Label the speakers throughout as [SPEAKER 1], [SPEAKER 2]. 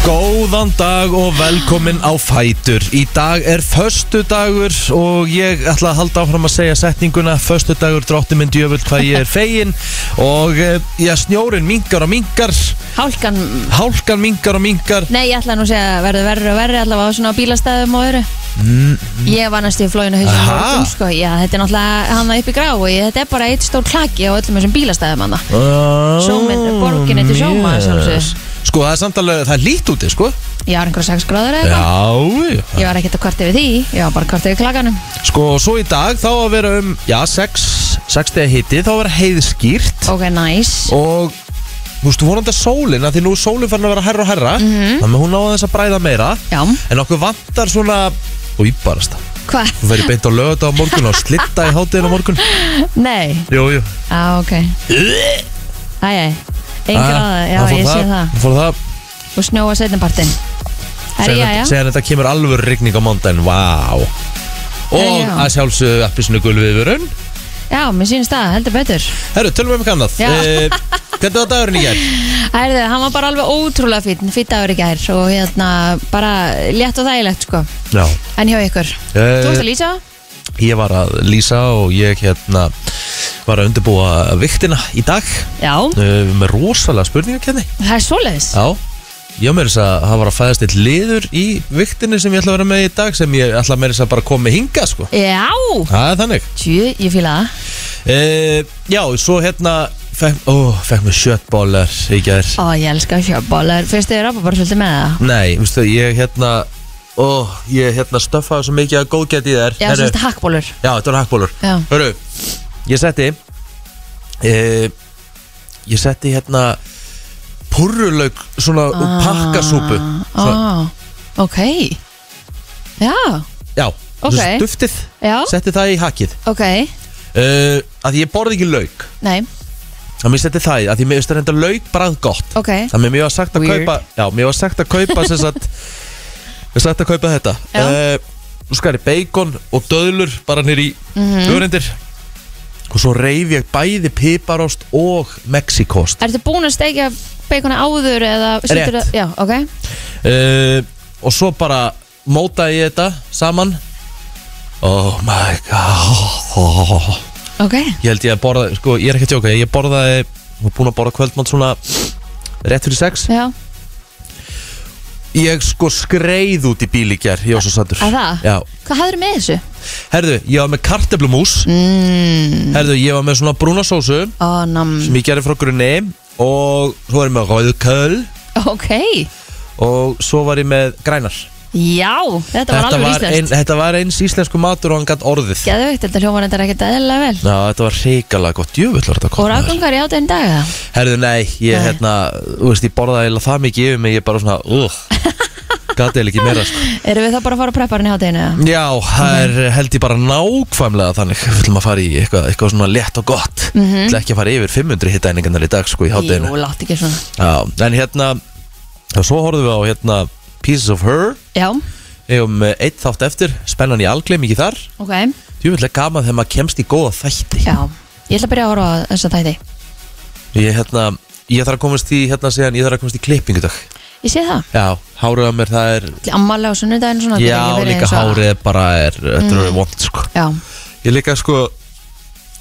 [SPEAKER 1] Góðan dag og velkomin á Fætur Í dag er föstudagur og ég ætla að halda áfram að segja setninguna Föstudagur, drótti minn djöfull hvað ég er fegin Og eh, já, snjórin mingar og mingar
[SPEAKER 2] Hálkan,
[SPEAKER 1] Hálkan mingar og mingar
[SPEAKER 2] nei ég ætla nú að segja verður verður og verður allavega á svona bílastæðum og öru Ég var næstu í flóinu hausinu
[SPEAKER 1] Mm, Aha.
[SPEAKER 2] morgun sko, já þetta er náttúrulega hann upp í grá og ég, þetta er bara eitt stór klaki á öllum þessum bílastæðum hann
[SPEAKER 1] oh,
[SPEAKER 2] Sjóminn- borgin er til sjóma, að sjálfsögðu.
[SPEAKER 1] Sko, það er samt alveg, það er lít úti, sko
[SPEAKER 2] Ég var einhverja 6 gráður eða eitthvað
[SPEAKER 1] Já, já
[SPEAKER 2] Ég var ekkert að kvart yfir því, ég var bara kvart yfir klakanum
[SPEAKER 1] Sko, svo í dag þá að vera um, já, 6 6 dega hiti, þá að vera heiðskýrt
[SPEAKER 2] Ok, nice
[SPEAKER 1] og þú veist, vonandi að sólin að því nú er sólin farin að vera herra og herra
[SPEAKER 2] Mhm.
[SPEAKER 1] þannig að hún náði þess að bræða meira
[SPEAKER 2] Já,
[SPEAKER 1] en okkur vantar svona új barasta
[SPEAKER 2] hvað?
[SPEAKER 1] þú verður beint á lögata á morgun og slitta í hátíðin á morgun
[SPEAKER 2] Nei,
[SPEAKER 1] jú, jú
[SPEAKER 2] á ok Æ, æ, 1 gráða, já ég sé það
[SPEAKER 1] Ah, fór það
[SPEAKER 2] Og snjóa setnapartin Er
[SPEAKER 1] segir
[SPEAKER 2] ég,
[SPEAKER 1] þetta-
[SPEAKER 2] já,
[SPEAKER 1] segir þetta kemur alveg rigning á mándaginn vá og
[SPEAKER 2] Herra, já.
[SPEAKER 1] að sjálfsögðu appisinu gulviðurun
[SPEAKER 2] já, mér sýnist það, heldur betur
[SPEAKER 1] herru, tölum við um kannað
[SPEAKER 2] Já.
[SPEAKER 1] hvernig var dagurinn í gerð?
[SPEAKER 2] Ærðu, hann var bara alveg ótrúlega fýtn, fýtt dagur í gær og hérna bara létt og þægilegt sko.
[SPEAKER 1] já
[SPEAKER 2] En hjá ykkur,
[SPEAKER 1] Eh,
[SPEAKER 2] þú veist að lýsa?
[SPEAKER 1] ég var að lýsa og ég hérna var að undirbúa viktina í dag
[SPEAKER 2] Já,
[SPEAKER 1] Uh, með rosalega spurningakenni
[SPEAKER 2] það er svoleiðis.
[SPEAKER 1] Já Ég á meira þess að það var að fæðast eitt liður í viktinni sem ég ætla að vera með í dag sem ég ætla meira þess að bara koma með hinga sko
[SPEAKER 2] Já,
[SPEAKER 1] Það er þannig
[SPEAKER 2] tjú, ég fýla það.
[SPEAKER 1] uh, Já, svo hérna fekk, ó, fekk mér sjöttbólar í gær
[SPEAKER 2] Ó, ég elska sjöbólar. Fyrst þið er bara svolítið með það.
[SPEAKER 1] Nei, veistu, ég hérna Ó, ég hérna stöffaði svo mikið að góðgæti í þær
[SPEAKER 2] Já,
[SPEAKER 1] Herru,
[SPEAKER 2] svolítið hakkbólur.
[SPEAKER 1] Já, þetta var hakkbólur
[SPEAKER 2] Já.
[SPEAKER 1] Hörru, ég setti uh, Ég setti hérna purrulauk svona ah, pakkasúpu svona,
[SPEAKER 2] Ó, Ah, ok. Já,
[SPEAKER 1] Já,
[SPEAKER 2] Ok.
[SPEAKER 1] okay. duftið
[SPEAKER 2] já,
[SPEAKER 1] Setti það í hakið
[SPEAKER 2] ok.
[SPEAKER 1] uh, Að ég borði ekki lauk
[SPEAKER 2] Nei,
[SPEAKER 1] Að mér setti það í Að því mér veist að reynda lauk brað gott
[SPEAKER 2] ok.
[SPEAKER 1] Þannig að mér var sagt að
[SPEAKER 2] Weird.
[SPEAKER 1] kaupa Já, mér var sagt að kaupa sem sagt Mér sagt að kaupa þetta
[SPEAKER 2] Já.
[SPEAKER 1] uh, Nú skar ég bacon og döðlur Bara nýr í
[SPEAKER 2] Mhm.
[SPEAKER 1] öðrendir Og svo reyf ég bæði piparost og mexikost
[SPEAKER 2] Ertu búin að steikja beikona áður eða...
[SPEAKER 1] Rétt.
[SPEAKER 2] Já, ok.
[SPEAKER 1] uh, Og svo bara mótaði ég þetta saman Oh my god
[SPEAKER 2] Ok,
[SPEAKER 1] Ég held ég að borða, sko, ég er ekki að tjóka Ég borðaði, ég var búin að borða kvöldmátt svona Rétt fyrir sex
[SPEAKER 2] já.
[SPEAKER 1] Ég sko skreið út í bíl í gær Ég var svo sattur
[SPEAKER 2] Að það?
[SPEAKER 1] Já
[SPEAKER 2] Hvað hafður með þessu?
[SPEAKER 1] Herðu, ég var með karteblumús
[SPEAKER 2] Mmm,
[SPEAKER 1] Herðu, ég var með svona brúna sósu
[SPEAKER 2] ó, nam...
[SPEAKER 1] Sem ég gerði frá grunni Og svo var ég með rauðköl
[SPEAKER 2] Ok.
[SPEAKER 1] Og svo var ég með grænar
[SPEAKER 2] Já, þetta var alveg
[SPEAKER 1] var, ein,
[SPEAKER 2] íslenskt
[SPEAKER 1] þetta var eins íslensku matur og hann gætt orðið Já,
[SPEAKER 2] Geðveikt, þetta hljóman þetta er ekkert eðlilega vel
[SPEAKER 1] þetta var reikalega gott Jöfnvöld var þetta
[SPEAKER 2] Og
[SPEAKER 1] gott maður.
[SPEAKER 2] rafgangar í átegin dag eða?
[SPEAKER 1] Herðu, nei, ég
[SPEAKER 2] Nei.
[SPEAKER 1] hérna Þú veist, ég borðaði eiginlega það mikið yfir mig Ég bara svona, uh Gatið ekki meira, sko
[SPEAKER 2] Erum við þá bara að fara að preppa hann í áteginu eða?
[SPEAKER 1] Já, það
[SPEAKER 2] Mhm.
[SPEAKER 1] er held ég bara nákvæmlega þannig Við viljum að fara í eitthvað, eitthvað svona létt og gott Við mm ekki að fara yfir 500 hittæningarnar í dag sko í hátteginu
[SPEAKER 2] Mhm. Jú, látt ekki svona
[SPEAKER 1] Já, en hérna og Svo horfðum við á hérna Pieces of Her
[SPEAKER 2] Já,
[SPEAKER 1] Ég um eitt þátt eftir, spennan í algleim ekki þar
[SPEAKER 2] ok,
[SPEAKER 1] Tjúfilega gaman þegar maður kemst í góða þætti
[SPEAKER 2] já Ég ætla að byrja að horfa á þessa þætti
[SPEAKER 1] Ég hérna, ég þarf að komast í hérna síðan, ég þarf að komast í klippingu í dag
[SPEAKER 2] Ég sé það
[SPEAKER 1] Já, hárið á mér það er
[SPEAKER 2] Ammalega á sunnudaginn svona þetta
[SPEAKER 1] Já,
[SPEAKER 2] er ekki verið
[SPEAKER 1] líka
[SPEAKER 2] eins og- Mm.
[SPEAKER 1] hárið bara er, þetta er vond sko
[SPEAKER 2] Já,
[SPEAKER 1] Ég líka sko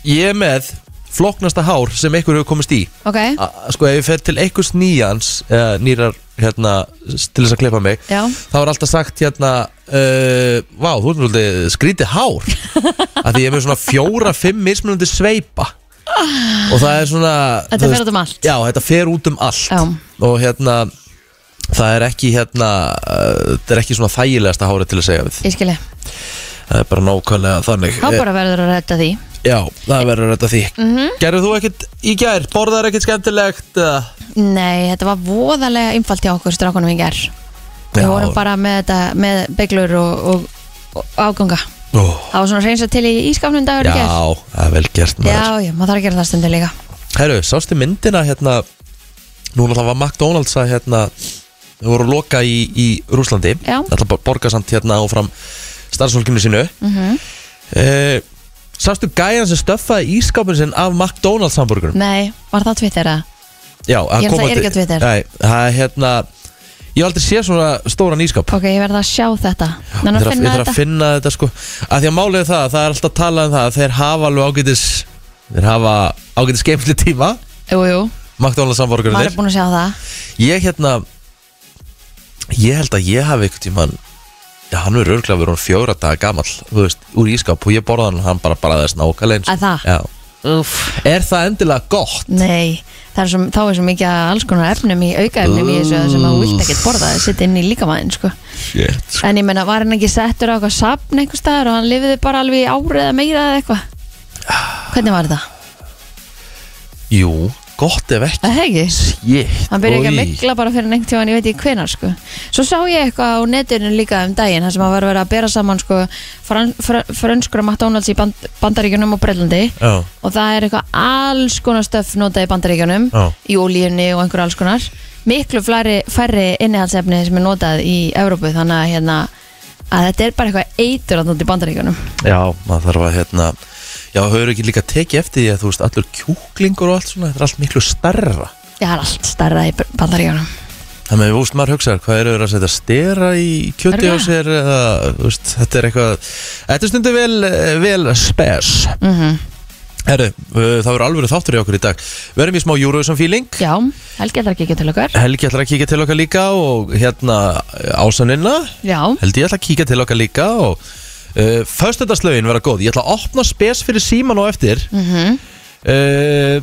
[SPEAKER 1] Ég er með floknasta hár sem einhver hefur komist í
[SPEAKER 2] ok,
[SPEAKER 1] A, Sko ef ég fer til einhvers nýjans uh, Nýrar hérna s- Til þess að klippa mig
[SPEAKER 2] Já.
[SPEAKER 1] Þá er alltaf sagt hérna uh, Vá, þú erum svolítið skrítið hár Af því ég er með svona fjóra, fimm mismunandi sveipa Og það er svona
[SPEAKER 2] Þetta
[SPEAKER 1] þú
[SPEAKER 2] fer út um allt.
[SPEAKER 1] Já, þetta fer út um allt
[SPEAKER 2] Já.
[SPEAKER 1] Og hérna Það er ekki hérna uh, Þetta er ekki svona þægilegasta hárið til að segja við
[SPEAKER 2] ég skilji
[SPEAKER 1] Það er bara nákvæmlega þannig Eh,
[SPEAKER 2] Þá bara verður að redda því Mhm.
[SPEAKER 1] Já, það verður þetta því mm Gerðu þú ekkert í gær, borðar ekkert skemmtilegt uh,
[SPEAKER 2] Nei, þetta var voðalega einfalt hjá okkur strákunum í ger Við vorum bara með þetta, með beglur og, og, og áganga
[SPEAKER 1] ó,
[SPEAKER 2] Það var svona reynsa til í ískapnum dagur í ger
[SPEAKER 1] Já, það er vel gert maður
[SPEAKER 2] Já, já, maður þarf að gera það stundu líka
[SPEAKER 1] Herru, sástu myndina hérna Núna það var McDonalds að hérna Þau voru að loka í, í Rúslandi
[SPEAKER 2] Já.
[SPEAKER 1] Það ætla að borga samt hérna áfram starfsfólkinu sínu mm Sástu gæjan sem stöffaði ískápin sinn af McDonalds hamburgurum
[SPEAKER 2] Nei, var það Twitter að?
[SPEAKER 1] Já, hann
[SPEAKER 2] Ég
[SPEAKER 1] kom
[SPEAKER 2] náttúrulega er
[SPEAKER 1] að-
[SPEAKER 2] ekki á Twitter.
[SPEAKER 1] Nei, það er hérna Ég hef aldrei séð svona stóran ískap
[SPEAKER 2] Ok, ég verða að sjá þetta
[SPEAKER 1] Ég
[SPEAKER 2] Þannig
[SPEAKER 1] þarf að, ég
[SPEAKER 2] að finna
[SPEAKER 1] þarf
[SPEAKER 2] þetta
[SPEAKER 1] að finna þetta sko að Því að málið er það, það er alltaf talað um það að Þeir hafa alveg ágætis Þeir hafa ágætis geimsli tíma
[SPEAKER 2] Jú, jú,
[SPEAKER 1] Magdóla
[SPEAKER 2] maður er
[SPEAKER 1] samborgarnir
[SPEAKER 2] búin að sjá það
[SPEAKER 1] Ég hérna Ég held að ég hafi einhvern tímann Já, hann verður örglega verið hún fjóra daga gamall Þú veist, úr ískap og ég borða hann og Hann bara bara þess nákvæmlega eins og-
[SPEAKER 2] Að það?
[SPEAKER 1] Já
[SPEAKER 2] Úf.
[SPEAKER 1] Er það endilega gott?
[SPEAKER 2] Nei, það er svo, þá er svo mikið af alls konar efnum í aukaefnum í þessu sem að þú vilt ekkert borða það sitt inn í líkamæðin sko.
[SPEAKER 1] Shit
[SPEAKER 2] En ég meina, var hann ekki settur á eitthvað sapn einhvers staðar og hann lifiði bara alveg í árið eða meira eða eitthvað
[SPEAKER 1] Ah.
[SPEAKER 2] Hvernig var það?
[SPEAKER 1] Jú, gott ef ekki
[SPEAKER 2] Það er ekki?
[SPEAKER 1] Shit
[SPEAKER 2] Hann byrja ekki að
[SPEAKER 1] oj.
[SPEAKER 2] mikla bara fyrir neitt tíma en ég veit ekki hvenar sko. Svo sá ég eitthvað á netinu líka um daginn þar sem að var verið að bera saman sko, fran- fr- frönskur og McDonalds í band, Bandaríkjunum og Brellandi
[SPEAKER 1] Já,
[SPEAKER 2] og það er eitthvað alls konar stöf notað í bandaríkjunum
[SPEAKER 1] Já.
[SPEAKER 2] í ólíunni og einhver alls konar miklu flæri, færri innihaldsefni sem er notað í Evrópu þannig að, hérna, að þetta er bara eitthvað eitur að nota í bandaríkjunum
[SPEAKER 1] já maður þarf að hérna Já, höfðu ekki líka tekið eftir því að þú veist allur kjúklingur og allt svona, þetta er allt miklu starra
[SPEAKER 2] það er allt starra í bandaríkjunum
[SPEAKER 1] Þannig að við úst maður hugsaðar, hvað eru þeir að setja stera í kjöti á
[SPEAKER 2] Örugglega.
[SPEAKER 1] sér eða, þú veist, þetta er eitthvað Þetta er stundu vel, eh, vel spes
[SPEAKER 2] mm
[SPEAKER 1] Herru, uh, það verður alveg þáttur í okkur í dag Verðum í smá Eurovision feeling
[SPEAKER 2] já, Helgi ætlar ekki ekki til okkar
[SPEAKER 1] Helgi ætlar að kíkja til okkar líka og hérna ásanina
[SPEAKER 2] já,
[SPEAKER 1] held ég ætla að kíkja til okkar líka og uh, föstudagslaugin vera góð ég ætla að opna spes fyrir síman og eftir
[SPEAKER 2] mhm
[SPEAKER 1] uh,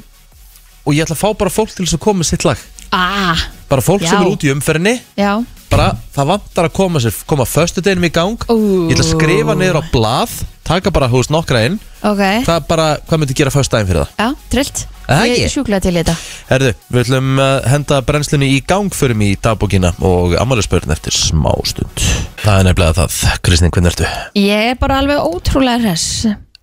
[SPEAKER 1] og ég ætla að fá bara fólk til þess að koma með sitt lag
[SPEAKER 2] ah,
[SPEAKER 1] bara fólk
[SPEAKER 2] Já.
[SPEAKER 1] sem er út í umferðinni
[SPEAKER 2] já,
[SPEAKER 1] bara það vantar að koma sér koma föstudeginum í gang
[SPEAKER 2] Ú.
[SPEAKER 1] ég ætla að skrifa niður á blað taka bara hús nokkra inn
[SPEAKER 2] ok
[SPEAKER 1] hvað, bara, hvað myndi gera föstudagin fyrir það
[SPEAKER 2] já, trillt,
[SPEAKER 1] Það
[SPEAKER 2] ég
[SPEAKER 1] ekki?
[SPEAKER 2] er sjúklega til í þetta
[SPEAKER 1] Herðu, við ætlum að henda brennslunni í gang fyrir mig í dagbókina og ammælisbörn eftir smá stund það er nefnilega það, Kristinn, hvernig ertu?
[SPEAKER 2] ég er bara alveg ótrúlega hress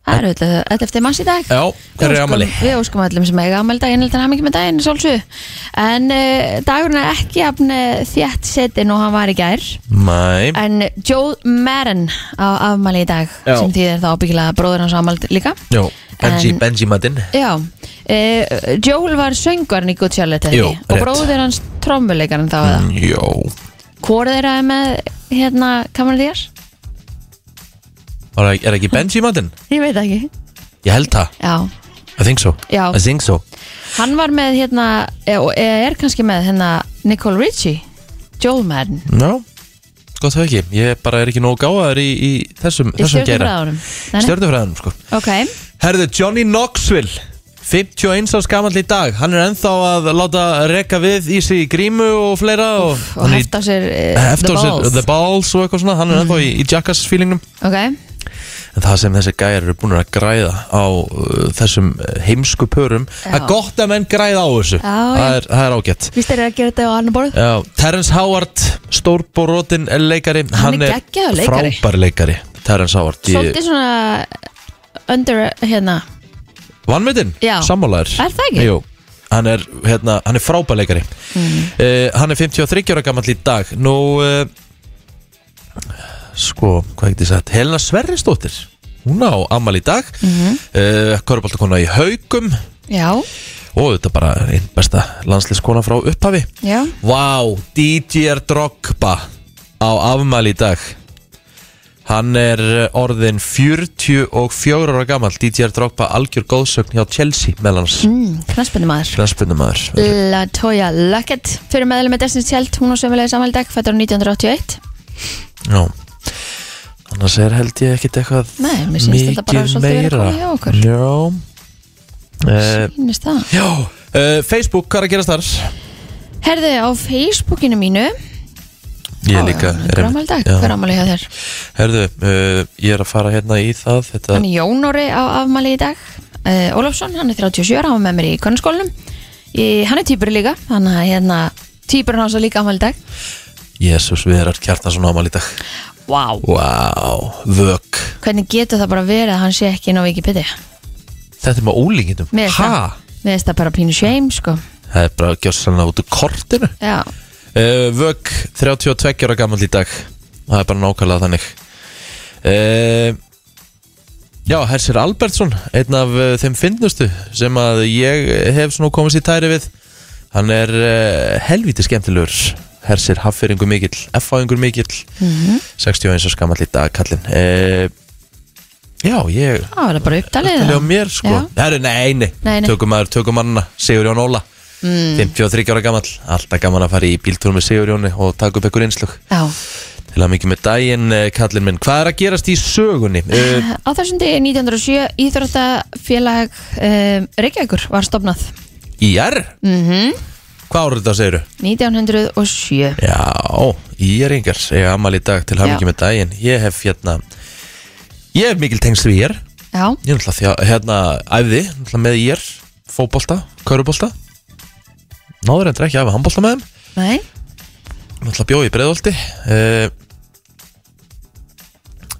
[SPEAKER 2] það er auðvitað, þetta er eftir manns í dag
[SPEAKER 1] Já, hver
[SPEAKER 2] Við
[SPEAKER 1] er
[SPEAKER 2] óskum-
[SPEAKER 1] ammæli?
[SPEAKER 2] Við óskum öllum sem eiga ammæli daginn Heldur hann ekki með daginn, svolsug En uh, dagurinn er ekki jafn uh, þétt setin og hann var í gær
[SPEAKER 1] Mæ,
[SPEAKER 2] En Joe Marin á afmæli í dag
[SPEAKER 1] Já.
[SPEAKER 2] Sem þýðir þá byggilega bróður hans afmæli líka
[SPEAKER 1] Jó, Benji,
[SPEAKER 2] En-
[SPEAKER 1] Benji Madden
[SPEAKER 2] Já, uh, Joel var söngarn í Good Charlotte eða
[SPEAKER 1] Jú,
[SPEAKER 2] ekki? Og
[SPEAKER 1] rétt. Mhm.
[SPEAKER 2] bróður hans trommuleikarinn þá eða
[SPEAKER 1] Jó
[SPEAKER 2] Hvor þeirra er með hérna kameran þér?
[SPEAKER 1] Er það ekki Benji Madden?
[SPEAKER 2] Ég veit ekki
[SPEAKER 1] Ég held það,
[SPEAKER 2] Já,
[SPEAKER 1] I think so
[SPEAKER 2] Já.
[SPEAKER 1] I think so
[SPEAKER 2] hann var með hérna eh, Og eh, er kannski með hérna Nicole Richie Joel Marin
[SPEAKER 1] No, gott það ekki Ég bara er ekki nógu gáðaður í, í þessum,
[SPEAKER 2] Í
[SPEAKER 1] þessum geira
[SPEAKER 2] stjórnumræðunum
[SPEAKER 1] Stjörnufræðanum sko
[SPEAKER 2] Ok,
[SPEAKER 1] Herðu, Johnny Knoxville 51 árs gamall í dag Hann er ennþá að láta reka við í sig grímu og fleira og,
[SPEAKER 2] og
[SPEAKER 1] hann er í-
[SPEAKER 2] hefta á sér uh,
[SPEAKER 1] hefta á sér The Balls og eitthvað svona Hann er ennþá í, í Jackass feelingum
[SPEAKER 2] Ok,
[SPEAKER 1] En það sem þessi gæjar eru búin að græða á uh, þessum uh, heimsku pörum Það er gott að menn græða á þessu
[SPEAKER 2] Já,
[SPEAKER 1] það, er, það er ágætt
[SPEAKER 2] víst þeir eru að gera þetta á annar borð
[SPEAKER 1] Já, Terence Howard, stórborótin leikari
[SPEAKER 2] Hann er geggjaður leikari.
[SPEAKER 1] Frábær leikari, Terence Howard Ég-
[SPEAKER 2] Svolítið svona Under, hérna
[SPEAKER 1] Vanmetinn,
[SPEAKER 2] Já.
[SPEAKER 1] sammálaður
[SPEAKER 2] Er það ekki?
[SPEAKER 1] Jú, hann er, hérna, hann er frábær leikari
[SPEAKER 2] Mm.
[SPEAKER 1] uh, Hann er 53 ára gamall í dag Nú, uh, sko, hvað ekki þið sagt Helena Sverrisdóttir, hún á ammal í dag mm
[SPEAKER 2] Mhm.
[SPEAKER 1] -hmm. uh, í haugum
[SPEAKER 2] Já,
[SPEAKER 1] Og þetta bara einn besta landsliðskona frá upphafi
[SPEAKER 2] já
[SPEAKER 1] Vá, DJ Drogba á afmæli í dag Hann er eh, orðin 44 ára gammal DJ Drogba algjör góðsögn hjá Chelsea meðal hans
[SPEAKER 2] mm, Knaspunni maður Mm.
[SPEAKER 1] Knarsbyndumæður
[SPEAKER 2] Latoya Luckett Fyrir meðlum með Destiny's Child Hún á sömulegis afmæli í dag Fættur á 1981
[SPEAKER 1] Já Annars er held ég ekkit eitthvað
[SPEAKER 2] Nei, mér sýnist þetta bara
[SPEAKER 1] mikið
[SPEAKER 2] svolítið
[SPEAKER 1] meira
[SPEAKER 2] vera komið hjá okkur.
[SPEAKER 1] Já uh,
[SPEAKER 2] Sýnist það
[SPEAKER 1] Já uh, Facebook, hvað er að gerast þar?
[SPEAKER 2] Herðu, á Facebookinu mínu
[SPEAKER 1] Ég líka
[SPEAKER 2] Hver afmæli í dag,
[SPEAKER 1] Já.
[SPEAKER 2] hver afmæli hjá þér
[SPEAKER 1] Herðu, uh, ég er að fara hérna í það Þetta
[SPEAKER 2] Hann er Jón Óri á afmæli í dag uh, Ólafsson, hann er 37 ára, hann var með mér í konarskólanum í, Hann er týpur líka Þannig að hérna, týpurinn hans er líka afmæli í dag
[SPEAKER 1] Jésús, við erum kjartasun ámæli í dag
[SPEAKER 2] Vá wow.
[SPEAKER 1] Vá, vök
[SPEAKER 2] Hvernig getur það bara verið að hann sé ekki inn á Wikipedia?
[SPEAKER 1] Þetta er með ólíkindum
[SPEAKER 2] Mér finnst
[SPEAKER 1] Ha?
[SPEAKER 2] það- Mér finnst það bara pínu shame, sko
[SPEAKER 1] Það er bara að gjósa sannlega út úr kortinu
[SPEAKER 2] Já,
[SPEAKER 1] uh, Vök, 32 ára gammal í dag Það er bara nákvæmlega þannig uh, Já, Hersir Albertsson Einn af uh, þeim finnustu Sem að ég hef svona komist í tæri við Hann er uh, helviti eh, skemmtilegur hersir haffyringu mikill, f-fáingur mikill 61 og skamall í dag kallinn e, Já, ég
[SPEAKER 2] Já, það er bara upptalið
[SPEAKER 1] Talið á mér sko
[SPEAKER 2] Já.
[SPEAKER 1] Heru, nei, nei,
[SPEAKER 2] Nei, Mm. nei.
[SPEAKER 1] tökum maður, tökum mannina Sigur Jón Óla, 53 ára gamall Alltaf gaman að fara í bíltúr með Sigur Jóni og taka upp einhver einslug
[SPEAKER 2] Já,
[SPEAKER 1] Til að mikið með daginn, eh, kallinn minn Hvað er að gerast í sögunni? Uh,
[SPEAKER 2] á þessum degi 1907 Íþróttafélag um, Reykjavíkur var stopnað
[SPEAKER 1] IR?
[SPEAKER 2] mm
[SPEAKER 1] Hvað árið þetta segiru?
[SPEAKER 2] 1907
[SPEAKER 1] Já, IR yngar Ég amal í dag til að
[SPEAKER 2] Já.
[SPEAKER 1] mikið með daginn Ég hef hérna Ég hef mikil tengsl við IR Ég
[SPEAKER 2] Já,
[SPEAKER 1] er náttúrulega þjá- hérna æfði náttúrulega með IR, fótbolta, körubolta Náður endur ekki að hafa handbolta með þeim
[SPEAKER 2] nei,
[SPEAKER 1] Náttúrulega bjóði í breiðolti uh,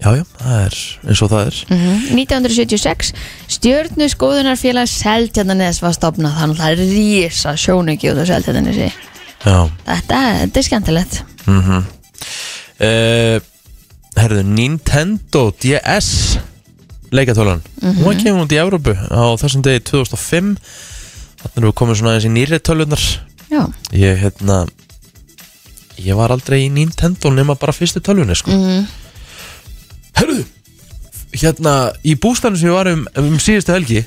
[SPEAKER 1] Já, já, það er eins og það er
[SPEAKER 2] mm 1976 Stjörnu skoðunarfélag Seltjarnanes var stopnað Þannig að það er rísa sjónugi út á Seltjarnanesi
[SPEAKER 1] Já,
[SPEAKER 2] Þetta, þetta er skemmtilegt
[SPEAKER 1] uh, herðu, Nintendo DS leikatólan
[SPEAKER 2] Mhm.
[SPEAKER 1] Hún kemur út í Evrópu á þessum degi 2005 Þannig erum við komið svona aðeins í nýri tölunar
[SPEAKER 2] Já,
[SPEAKER 1] Ég, hérna Ég var aldrei í Nintendo nema bara fyrstu tölvunni, sko
[SPEAKER 2] Mhm.
[SPEAKER 1] Herðu Hérna, í bústanu sem ég var um, um síðustu helgi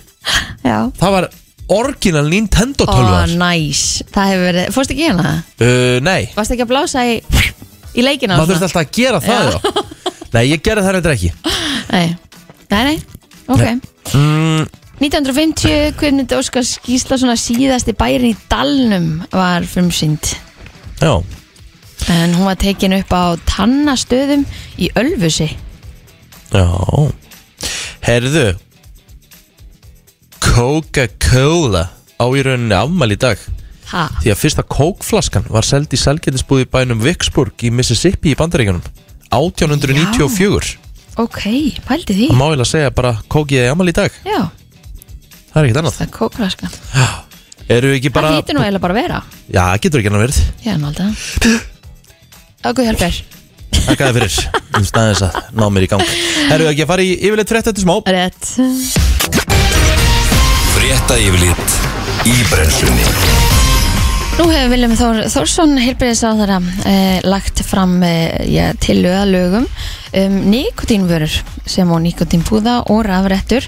[SPEAKER 2] já
[SPEAKER 1] Það var orginal Nintendo
[SPEAKER 2] Ó,
[SPEAKER 1] tölvar
[SPEAKER 2] næs, það hefur verið, fórst ekki hérna?
[SPEAKER 1] uh, Nei,
[SPEAKER 2] Varst ekki að blása í, í leikina?
[SPEAKER 1] maður þurfti alltaf að gera það já. Nei, ég gerði það reyndar ekki
[SPEAKER 2] Nei, nei, nei, ok
[SPEAKER 1] Nei. mm,
[SPEAKER 2] 1950, Guðmund Óskars Gíslasonar síðasti bærin í Dalnum var frumsýnd
[SPEAKER 1] Já,
[SPEAKER 2] En hún var tekin upp á tannastöðum í Ölfusi
[SPEAKER 1] já Herðu Coca-Cola á í rauninni afmæli í dag
[SPEAKER 2] Ha,
[SPEAKER 1] Því að fyrsta kókflaskan var seld í selgetisbúði bænum Vicksburg í Mississippi í bandaríkjunum 1894
[SPEAKER 2] ok, pældi því
[SPEAKER 1] Það má eiginlega segja bara kókið eða jamal í dag
[SPEAKER 2] Já,
[SPEAKER 1] Það er ekkert annað
[SPEAKER 2] það er kókraska
[SPEAKER 1] Eru við ekki bara
[SPEAKER 2] Það hýtur nú eiginlega bara að vera
[SPEAKER 1] Já, getur ekki annað verið
[SPEAKER 2] Já, nálda Ok, hjálpar
[SPEAKER 1] Takk að fyrir Um staðins að ná mér í gang Eru við ekki að fara í yfirleitt frétt eftir smá
[SPEAKER 2] Rétt
[SPEAKER 3] Frétta yfirlit í brennslunni
[SPEAKER 2] Nú hefur Viljum Þór, Þórsson heilbriðisáðara eh, lagt fram eh, ja, til lögalögum um nikotínvörur sem og nikotínpúða og rafrettur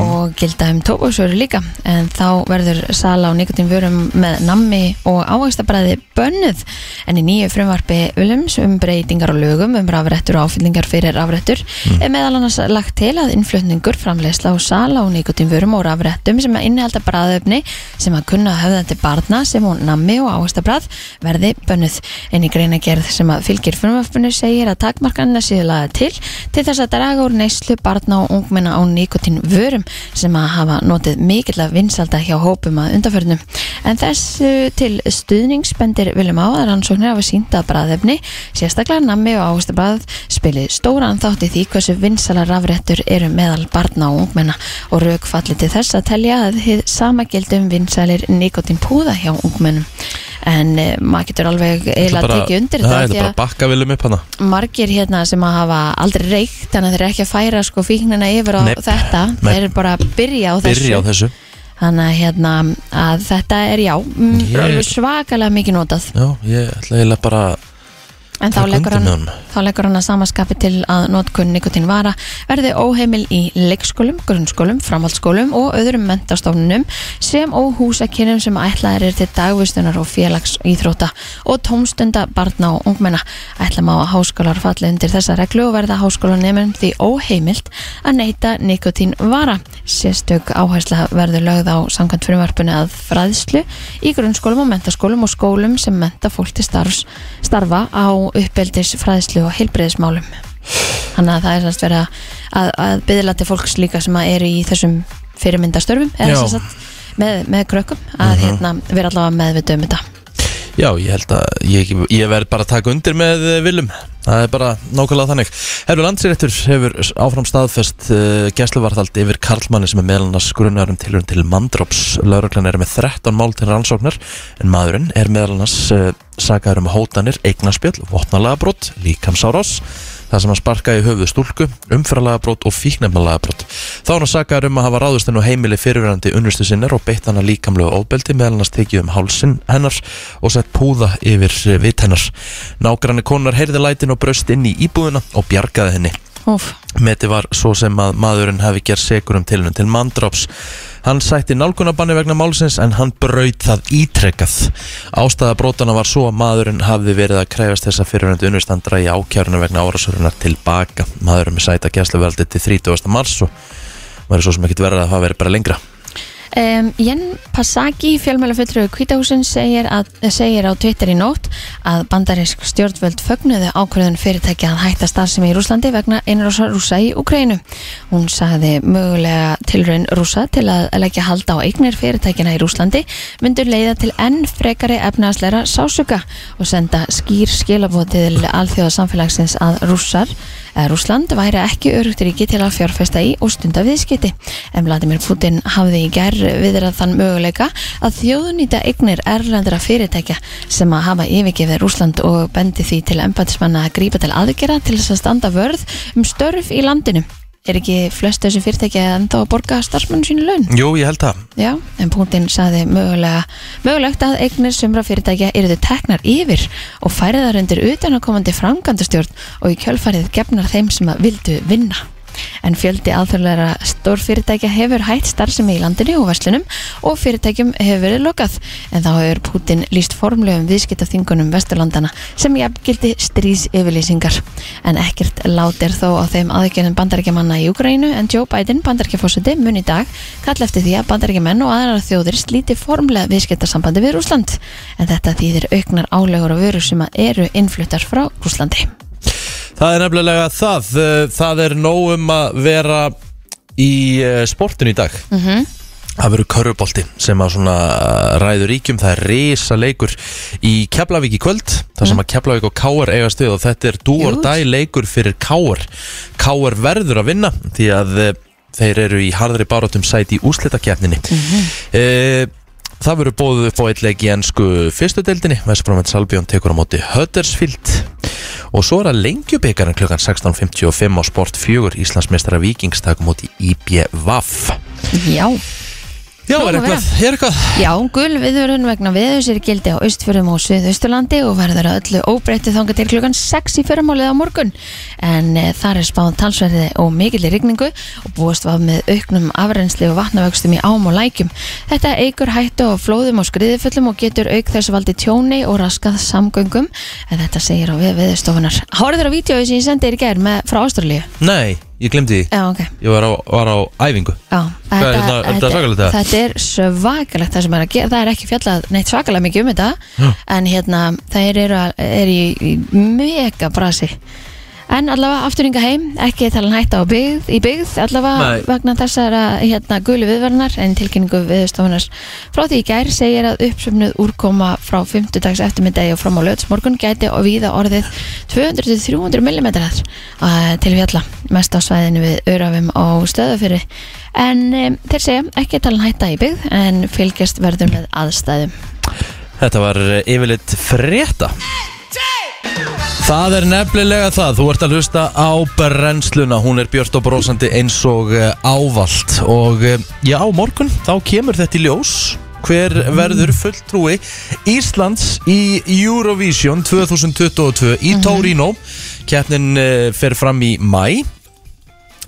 [SPEAKER 2] og gilda um tóbaksvörur líka en þá verður sala á nikotínvörum með nammi og ávægstabræði bönnuð en í nýju frumvarpi Viljums um breytingar á lögum um rafrettur og áfyllingar fyrir rafrettur er meðal annars lagt til að innflutningur framleysla og sala á nikotínvörum og rafrettum sem að innihalda bræðöfni sem að kunna að höfða til barna sem og nammi og áhastabræð verði bönnuð. En í greinagerð sem að fylgir frumvarpinu segir að takmarkanina séu laga til til þess að draga úr neyslu barna og ungmenna á nikotin vörum sem að hafa notið mikill að vinsalda hjá hópum að undarförnum. En þessu til stuðningsbendir viljum á að rannsóknir hafa sínt að bræðefni, sérstaklega nammi og áhastabræð spilið stóran þátt í því hversu vinsala rafréttur eru meðal barna og ungmenna og rauk falli til þess að telja að hið sama gildum vinsalir nikotin púða hjá ungmennum en e, maður getur alveg eiginlega
[SPEAKER 1] Bara-
[SPEAKER 2] tekið undir
[SPEAKER 1] Það
[SPEAKER 2] þetta
[SPEAKER 1] er
[SPEAKER 2] því
[SPEAKER 1] bara að
[SPEAKER 2] að
[SPEAKER 1] bakka viljum upp hana
[SPEAKER 2] margir hérna sem að hafa aldrei reykt þannig að þeir eru ekki að færa sko fíknina yfir á
[SPEAKER 1] Nei,
[SPEAKER 2] þetta
[SPEAKER 1] nei.
[SPEAKER 2] þeir eru bara að byrja á þessu
[SPEAKER 1] Byrja á þessu
[SPEAKER 2] þannig að, hérna, að þetta er já mm,
[SPEAKER 1] Ég-
[SPEAKER 2] alveg svakalega mikið notað
[SPEAKER 1] Já, ég ætla eiginlega bara
[SPEAKER 2] en þá
[SPEAKER 1] Taka
[SPEAKER 2] leggur,
[SPEAKER 1] undir með
[SPEAKER 2] hann,
[SPEAKER 1] honum.
[SPEAKER 2] þá leggur hann að samaskapi til að notkunn nikotin vara verði óheimil í leikskólum, grunnskólum, framhaldsskólum og öðrum mentastofnunum sem og húsakinnum sem ætlaðir er til dagvistunar og félags íþróta og tómstunda barna og ungmenna ætla má að háskólar falli undir þessa reglu og verða háskólanemum því óheimilt að neyta nikotin vara sérstök áhersla verður lögð á samkvæmt frumvarpinu að fræðslu í grunnskólum og mentaskólum og skólum sem menta fólk til starfs, starfa á uppeldis fræðslu og heilbreyðismálum þannig að það er sannst verið að, að, að byðla til fólks líka sem að eru í þessum fyrirmyndastörfum
[SPEAKER 1] Já.
[SPEAKER 2] eða sem sagt með, með krökkum að hérna, vera allavega meðvita um þetta
[SPEAKER 1] Já, ég held að ég, ég verð bara að taka undir með Vilum Það er bara nákvæmlega þannig Herru landsýrættur hefur áfram staðfest uh, gæsluvarðald yfir Karlmanni sem er meðlannars grunnarum tilhörum um til mandrops Lauruglan er með 13 mál til rannsóknar en maðurinn eh, er meðlannars uh, sakaður um hótanir, eignaspjöll, votnalega brot, líkamsárás þar sem hann sparkaði í höfuð stúlku, umfæralagabrót og fíknefnalagabrót. Þá er hann sakaður um að hafa ráðust henn og heimili fyrirverandi unnustu sinnar og beitt hann að líkamlegu ofbeldi meðal hann tekið um hálsin hennar og sett púða yfir vitt hennar. Nágranni konar heyrði lætin og bröst inn í íbúðina og bjargaði henni.
[SPEAKER 2] Úf,
[SPEAKER 1] Meti var svo sem að maðurinn hafi gerð segur um tilnum til mandróps. Hann sætti nálgunabanni vegna málsins en hann braut það ítrekkað. Ástæða brotana var svo að maðurinn hafði verið að krefast þessa fyrirvendu unnustandra í ákjörnu vegna árasörunar tilbaka. Maðurinn með sæta gæsluveldi til 30. mars og maður er svo sem ekkert verið að það verið bara lengra.
[SPEAKER 2] Um, Jen Pasaki, fjölmjölafulltrúi Kvítahúsin, segir, að, segir á Twitter í nótt að bandarísk stjórnvöld fögnuðu ákvörðun fyrirtækja að hætta starfsemi í Rúslandi vegna einrósa rúsa í Ukrænu. Hún sagði mögulega tilraun rúsa til að leggja halda á eignir fyrirtækjana í Rúslandi myndur leiða til enn frekari efnaðsleira sásuka og senda skýr skilabóð til alþjóðasamfélagsins að rússar eða Rúsland væri ekki örugt ríki til að fjárfesta í og stunda viðskiti. En Vladimir Putin hafði í gerð viðrað þann möguleika að þjóðunýta eignir erlendra fyrirtækja sem að hafa yfirgefið Rúsland og bendi því til embatismanna að grípa til aðgerða til þess að standa vörð um störf í landinu. Er ekki flest þessu fyrirtækja ennþá að borga starfsmann sínu laun?
[SPEAKER 1] Jú, ég held það.
[SPEAKER 2] Já, en Putin saði mögulega, mögulegt að eignir sumra fyrirtækja yrðu teknar yfir og færiðar undir utanakomandi framkvæmdastjórn og í kjölfarið gefnar þeim sem að vildu vinna. En fjöldi alþjóðlega stór fyrirtækja hefur hætt starfsemi í landinu og verslunum og fyrirtækjum hefur verið lokað. En þá hefur Putin líst formlegum viðskiptaþingunum Vesturlandana sem jafngildi strís yfirlýsingar. En ekkert lát er þó á þeim aðgjörnum bandarækjamanna í Ukraínu en Joe Biden bandarækjafósiti mun í dag kalla eftir því að bandarækjamenn og aðrar þjóðir slíti formlega viðskiptasambandi við Rúsland. En þetta þýðir auknar álegur og vörur sem að eru innfluttar frá Rúslandi.
[SPEAKER 1] Það er nefnilega það. Eh, Það er nóg um að vera í eh, sportinu í dag. Það verður körubolti sem að svona uh, ræður ríkjum, það er risa leikur í Keflavík í kvöld þar sem að Keflavík og Káar eiga stuð og þetta er dúor
[SPEAKER 2] Jú.
[SPEAKER 1] dæ leikur fyrir Káar Káar verður að vinna því að eh, þeir eru í harðri barátum sæti í úslitakefninni mm Það verður bóðuð upp á eitt leik í ennsku fyrstu deildinni Vestbrómið Salbjón tekur á móti Huddersfield og svo er að lengjubikarinn klukkan 16.55 á Sport 4 Íslandsmeistara Víkings takum móti IBVAF
[SPEAKER 2] Já.
[SPEAKER 1] Já,
[SPEAKER 2] Nóg
[SPEAKER 1] er
[SPEAKER 2] að
[SPEAKER 1] eitthvað, er eitthvað
[SPEAKER 2] Já, gul viðvörun vegna viðus er í gildi á Austfjörðum og Suðausturlandi og verður að öllu óbreyttu þanga til klukkan 6 í fyrramálið á morgun en e, þar er spáð talsverði og mikillir rigningu og búast var með auknum afrensli og vatnavöxtum í ám og lækjum. Þetta eigur hættu á flóðum og skriðiföllum og getur auk þess valdi tjóni og raskað samgöngum en þetta segir á við viðustofunar. Háriður á vídeo sem ég sendi þér í gerð með frá Ástralíu?
[SPEAKER 1] Nei, ég glemdi því
[SPEAKER 2] Já, ok.
[SPEAKER 1] Ég var á, var á æfingu
[SPEAKER 2] Já,
[SPEAKER 1] Hvað er þetta- er þetta svakalegt eða?
[SPEAKER 2] þetta er svakalegt það sem er að gera, það er ekki fjallað neitt svakalega mikið um þetta en hérna, það er, að, er í, í mega brasi en allavega afturinga heim, ekki talan hætta á byggð, í byggð allavega
[SPEAKER 1] Nei.
[SPEAKER 2] vegna þessara hérna gulu viðverðnar en tilkynningu viðstofunar frá því í gær segir að uppsöfnuð úrkoma frá 50 dags eftirmiddegi og fram á löðsmorgun gæti og víða orðið 200-300 mm til fjalla mest á svæðinu við Örafum á stöðafyrri en um, þeir segja ekki talan hætta í byggð en fylgjast verður með aðstæðum
[SPEAKER 1] Þetta var eh, yfirleitt frétta Það er nefnilega það, þú ert að hlusta á brennsluna, hún er björt og brósandi eins og eh, ávallt og eh, já, á morgun þá kemur þetta í ljós hver verður fulltrúi Íslands í Eurovision 2022 í Torino keppnin eh, fer fram í mæ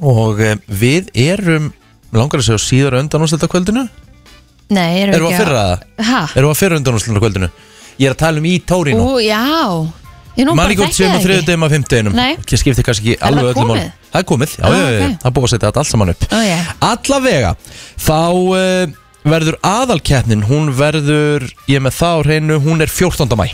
[SPEAKER 1] og eh, við erum langar að segja síðar undan úr þetta kvöldinu
[SPEAKER 2] Nei, erum
[SPEAKER 1] erum við
[SPEAKER 2] ekki
[SPEAKER 1] að fyrra það?
[SPEAKER 2] Ha?
[SPEAKER 1] Erum við að fyrir undan úrslunar kvöldinu? Ég er að tala um í Tórinu
[SPEAKER 2] Ú, já Ég nú bara
[SPEAKER 1] Manni gótt
[SPEAKER 2] þekki
[SPEAKER 1] sem á
[SPEAKER 2] það
[SPEAKER 1] þriðu
[SPEAKER 2] ekki
[SPEAKER 1] degum af fimmtuginum
[SPEAKER 2] Nei.
[SPEAKER 1] Ég skipti kannski ekki
[SPEAKER 2] Er
[SPEAKER 1] alveg
[SPEAKER 2] það
[SPEAKER 1] öllum
[SPEAKER 2] komið?
[SPEAKER 1] mál Það er komið, já,
[SPEAKER 2] Ah,
[SPEAKER 1] já, já, já,
[SPEAKER 2] ok.
[SPEAKER 1] það er búið að setja þetta allt saman upp
[SPEAKER 2] Ó, já.
[SPEAKER 1] Allavega, þá uh, verður aðalkeppnin Hún verður, ég er með það á hreinu, hún er 14. mæ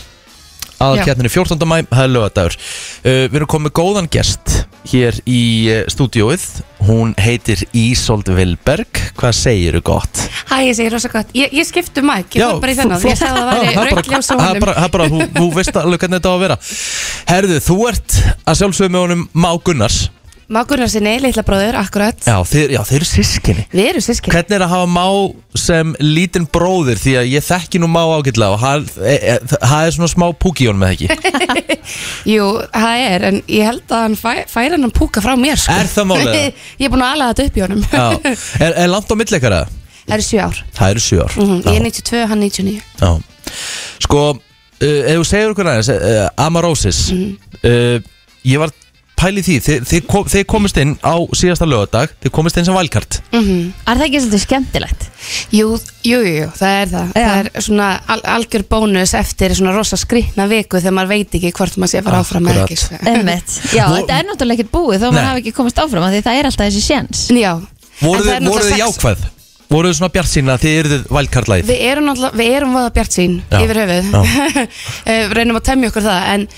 [SPEAKER 1] Aðalkeppnin er 14. mæ, það er lögadagur uh, Við erum komið góðan gest hér í uh, stúdíóið Hún heitir Ísold Vilberg Hvað segirðu gott?
[SPEAKER 4] Hæ, ég segi rosa gott. Ég, ég skiptu
[SPEAKER 5] um
[SPEAKER 4] mæk, ég fór bara í
[SPEAKER 1] þú-
[SPEAKER 4] þennan.
[SPEAKER 1] þú-
[SPEAKER 4] Ég sagði að
[SPEAKER 1] Já,
[SPEAKER 4] það væri raukljós á
[SPEAKER 1] bara- það
[SPEAKER 4] honum.
[SPEAKER 1] bara- Það er bara, þú, þú veist alveg hvernig þetta á að vera Herðu, þú ert að sjálfsögum með honum Má Gunnars
[SPEAKER 5] Má Gunnarsinni, litla bróður, akkurat
[SPEAKER 1] Já, þeir, já, þeir eru sískinni
[SPEAKER 5] Við erum sískinni
[SPEAKER 1] Hvernig er að hafa má sem lítinn bróðir Því að ég þekki nú má ágætlega Og hann e, e, það er svona smá púki í honum eða ekki
[SPEAKER 5] Jú, það er, en ég held að hann fæ, færi hann púka frá mér sko.
[SPEAKER 1] Er það málið?
[SPEAKER 5] ég er búin að ala þetta upp í honum
[SPEAKER 1] Já, er, er langt á millikara?
[SPEAKER 5] Það eru sjö ár
[SPEAKER 1] Það eru sjö ár
[SPEAKER 5] mm
[SPEAKER 4] Mhm,
[SPEAKER 5] Ég er
[SPEAKER 1] Já,
[SPEAKER 5] 92, hann 99
[SPEAKER 1] já. Sko, uh, ef þú segir okkur aðeins uh, Amarósis
[SPEAKER 5] Mhm.
[SPEAKER 1] uh, Ég var pæli því Þið, þið, kom, þið komist inn á síðasta lögadag Þið komist inn sem valkart
[SPEAKER 5] mm
[SPEAKER 2] Er það ekki svolítið skemmtilegt?
[SPEAKER 5] jú, jú, jú, jú, það er það
[SPEAKER 2] Já.
[SPEAKER 5] Það er svona al algjör bónus eftir svona rosa skrikna viku þegar maður veit ekki hvort maður sé að fara áfram eða
[SPEAKER 1] Akkurat.
[SPEAKER 5] ekki sko.
[SPEAKER 2] Einmitt. Já,
[SPEAKER 1] Vo-
[SPEAKER 2] þetta er náttúrulega ekkert búið þó að
[SPEAKER 1] Nei.
[SPEAKER 2] maður hafi ekki komist áfram af því það er alltaf þessi sjens
[SPEAKER 5] Já En það er
[SPEAKER 1] Voruð þið
[SPEAKER 5] náttúrulega sex-
[SPEAKER 1] jákvæð? Voruð þið svona bjart sína að þið eruð valkartlæð?
[SPEAKER 5] Við erum náttúrulega, við erum voða bjart sín
[SPEAKER 1] Já.
[SPEAKER 5] yfir höfuð Eh, Reynum að temja okkur það En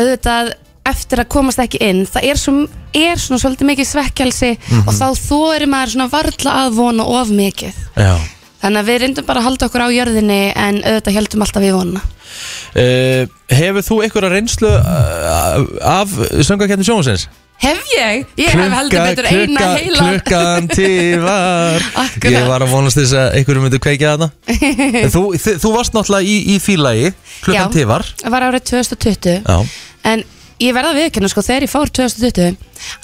[SPEAKER 5] auðvitað eftir að komast ekki inn Það er, svo, er svona svolítið mikið svekkjalsi
[SPEAKER 1] Mhm.
[SPEAKER 5] Og þá þóri maður svona varla að vona of mikið
[SPEAKER 1] Já
[SPEAKER 5] Þannig að við reyndum bara að halda okkur á jörðinni En auðvitað heldum alltaf við vona
[SPEAKER 1] Uh, hefur þú einhverja reynslu uh, af söngakettni sjónvarsins?
[SPEAKER 5] Hef ég? Ég hef heldur betur eina heila
[SPEAKER 1] Klukkan tívar
[SPEAKER 5] Akkurat.
[SPEAKER 1] Ég var að vonast þess að einhverju myndi kveikja þarna En þú, þi- þú varst náttúrulega í, í fílagi Klukkan
[SPEAKER 5] Já.
[SPEAKER 1] tívar
[SPEAKER 5] Það var árið 2020
[SPEAKER 1] Já,
[SPEAKER 5] En ég verða að viðkynna sko þegar ég fór 2020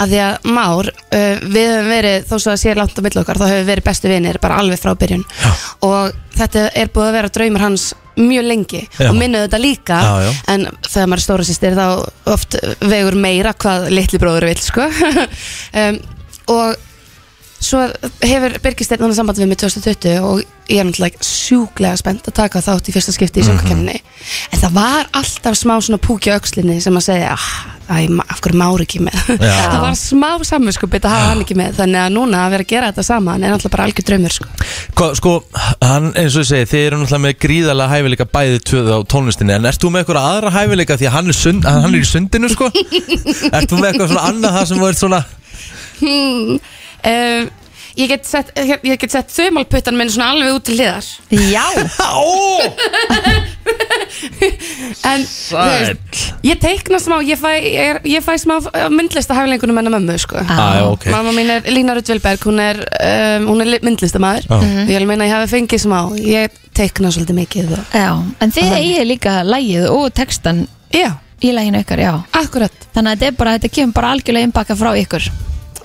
[SPEAKER 5] að því að Már, uh, við höfum verið þó svo að sé langt á milli okkar, þá höfum við verið bestu vinir bara alveg frá byrjun
[SPEAKER 1] Já.
[SPEAKER 5] og þetta er búið að vera draumur hans mjög lengi
[SPEAKER 1] Já.
[SPEAKER 5] og minnaðu þetta líka
[SPEAKER 1] Já, já.
[SPEAKER 5] en þegar maður er stóra sýstir þá oft vegur meira hvað litli bróður vil sko um, og svo hefur Birgisteinn hann samband við mig 2020 og ég er náttúrulega sjúklega spennt að taka þátt í fyrsta skipti í söngakefninni en það var alltaf smá svona púki á öxlinni sem að segja ah, æ, ma- af hverju mári ekki með
[SPEAKER 1] Já.
[SPEAKER 5] það var smá samvinskupið að hafa hann ekki með þannig að núna að vera að gera þetta saman er náttúrulega bara algjör draumur sko.
[SPEAKER 1] Hva, sko, hann eins og ég segi Þið eru náttúrulega með gríðalega hæfileika bæði tvöð á tónlistinni En ert þú með einhverja aðra hæfileika Því að hann er, sund, hann er í sundinu sko Ert þú með eitthvað svona annað það sem þú ert svona
[SPEAKER 5] um, ég get sett, ég- ég get sett þumalputtan minn svona alveg út til hliðar
[SPEAKER 2] Já,
[SPEAKER 1] Ó,
[SPEAKER 5] en þú veist, ég teikna smá ég fæ, ég, er- ég fæ smá eh, myndlista hæfileikunum hennar mömmu sko.
[SPEAKER 1] Á, já, Ah, ok
[SPEAKER 5] Mamma mín er Lína Rutvilberg, hún er, um, hún er li- myndlistamæður
[SPEAKER 1] Já.
[SPEAKER 5] og ég vil meina að ég hafi fengið smá, ég teikna svolítið mikið og...
[SPEAKER 2] já, en þið eigið líka lægið og textan
[SPEAKER 5] Já,
[SPEAKER 2] í læginu ykkar, já
[SPEAKER 5] akkurat,
[SPEAKER 2] Þannig að þetta er bara, þetta kemur bara algjörlega innbaka frá ykkur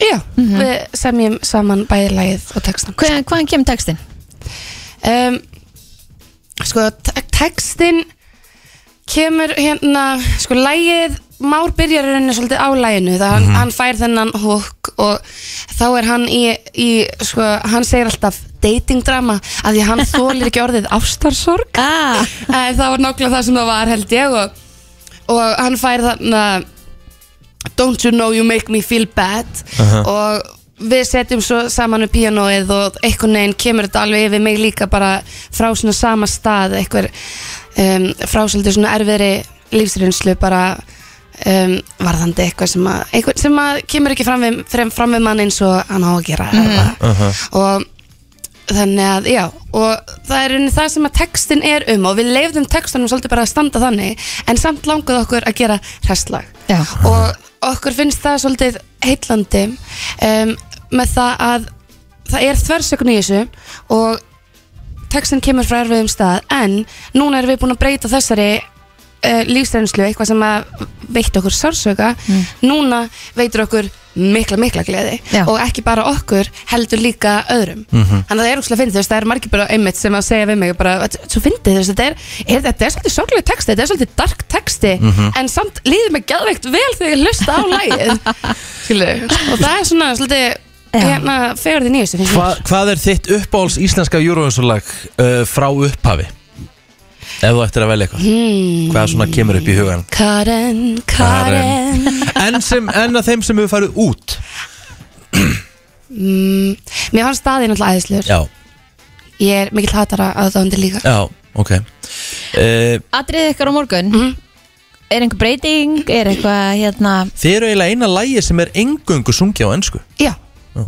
[SPEAKER 5] já, við semjum saman bæðilægið og textan
[SPEAKER 2] Hva, Hvaðan kemur textin?
[SPEAKER 5] um, Sko, te- textin kemur hérna, sko, lægið Már byrjar í rauninni svolítið á læginu það hann, hann fær þennan hók og þá er hann í, í sko, hann segir alltaf datingdrama að því hann þólir ekki orðið ástarsorg
[SPEAKER 2] Ah,
[SPEAKER 5] en það var nákvæmlega það sem það var held ég og, og hann fær þarna Don't you know you make me feel bad
[SPEAKER 1] Aha.
[SPEAKER 5] og við setjum svo saman við píanóið og einhvern veginn kemur þetta alveg yfir mig líka bara frá svona sama stað einhver um, frá svolítið svona erfiðri lífsreynslu bara um, varðandi eitthvað sem að, eitthvað sem að kemur ekki fram við, frem, fram við mann eins og hann á að gera mm. og þannig að já og það er unni það sem að textin er um og við leifðum textanum svolítið bara að standa þannig en samt langaði okkur að gera hræstlag
[SPEAKER 2] Já.
[SPEAKER 5] og okkur finnst það svolítið heitlandi um, með það að það er þversöknu í þessu og textin kemur frá erfiðum stað en núna erum við búin að breyta þessari uh, lífsreynslu, eitthvað sem að veitt okkur sársöka, núna veitur okkur mikla, mikla gleði
[SPEAKER 2] Mm. Já.
[SPEAKER 5] og ekki bara okkur, heldur líka öðrum.
[SPEAKER 1] Mhm.
[SPEAKER 5] Þannig að það er úrslega fyndið, þú veist, það er margir bara einmitt sem að segja við mig bara, "Þetta er svo fyndið, þú veist, þetta er, er, þetta er svolítið sorglega texti, þetta er svolítið dark texti
[SPEAKER 1] Mhm.
[SPEAKER 5] en samt líður mig gæðveikt vel þegar ég hlusta á lagið Skilurðu? og það er svona svolítið
[SPEAKER 2] Já.
[SPEAKER 5] hérna, fegurðin í þessu finnst
[SPEAKER 1] Hva,
[SPEAKER 5] mér.
[SPEAKER 1] hvað er þitt uppáhalds íslenska júruvinsulag uh, frá upphafi? Ef þú ættir að velja eitthvað
[SPEAKER 5] Hmm.
[SPEAKER 1] Hvað svona kemur upp í hugan?
[SPEAKER 5] Karen, Karen, Karen.
[SPEAKER 1] En, sem, en að þeim sem hefur farið út
[SPEAKER 5] Mm, Mér fannst staðið náttúrulega æðislegur
[SPEAKER 1] Já,
[SPEAKER 5] Ég er mikill hatara að það undir líka
[SPEAKER 1] já, ok uh,
[SPEAKER 2] atriðið ykkar á morgun
[SPEAKER 5] Mhm.
[SPEAKER 2] Er einhver breyting? Er eitthvað, hérna
[SPEAKER 1] Þið eru eiginlega eina lægi sem er engöngu sungið á ennsku
[SPEAKER 5] Já.
[SPEAKER 1] Já.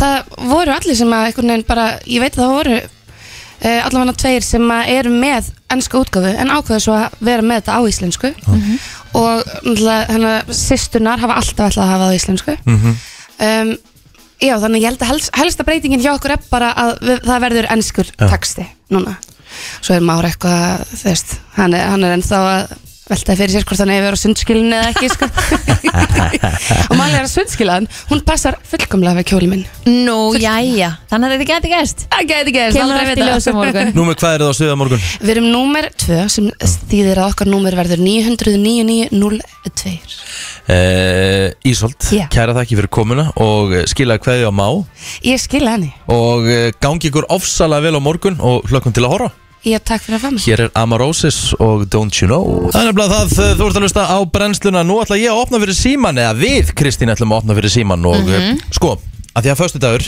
[SPEAKER 5] Það voru allir sem að einhvern veginn bara, ég veit að það voru uh, allavega tveir sem að eru með ennsku útgáfu en ákveðu svo að vera með þetta á íslensku hérna,
[SPEAKER 4] og náttúrulega hennar sýstunar hafa alltaf ætlað að hafa það á íslensku
[SPEAKER 5] Mhm.
[SPEAKER 4] um, já þannig ég held að helst, helsta breytingin hjá okkur er bara að við, það verður ennskur texti núna svo er Már eitthvað þú veist, hann er, hann er ennþá að veltaði fyrir sér hvort hann hefur verið á sundskilinu eða ekki sko. og Málið er að sundskilan hún passar fullkomlega við kjólinn minn
[SPEAKER 2] Nú, jæja, þannig að þetta geti gæst
[SPEAKER 4] það gæti gerst,
[SPEAKER 2] Kemur
[SPEAKER 4] aldrei
[SPEAKER 2] allt í
[SPEAKER 4] vita.
[SPEAKER 2] ljósa morgun
[SPEAKER 1] Númer hvað er það á stuða morgun?
[SPEAKER 4] Við erum númer 2 sem þýðir að okkar númer verður 99902
[SPEAKER 1] Uh, Ísolt,
[SPEAKER 4] Já.
[SPEAKER 1] kæra þakki fyrir komuna og eh, skilaðu kveðju á má
[SPEAKER 4] Ég skilja henni
[SPEAKER 1] og eh, gangi ykkur ofsalega vel á morgun og hlökkum til að horfa
[SPEAKER 4] Ég takk fyrir að fá mig
[SPEAKER 1] Hér er Amarosis og Don't You Know Það er nefnilega það, eh, þú ert að lusta á brennsluna Nú ætla ég að opna fyrir síman Eða við, Kristín, ætlum að opna fyrir síman Og mm sko, að því að föstudagur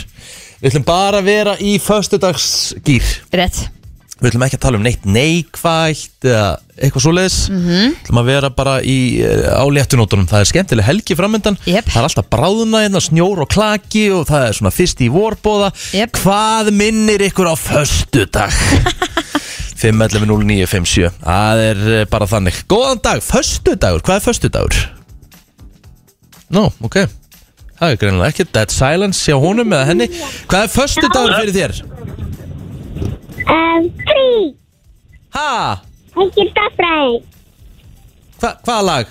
[SPEAKER 1] Við ætlum bara að vera í föstudagsgýr
[SPEAKER 2] Rétt,
[SPEAKER 1] Við ætlum ekki að tala um neitt neikvægt Eða eitthvað svoleiðis
[SPEAKER 2] Mhm.
[SPEAKER 1] -hmm. ætlum að vera bara í, eh, á léttunótunum Það er skemmtileg helgi framöndan
[SPEAKER 2] Jep.
[SPEAKER 1] Það er alltaf bráðuna, hérna, snjór og klaki Og það er svona fyrst í vorbóða
[SPEAKER 2] Jep.
[SPEAKER 1] Hvað minnir ykkur á föstudag? 5.11.09.57 Það er eh, bara þannig Góðan dag, föstudagur, hvað er föstudagur? Nó, ok Það er greinilega ekki Dead silence hjá honum eða henni Hvað er föstudagur fyrir þér?
[SPEAKER 6] Um, frí,
[SPEAKER 1] Ha?
[SPEAKER 6] ekki staffræði,
[SPEAKER 1] Hva, hvaða lag?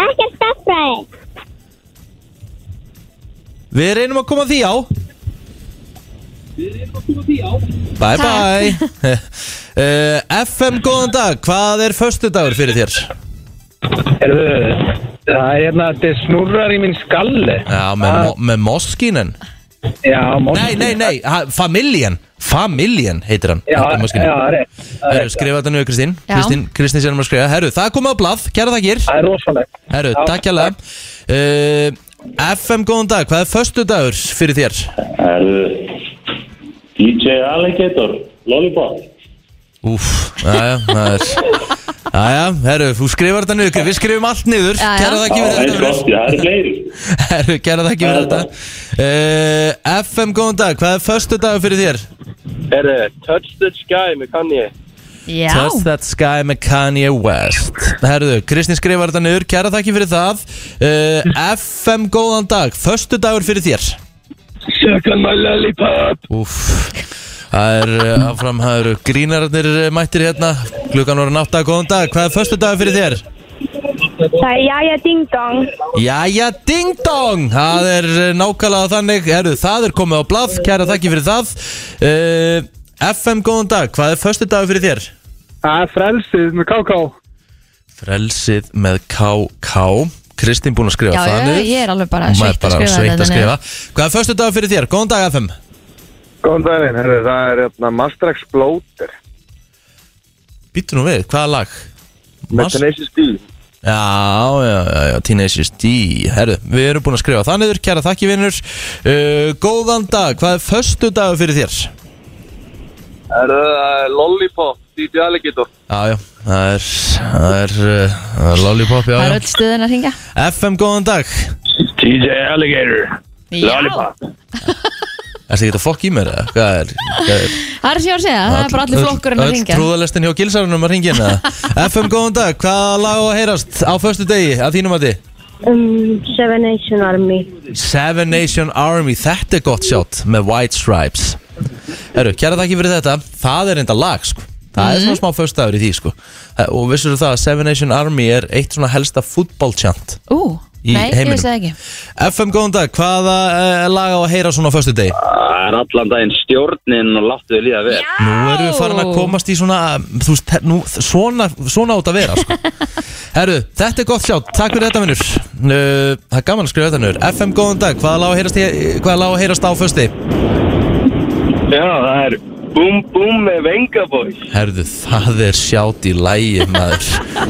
[SPEAKER 6] ekki staffræði,
[SPEAKER 1] Við reynum að koma því á Við reynum að koma því á Bye bye uh, FM, góðan dag Hvað er föstudagur fyrir þér?
[SPEAKER 7] Herðu, það er hérna, þetta snurrar í minn skalli.
[SPEAKER 1] Já, með,
[SPEAKER 7] Ah.
[SPEAKER 1] mo með moskínen
[SPEAKER 7] Já, mótt.
[SPEAKER 1] Nei, nei, nei, ha, familjen Familjen heitir hann
[SPEAKER 7] Já,
[SPEAKER 1] þetta er
[SPEAKER 7] já,
[SPEAKER 1] moskínan.
[SPEAKER 7] rétt. Það er
[SPEAKER 1] Herru,
[SPEAKER 7] rétt.
[SPEAKER 1] skrifa þetta nú, Kristín
[SPEAKER 2] Já.
[SPEAKER 1] Kristín, Kristín sér um að skrifa Herru, það er komið á blað, kæra þakkir
[SPEAKER 7] Það er rosalegt.
[SPEAKER 1] Herru,
[SPEAKER 7] Já,
[SPEAKER 1] takk hérlega uh, FM, góðan dag, hvað er föstudagur fyrir þér?
[SPEAKER 8] Erðu DJ Alligator, Lollipop
[SPEAKER 1] Úf, aðja, það er Aðja, herru, þú skrifar þetta niður Við skrifum allt niður,
[SPEAKER 2] Jæja.
[SPEAKER 1] kæra það ekki
[SPEAKER 8] Já,
[SPEAKER 1] við
[SPEAKER 8] Það er
[SPEAKER 1] þetta
[SPEAKER 8] gott, já, það er fleiri
[SPEAKER 1] Herru, kæra það ekki við
[SPEAKER 8] Já,
[SPEAKER 1] þetta uh, FM, góðan dag, hvað er förstu dagur fyrir þér?
[SPEAKER 7] Herru, Touch the Sky með Kanye.
[SPEAKER 2] já
[SPEAKER 1] Touch that sky með Kanye West Herru, Kristín skrifar þetta niður, kæra það ekki fyrir það uh, FM, góðan dag, förstu dagur fyrir þér
[SPEAKER 7] Suck on my lollipop.
[SPEAKER 1] Úf Það er eh, áfram, það eru grínararnir eh, mættir hérna Klukkan voru nátt góðan dag, hvað er förstu dagur fyrir þér?
[SPEAKER 6] það er jæja ding dong,
[SPEAKER 1] Jæja, ding dong Það er eh, nákvæmlega þannig Herru, það er komið á blað, kæra þakki fyrir það uh, FM, góðan dag Hvað er förstu dagur fyrir þér?
[SPEAKER 7] Það er frelsið með KK.
[SPEAKER 1] Frelsið með KK Kristín búin að skrifa
[SPEAKER 2] Já,
[SPEAKER 1] það
[SPEAKER 2] já,
[SPEAKER 1] niður.
[SPEAKER 2] ég er alveg bara
[SPEAKER 1] Hún er
[SPEAKER 2] sveitt að
[SPEAKER 1] bara
[SPEAKER 2] skrifa
[SPEAKER 1] sveitt
[SPEAKER 2] þetta
[SPEAKER 1] að
[SPEAKER 2] niður.
[SPEAKER 1] skrifa Hvað er förstu dagur fyrir þér? Góðan dag FM
[SPEAKER 7] Góðan daginn, herru, það er hérna Mastrax Bloater.
[SPEAKER 1] Býttu nú við, hvaða lag? Mas-
[SPEAKER 7] Tenacious D.
[SPEAKER 1] Já, já, já, já, Teenage D Herru, við erum búin að skrifa það niður Kæra þakki vinnur uh, Góðan dag, hvað er förstu dagur fyrir þér?
[SPEAKER 7] Herru, það er Lollipop, DJ Alligator.
[SPEAKER 1] Já, já, það er, það er, uh, það er lollipop, já,
[SPEAKER 2] Það er
[SPEAKER 1] já.
[SPEAKER 2] öll stuðin að ringa
[SPEAKER 1] FM, góðan dag.
[SPEAKER 7] DJ Alligator.
[SPEAKER 2] Lollipop
[SPEAKER 1] Er það ekki að fokk í mér, eða? Hvað er, hvað er?
[SPEAKER 2] Það er sér að segja, það er bara allir flokkurinn að
[SPEAKER 1] Öll
[SPEAKER 2] ringa
[SPEAKER 1] trúðalestin hjá gilsarunum að ringja hérna. FM, góðan dag. Hvaða lag á að heyrast á förstu degi, að þínum að þið?
[SPEAKER 6] um, Seven Nation Army,
[SPEAKER 1] Seven Nation Army, þetta er gott sjátt með White Stripes. Herru, kæra þakki fyrir þetta. Það er enda lag, sko. Það er svona
[SPEAKER 2] Mhm.
[SPEAKER 1] smá föstudagur í því, sko. Eh, Og vissur það að Seven Nation Army er eitt svona helsta fútboltjant
[SPEAKER 2] Ú,
[SPEAKER 1] í
[SPEAKER 2] nei, ég
[SPEAKER 1] heiminum.
[SPEAKER 2] vissi það ekki
[SPEAKER 1] FM, góðan dag, hvaða uh, lag á að heyra svona á föstu degi?
[SPEAKER 8] Það er allan daginn stjórnin og láttu þið líða vel
[SPEAKER 1] Nú erum við farin að komast í svona, um, þú veist, nú, svona, svona átt að vera, sko. Herru, þetta er gott sjá, takk fyrir þetta, minnur. Uh, það er gaman að skrifa þetta, minnur. FM, góðan dag, hvaða lag á að heyrast, í- hvaða lag á að heyrast á föstu degi?
[SPEAKER 7] Já, það er Boom Boom með Venga Boys.
[SPEAKER 1] Herru, það er sjátt í lægi, maður.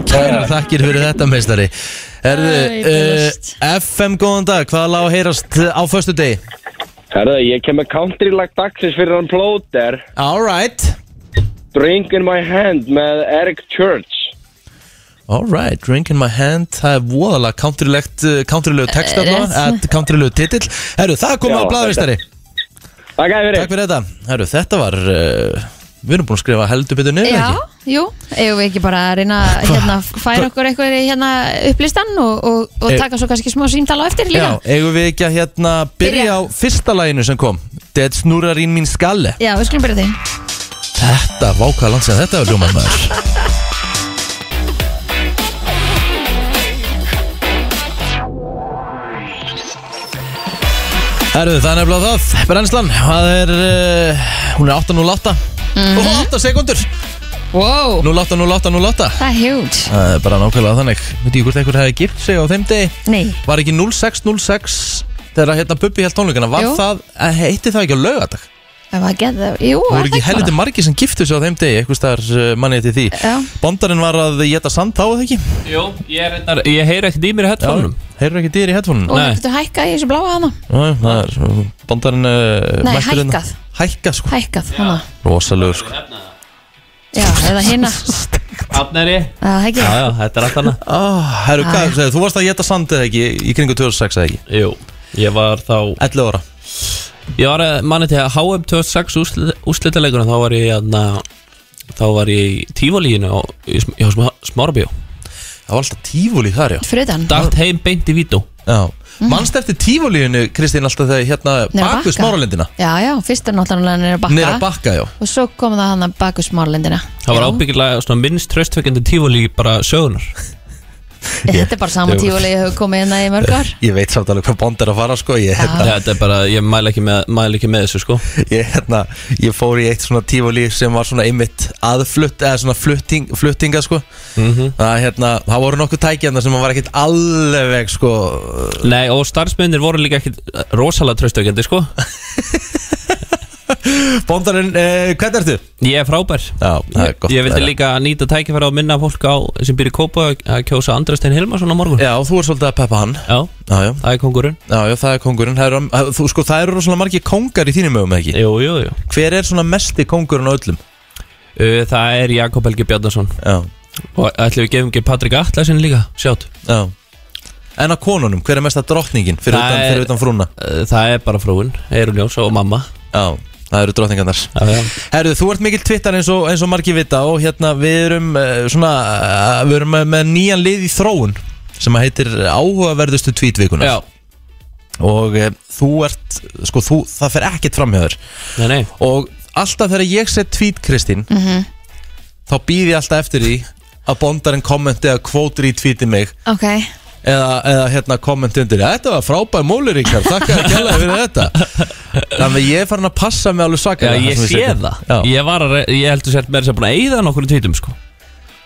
[SPEAKER 1] Kæra þakkir fyrir þetta, meistari. Herru,
[SPEAKER 2] Æ,
[SPEAKER 1] uh,
[SPEAKER 2] best.
[SPEAKER 1] FM, góðan dag, hvaða lag á að heyrast á föstu degi?
[SPEAKER 7] Herru, ég kem með country lag dagsins fyrir hann Bloater.
[SPEAKER 1] All right.
[SPEAKER 7] Drink in my hand með Eric Church.
[SPEAKER 1] Alright, Drink in my hand Það er voðalega countrylegt eh, Countrylegu text
[SPEAKER 2] rétt.
[SPEAKER 1] þarna Countrylegu titill Herru, það kom
[SPEAKER 7] Já,
[SPEAKER 1] á blaðvistari
[SPEAKER 7] Takk
[SPEAKER 1] Takk fyrir þetta Herru, þetta var uh, Við erum búin að skrifa heldur betur niður
[SPEAKER 2] Já,
[SPEAKER 1] ekki?
[SPEAKER 2] jú, eigum við ekki bara að reyna að hérna, færa okkur eitthvað í hérna upplistan og, og, og
[SPEAKER 1] Eh,
[SPEAKER 2] taka svo kannski smá símtala á eftir
[SPEAKER 1] Já,
[SPEAKER 2] líka
[SPEAKER 1] eigum við ekki að hérna byrja
[SPEAKER 2] Byrja.
[SPEAKER 1] á fyrsta laginu sem kom Dead snúrar ín mín skalle
[SPEAKER 2] Já, við skulum byrja á því
[SPEAKER 1] Þetta, vákað langt sem þetta var ljómað maður Herðu, það er nefnilega það, brennslan, það er, uh, hún er 8.08 og 8 sekundur,
[SPEAKER 2] wow.
[SPEAKER 1] 08, 08, 08
[SPEAKER 2] Það er huge
[SPEAKER 1] Það er bara nákvæmlega þannig Veit ég hvort einhver hefði gift sig á þeim degi
[SPEAKER 2] Nei,
[SPEAKER 1] Var ekki 0606 Þegar hérna Bubbi held tónleikana Var
[SPEAKER 2] Jú.
[SPEAKER 1] það, eh, heitti það ekki á laugardag
[SPEAKER 2] það var gett Jú,
[SPEAKER 1] Það
[SPEAKER 2] er
[SPEAKER 1] voru ekki
[SPEAKER 2] bara?
[SPEAKER 1] helviti margir sem giftu sig á þeim degi Eitthvað staðar eh, mannið til því
[SPEAKER 2] Já.
[SPEAKER 1] Bondarinn var að geta sand þá eða ekki
[SPEAKER 9] Jú, ég, er reyndar- ég heyri ekkert í mér í headphoneum
[SPEAKER 1] Heyrðu ekki dýr í headphone
[SPEAKER 2] Og
[SPEAKER 9] Nei.
[SPEAKER 2] getur hækkað í þessu bláa hana
[SPEAKER 1] Það er bondarinn uh,
[SPEAKER 2] Nei,
[SPEAKER 1] mættur hérna.
[SPEAKER 2] hækkað.
[SPEAKER 1] Hækkað sko
[SPEAKER 2] Hækkað hana
[SPEAKER 1] Rósalegur sko
[SPEAKER 2] Já, eða hérna
[SPEAKER 9] Afnari
[SPEAKER 2] Það ekki
[SPEAKER 9] Já, já, þetta er allt annað
[SPEAKER 1] Ah, Herru, hvað þú segir, þú varst að geta sand eða ekki Í kringu 2006 eða ekki
[SPEAKER 9] Jú, ég var þá
[SPEAKER 1] 11 ára
[SPEAKER 9] Ég var að manni til að HM 26 úrslitaleikunum þá var ég aðna, þá var ég í tífólíinu og í sm- hjá sm- Smárabíó
[SPEAKER 1] Það var alltaf tífúli þar já
[SPEAKER 2] Fruðan
[SPEAKER 9] dagt heim beint í Vító
[SPEAKER 1] Já, mannst eftir tífólíinu Kristín alltaf þegar hérna
[SPEAKER 2] Mhm. Niður á
[SPEAKER 1] baku
[SPEAKER 2] bakka.
[SPEAKER 1] smáralindina
[SPEAKER 2] Já, já, fyrst er náttúrulega nýra bakka
[SPEAKER 1] Nýra bakka, já
[SPEAKER 2] Og svo kom það hann að baku smárlindina
[SPEAKER 9] það var ábyggilega svona minnst tröstveikandi tífólí bara sögunar
[SPEAKER 2] Þetta er bara sama
[SPEAKER 1] Jú.
[SPEAKER 2] tífulega ég hefur komið hérna í mörg ár
[SPEAKER 1] Ég veit samt alveg hvað bond er að fara sko Ég,
[SPEAKER 2] Já.
[SPEAKER 1] hérna,
[SPEAKER 9] þetta er bara, ég mæla ekki með, mæla ekki með þessu sko
[SPEAKER 1] ég, hérna, ég fór í eitt svona tífólí sem var svona einmitt aðflutt eða svona flutting, fluttinga sko
[SPEAKER 9] Mhm.
[SPEAKER 1] Það, hérna, það voru nokkuð tækjana sem var ekkert alveg sko
[SPEAKER 9] Nei, og starfsmennir voru líka ekki rosalega tröstveikandi sko
[SPEAKER 1] Bondarinn, eh, hvernig ertu?
[SPEAKER 9] ég er frábær
[SPEAKER 1] Já, það er gott
[SPEAKER 9] ég vildi
[SPEAKER 1] að heyra.
[SPEAKER 9] líka nýta tækifæra og minna fólk á sem byrja kópa að kjósa Andrastein Hilmarsson á morgun
[SPEAKER 1] Já, þú er svolítið að peppa hann
[SPEAKER 9] Já,
[SPEAKER 1] Já, já,
[SPEAKER 9] það er kongurinn
[SPEAKER 1] já, já það er kongurinn Það eru, þú, sko, það eru rosalega margir kongar í þínum mögum ekki
[SPEAKER 9] Jú, jú, jú
[SPEAKER 1] Hver er svona mesti kongurinn á öllum?
[SPEAKER 9] Uh, Það er Jakob Helgi Bjarnason
[SPEAKER 1] Já,
[SPEAKER 9] Og ætlum við gefum ekki Patrik Atlasin líka Sjátt
[SPEAKER 1] Já En að konunum, hver er mesta drottningin fyrir,
[SPEAKER 9] Það
[SPEAKER 1] utan,
[SPEAKER 9] er-
[SPEAKER 1] fyrir utan frúna?
[SPEAKER 9] Uh, Það er bara frúin, Eirun Jóns og mamma
[SPEAKER 1] Já, það eru drottningarnar
[SPEAKER 9] Já, já.
[SPEAKER 1] Herðu, þú ert mikill Twitter eins og, eins og margir vita og hérna við erum eh, svona, eh, við erum með, með nýjan lið í þróun sem að heitir áhugaverðustu tweetvikuna
[SPEAKER 9] já,
[SPEAKER 1] og e, þú ert, sko þú, það fer ekkert fram hjá þér
[SPEAKER 9] nei, nei
[SPEAKER 1] og alltaf þegar ég set tweet Kristín þá býð ég alltaf eftir því að bondarinn kommenti eða kvótur í tweeti mig
[SPEAKER 2] Ok,
[SPEAKER 1] eða, eða hérna komment undir Þetta var frábær móli Ríkar, þakka að kjalla fyrir þetta Þannig að ég er farin að passa mig alveg
[SPEAKER 9] Já,
[SPEAKER 1] svakar
[SPEAKER 9] ég sé það
[SPEAKER 1] Já.
[SPEAKER 9] Ég var að, re- ég heldur sér með þess að búin að eyða nokkur tvítum sko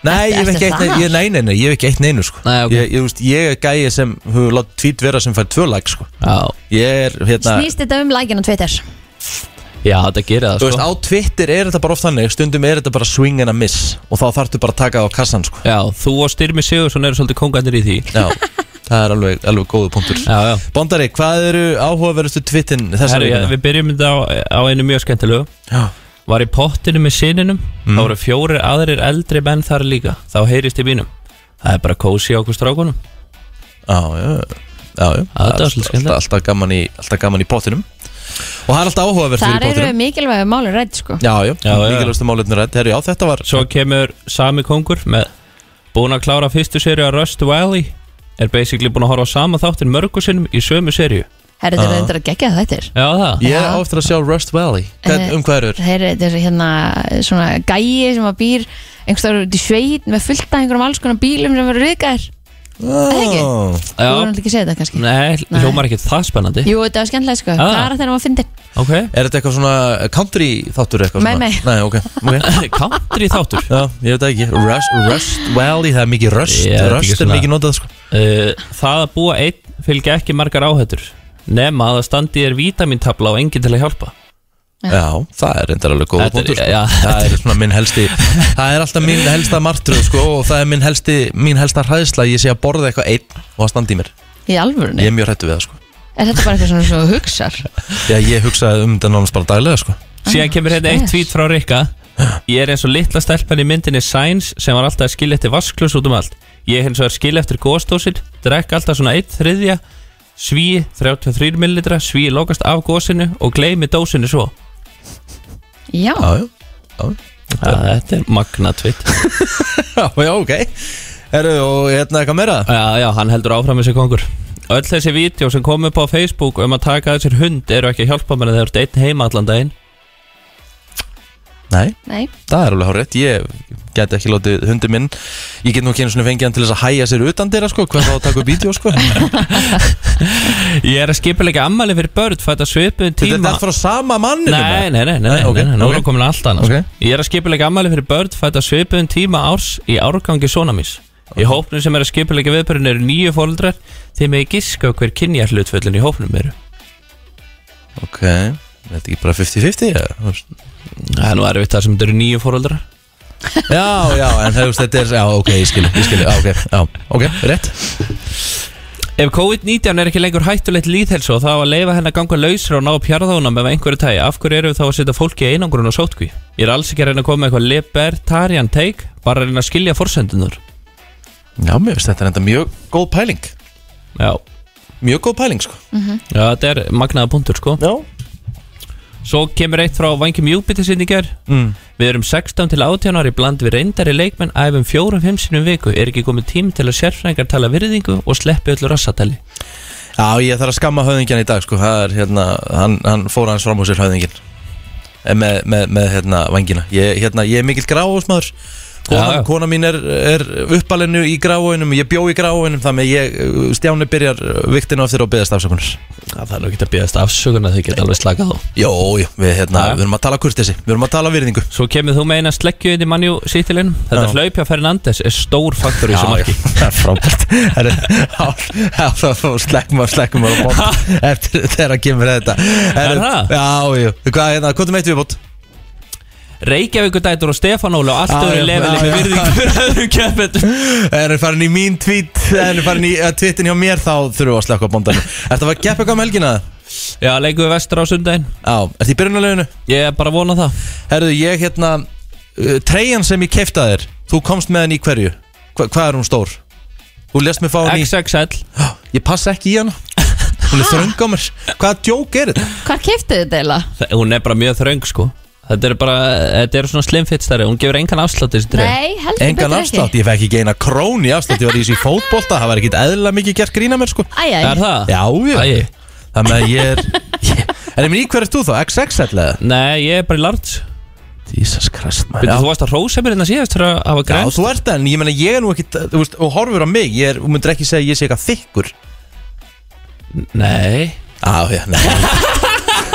[SPEAKER 1] Nei, ég hef
[SPEAKER 2] Ertu
[SPEAKER 1] ekki eitt
[SPEAKER 2] það?
[SPEAKER 1] neinu, ég, nei, nei, nei, ég hef ekki eitt neinu sko.
[SPEAKER 9] Nei, ok.
[SPEAKER 1] ég, ég, veist, ég er gæi sem hefur látt tvít vera sem fær tvö lag sko.
[SPEAKER 9] Já,
[SPEAKER 1] Ég er hérna
[SPEAKER 2] snýst þetta um lækinn á Twitter
[SPEAKER 9] já þetta gerir það
[SPEAKER 1] Þú veist,
[SPEAKER 9] sko
[SPEAKER 1] á Twitter er þetta bara oft þannig Stundum er þetta bara swing and a miss Og þá þarftu bara að taka það á kassan sko.
[SPEAKER 9] Já, þú og Styrmi Sigursson eru svolítið kongarnir í því
[SPEAKER 1] Já, það er alveg, alveg góðu punktur
[SPEAKER 9] Já, já
[SPEAKER 1] Bondari, hvað eru áhugaverðustu tvittin þessar
[SPEAKER 9] Herru, ég,
[SPEAKER 1] vikuna?
[SPEAKER 9] Við byrjum þetta á, á einu mjög skemmtilegu
[SPEAKER 1] Já,
[SPEAKER 9] Var í pottinu með sininum Það voru fjórir aðrir eldri menn þar líka Þá heyrist í mínum Það er bara kósi á okkur strákunum
[SPEAKER 1] Já, já, já, já.
[SPEAKER 9] þetta var svolítið skemmtilegt.
[SPEAKER 1] alltaf, alltaf, gaman í, alltaf gaman í pottinum Og það er alltaf áhugavert
[SPEAKER 2] Þar
[SPEAKER 1] fyrir
[SPEAKER 2] eru
[SPEAKER 1] pottinum
[SPEAKER 2] mikilvæg máli rætt sko
[SPEAKER 1] Já, já,
[SPEAKER 9] Já, já.
[SPEAKER 1] mikilvægstu málefnir rætt Herri, já, þetta var
[SPEAKER 9] Svo kemur sami kongur með búin að klára fyrstu sériu að Rust Valley er basically búin að horfa á sama þáttin mörgu sinnum í sömu sériu
[SPEAKER 2] Herri, þetta er þetta að gegja þetta er
[SPEAKER 9] Já það?
[SPEAKER 1] Ég er
[SPEAKER 2] Já.
[SPEAKER 1] áftur að sjá Rust Valley Hvern,
[SPEAKER 2] Eh,
[SPEAKER 1] Um hvað eru?
[SPEAKER 2] Þeir þetta er hérna svona gæi sem að býr einhverstaður út í sveit með fullt af einhverjum alls konar bílum sem verður reyðgæðir það ekki?
[SPEAKER 1] Já,
[SPEAKER 2] Þú verður
[SPEAKER 9] Já,
[SPEAKER 2] ekki að segja þetta kannski
[SPEAKER 9] nei,
[SPEAKER 2] Nei.
[SPEAKER 9] hljómar ekki það spennandi
[SPEAKER 2] Jú, þetta var skemmtilega sko,
[SPEAKER 9] Ah.
[SPEAKER 2] hvað er þeirra maður fyndi?
[SPEAKER 9] Ok,
[SPEAKER 1] Er þetta eitthvað svona country þáttur eitthvað
[SPEAKER 2] Nei,
[SPEAKER 1] svona?
[SPEAKER 2] nei.
[SPEAKER 1] Nei, ok, ok
[SPEAKER 9] country þáttur
[SPEAKER 1] Já, ég veit það ekki Rust, Rust Valley, það er mikið rust
[SPEAKER 9] Ég er ekki
[SPEAKER 1] Rust er
[SPEAKER 9] svona-
[SPEAKER 1] mikið notað sko
[SPEAKER 9] uh, Það að búa einn fylgja ekki margar áhættur nema að það standi er vítamintabla og enginn til að hjálpa
[SPEAKER 1] Já, það er reyndar alveg góða
[SPEAKER 9] Þetta er-
[SPEAKER 1] punktur sko.
[SPEAKER 9] já.
[SPEAKER 1] Það er svona minn helsti Það er alltaf mín helsta martröð sko Og það er mín, helsti, mín helsta hræðsla að Ég sé að borða eitthvað einn og það standi í mér
[SPEAKER 2] Í alvörunni?
[SPEAKER 1] Ég er mjög hrættu við það sko
[SPEAKER 2] Er þetta bara eitthvað svona svo hugsar?
[SPEAKER 1] Já, ég hugsaði um þetta nánast bara daglega sko
[SPEAKER 9] Síðan kemur hérna eitt
[SPEAKER 2] spes.
[SPEAKER 9] tweet frá Rikka Ég er eins og litla stelpan í myndinni Sainz sem var alltaf að skilja eftir vasklus út um allt Ég er hins vegar að skilja eftir gósdósin Drekka alltaf svona eitt þriðja Sví 33 ml Sví lokast af gósinu og gleymi dósinu svo
[SPEAKER 2] Já,
[SPEAKER 1] Ah. Já, já
[SPEAKER 9] Ja, þetta er magnatvit
[SPEAKER 1] Já, já, ok Herru, og hérna eitthvað meira?
[SPEAKER 9] Já, já, hann heldur áfram þessi kongur Öll þessi vídeo sem kom upp á Facebook um að taka að þessir hund eru ekki að hjálpa mér að þeir eru einn heima allan daginn
[SPEAKER 1] Nei,
[SPEAKER 2] Nei,
[SPEAKER 1] það er alveg hárétt Ég geti ekki látið hundi minn Ég get nú ekki einu svona fengið hann til þess að hæja sér utan dyrra sko Hvað þá að taka upp vídeo sko Þetta
[SPEAKER 9] Ég er að skipilega ammali fyrir börn fætt að svipuðum
[SPEAKER 1] er
[SPEAKER 9] tíma
[SPEAKER 1] þetta frá sama manninu
[SPEAKER 9] Nei, nei, nei, nei,
[SPEAKER 1] Nei,
[SPEAKER 9] nei,
[SPEAKER 1] ok,
[SPEAKER 9] nei, nei, nú
[SPEAKER 1] ok.
[SPEAKER 9] er það komin allt annað
[SPEAKER 1] Ok.
[SPEAKER 9] okay. Ég er að skipilega ammali fyrir börn fætt að svipuðum tíma árs í árgangi sonamis Í hópnum sem er að skipilega viðbörn eru nýju fóldrar Þeir megi giska á hver kynjar hlutföllin í hópnum eru
[SPEAKER 1] Ok, þetta er ekki bara 50-50 eða? Þú veist.
[SPEAKER 9] Það er nú erfitt það sem þetta eru nýju fóldrar
[SPEAKER 1] Já, já, en það, þú veist, þetta er Já, ok, ég skil, ég skil, já, ok, já, ok, rétt
[SPEAKER 9] Ef COVID-19 er ekki lengur hættulegt lýðhelsu og það á að leifa henn að ganga lausra og ná pjarðónum ef einhverju tægi, af hverju eru við þá að setja fólki í einangrun og sótkví? Ég er alls ekki að reyna að koma með eitthvað libertarian take, bara að reyna að skilja forsendunar.
[SPEAKER 1] Já, mér finnst þetta er enda mjög góð pæling
[SPEAKER 9] Já,
[SPEAKER 1] Mjög góð pæling, sko
[SPEAKER 9] já þetta er magnaða punktur sko.
[SPEAKER 1] Já
[SPEAKER 9] Svo kemur eitt frá Vangjum Júpiter sinni í ger.
[SPEAKER 1] mm.
[SPEAKER 9] Við erum 16 til 18 ári bland við reyndari leikmenn æfum 4-5 sinum í viku. Er ekki komið tím til að sérfræðingar tala virðingu og sleppi öllu rassatali?
[SPEAKER 1] Já, ég þarf að skamma höfðingjan í dag, sko Það er, hérna, hann, hann fór hans fram á sér höfðingin Eh, Með, með, með, hérna, vangina Ég, hérna, ég er mikill gráhúsmaður
[SPEAKER 9] Já,
[SPEAKER 1] Kona,
[SPEAKER 9] já.
[SPEAKER 1] kona mín er, er uppalinu í gráinum, ég bjó í gráinum þannig að ég, eh, Stjáni byrjar viktinu aftur og beðast afsökunar
[SPEAKER 9] Það er nú ekki að bíðast afsökunar þegar geta alveg slakað á.
[SPEAKER 1] Jó, jó, við, hérna,
[SPEAKER 9] Já.
[SPEAKER 1] við erum að tala kurtesi, við erum að tala virðingu
[SPEAKER 9] Svo kemur þú með eina sleggju inn í mannjú sýttilinn Þetta
[SPEAKER 1] Já.
[SPEAKER 9] hlaup hjá Fernandes er stór faktor í þessu marki
[SPEAKER 1] það er frábært Það er það slekkum að slekkum að bóta eftir þegar að kemur þetta Herru,
[SPEAKER 9] það?
[SPEAKER 1] Já, já, hvað er hérna, hvað er meitt við bótt?
[SPEAKER 9] Reykjavíkur dætur og Stefán Óla og allt
[SPEAKER 1] Já,
[SPEAKER 9] öðru
[SPEAKER 1] já,
[SPEAKER 9] level
[SPEAKER 1] já, já.
[SPEAKER 9] í virðing fyrir öðrum keppendum
[SPEAKER 1] Er það farin í mín tweet, er það farin í eh, tweetin hjá mér þá þurfum við að slekka á bóndan Er það að gepp eitthvað um helgina?
[SPEAKER 9] Já, leikum við vestur á sundaginn
[SPEAKER 1] Já, er það í byrjunarleginu?
[SPEAKER 9] Ég er bara að vona það
[SPEAKER 1] Herðu, ég hérna, uh, treyjan sem ég keifta þér, þú komst með henni í hverju? Hva, hvað er hún stór? Þú lest mig fá henni í,
[SPEAKER 9] XXL
[SPEAKER 1] ég passa ekki í hana Hún er þröng á mér, hvaða djók er þetta?
[SPEAKER 2] hvað keftið þetta eiginlega?
[SPEAKER 9] Þa- Hún er bara mjög þröng sko Þetta er bara, þetta er svona slimfittstæri Hún gefur engan afslátt þessi treyja
[SPEAKER 2] Nei, heldur
[SPEAKER 1] Engan afslátt, ég fekk ekki eina krón í afslátt Ég var í þessu í fótbolta, það var ekkit eðla mikið gert grína mér sko
[SPEAKER 2] Æj, æj,
[SPEAKER 9] Er það?
[SPEAKER 1] Já,
[SPEAKER 9] Æi.
[SPEAKER 1] ég Þannig að ég er ég- En ég minn í hverju ert þú þá? XXL eða?
[SPEAKER 9] Nei, ég er bara í larts
[SPEAKER 1] Jesus Christ maður
[SPEAKER 9] Veitir,
[SPEAKER 1] Já,
[SPEAKER 9] Þú varst að rósa mér hérna síðast fyrir að hafa
[SPEAKER 1] já
[SPEAKER 9] grenst
[SPEAKER 1] þú ert það, en ég menna ég er nú ekkit Þú veist, og horfur á mig, ég er, þú myndir ekki segja að ég sé eitthvað þykkur
[SPEAKER 9] Nei
[SPEAKER 1] Á, já, nei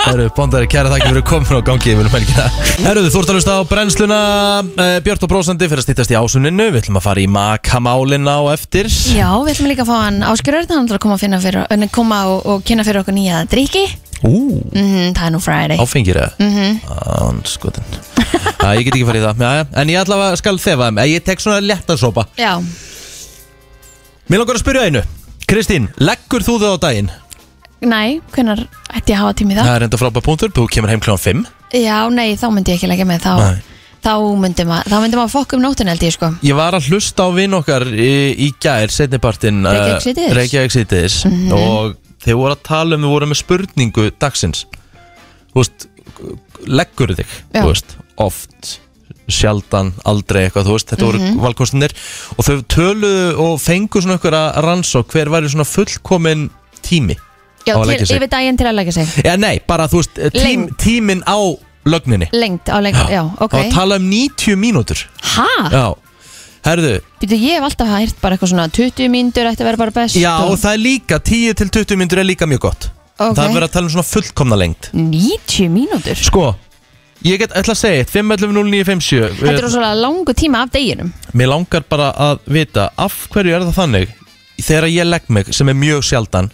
[SPEAKER 1] Herru, bóndari, kæra þakki fyrir komin og gangi yfir um helgina Herru, þú ert að hlusta á brennsluna uh, Björn og Brósandi fyrir að stýttast í ásuninu Við ætlum að fara í makamálin á eftir
[SPEAKER 2] Já, við ætlum líka að fá hann áskjörörð hann ætlar að koma, að finna fyrir, en koma og, og kynna fyrir okkur nýja drikki
[SPEAKER 1] Ú,
[SPEAKER 2] mm, Það er nú Friday
[SPEAKER 1] Áfengir eða? Án skotin Já, ég get ekki farið í það já, já. En ég allavega skal þefa þeim Ég tek svona léttasopa
[SPEAKER 2] Já,
[SPEAKER 1] Mér langar að spyrja einu Kristín, leggur þú þau á daginn?
[SPEAKER 2] nei, hvenær ætti ég að hafa tími í það?
[SPEAKER 1] Það er enda frábæð punktur Þú kemur heim kljóðan 5
[SPEAKER 2] Já, nei, þá myndi ég ekki leggja með þá,
[SPEAKER 1] Nei.
[SPEAKER 2] þá myndi maður, þá myndi maður fokk um nóttin held ég sko
[SPEAKER 1] Ég var að hlusta á vinn okkar í, í gær Setnipartin
[SPEAKER 2] Reykjavík Mhm. síðdegis.
[SPEAKER 1] Reykjavík sítiðis Og þeir voru að tala um Við voru með spurningu dagsins Þú veist, leggur þig
[SPEAKER 2] Já.
[SPEAKER 1] Þú veist, oft sjaldan, aldrei eitthvað, þú veist, þetta
[SPEAKER 2] Mhm.
[SPEAKER 1] voru valkostinir og þau töluðu og fengu svona ykkur að rannsók hver væri svona fullkomin tími
[SPEAKER 2] Já,
[SPEAKER 1] á að
[SPEAKER 2] til,
[SPEAKER 1] leggja sig.
[SPEAKER 2] yfir daginn til að leggja sig
[SPEAKER 1] Já, nei, bara þú veist, eh, tím,
[SPEAKER 2] Lengd.
[SPEAKER 1] tímin á lögninni
[SPEAKER 2] Lengt á lengt, já, ok
[SPEAKER 1] Það var
[SPEAKER 2] Ah.
[SPEAKER 1] að tala um 90 mínútur
[SPEAKER 2] Hæ?
[SPEAKER 1] Já, herðu,
[SPEAKER 2] Býtu, ég hef alltaf hægt bara eitthvað svona 20 mínútur ætti að vera bara best
[SPEAKER 1] já og
[SPEAKER 2] og
[SPEAKER 1] það er líka 10 til 20 mínútur er líka mjög gott
[SPEAKER 2] Ok.
[SPEAKER 1] Það er verið að tala um svona fullkomna lengt
[SPEAKER 2] 90 mínútur
[SPEAKER 1] Sko, ég get ætla að segja 5.11.09.57
[SPEAKER 2] Þetta er svona langu tíma af deginum
[SPEAKER 1] eh, Mér langar bara að vita af hverju er það þannig þegar ég legg mig sem er mjög sjaldan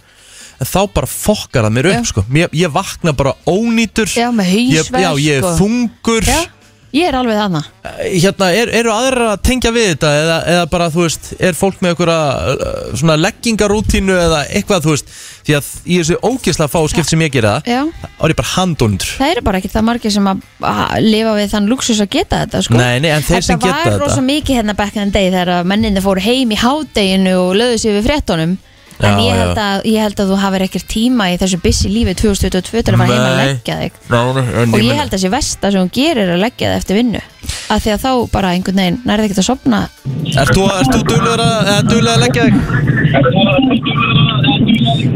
[SPEAKER 1] en þá bara fokkar það mér upp
[SPEAKER 2] Já.
[SPEAKER 1] sko. ég, ég vakna bara ónýtur
[SPEAKER 2] Já, með
[SPEAKER 1] ég,
[SPEAKER 2] hausverk sko.
[SPEAKER 1] já, ég er þungur
[SPEAKER 2] Já, ég er alveg þarna
[SPEAKER 1] hérna, er, eru aðra að tengja við þetta eða, eða bara, þú veist, er fólk með einhverja uh, svona leggingarútínu eða eitthvað, þú veist, því að í þessu ógislega fáskipt sem ég gera það
[SPEAKER 2] Já.
[SPEAKER 1] þá er ég bara handóndur
[SPEAKER 2] Það eru bara ekki það margir sem að að lifa við þann luxus að geta þetta sko.
[SPEAKER 1] Nei, nei, en þeir sem geta
[SPEAKER 2] Þetta var
[SPEAKER 1] þetta-
[SPEAKER 2] rosa mikið hérna back in the day þegar að menninni fóru heim í hádeginu og löðu sér við fréttunum en
[SPEAKER 1] Já,
[SPEAKER 2] ég
[SPEAKER 1] já.
[SPEAKER 2] held, að, ég held að þú hafir ekkert tíma í þessu busy lífi 2022 til að fara heim að
[SPEAKER 1] Nei.
[SPEAKER 2] leggja þig
[SPEAKER 1] Ná, en
[SPEAKER 2] og ég
[SPEAKER 1] meina-
[SPEAKER 2] held að þessi versta sem hún gerir er að leggja það eftir vinnu að því að þá bara einhvern veginn nærði ekkert að sopna
[SPEAKER 1] Ert þú, ert þú duglegur að, að, duglegur að leggja þig?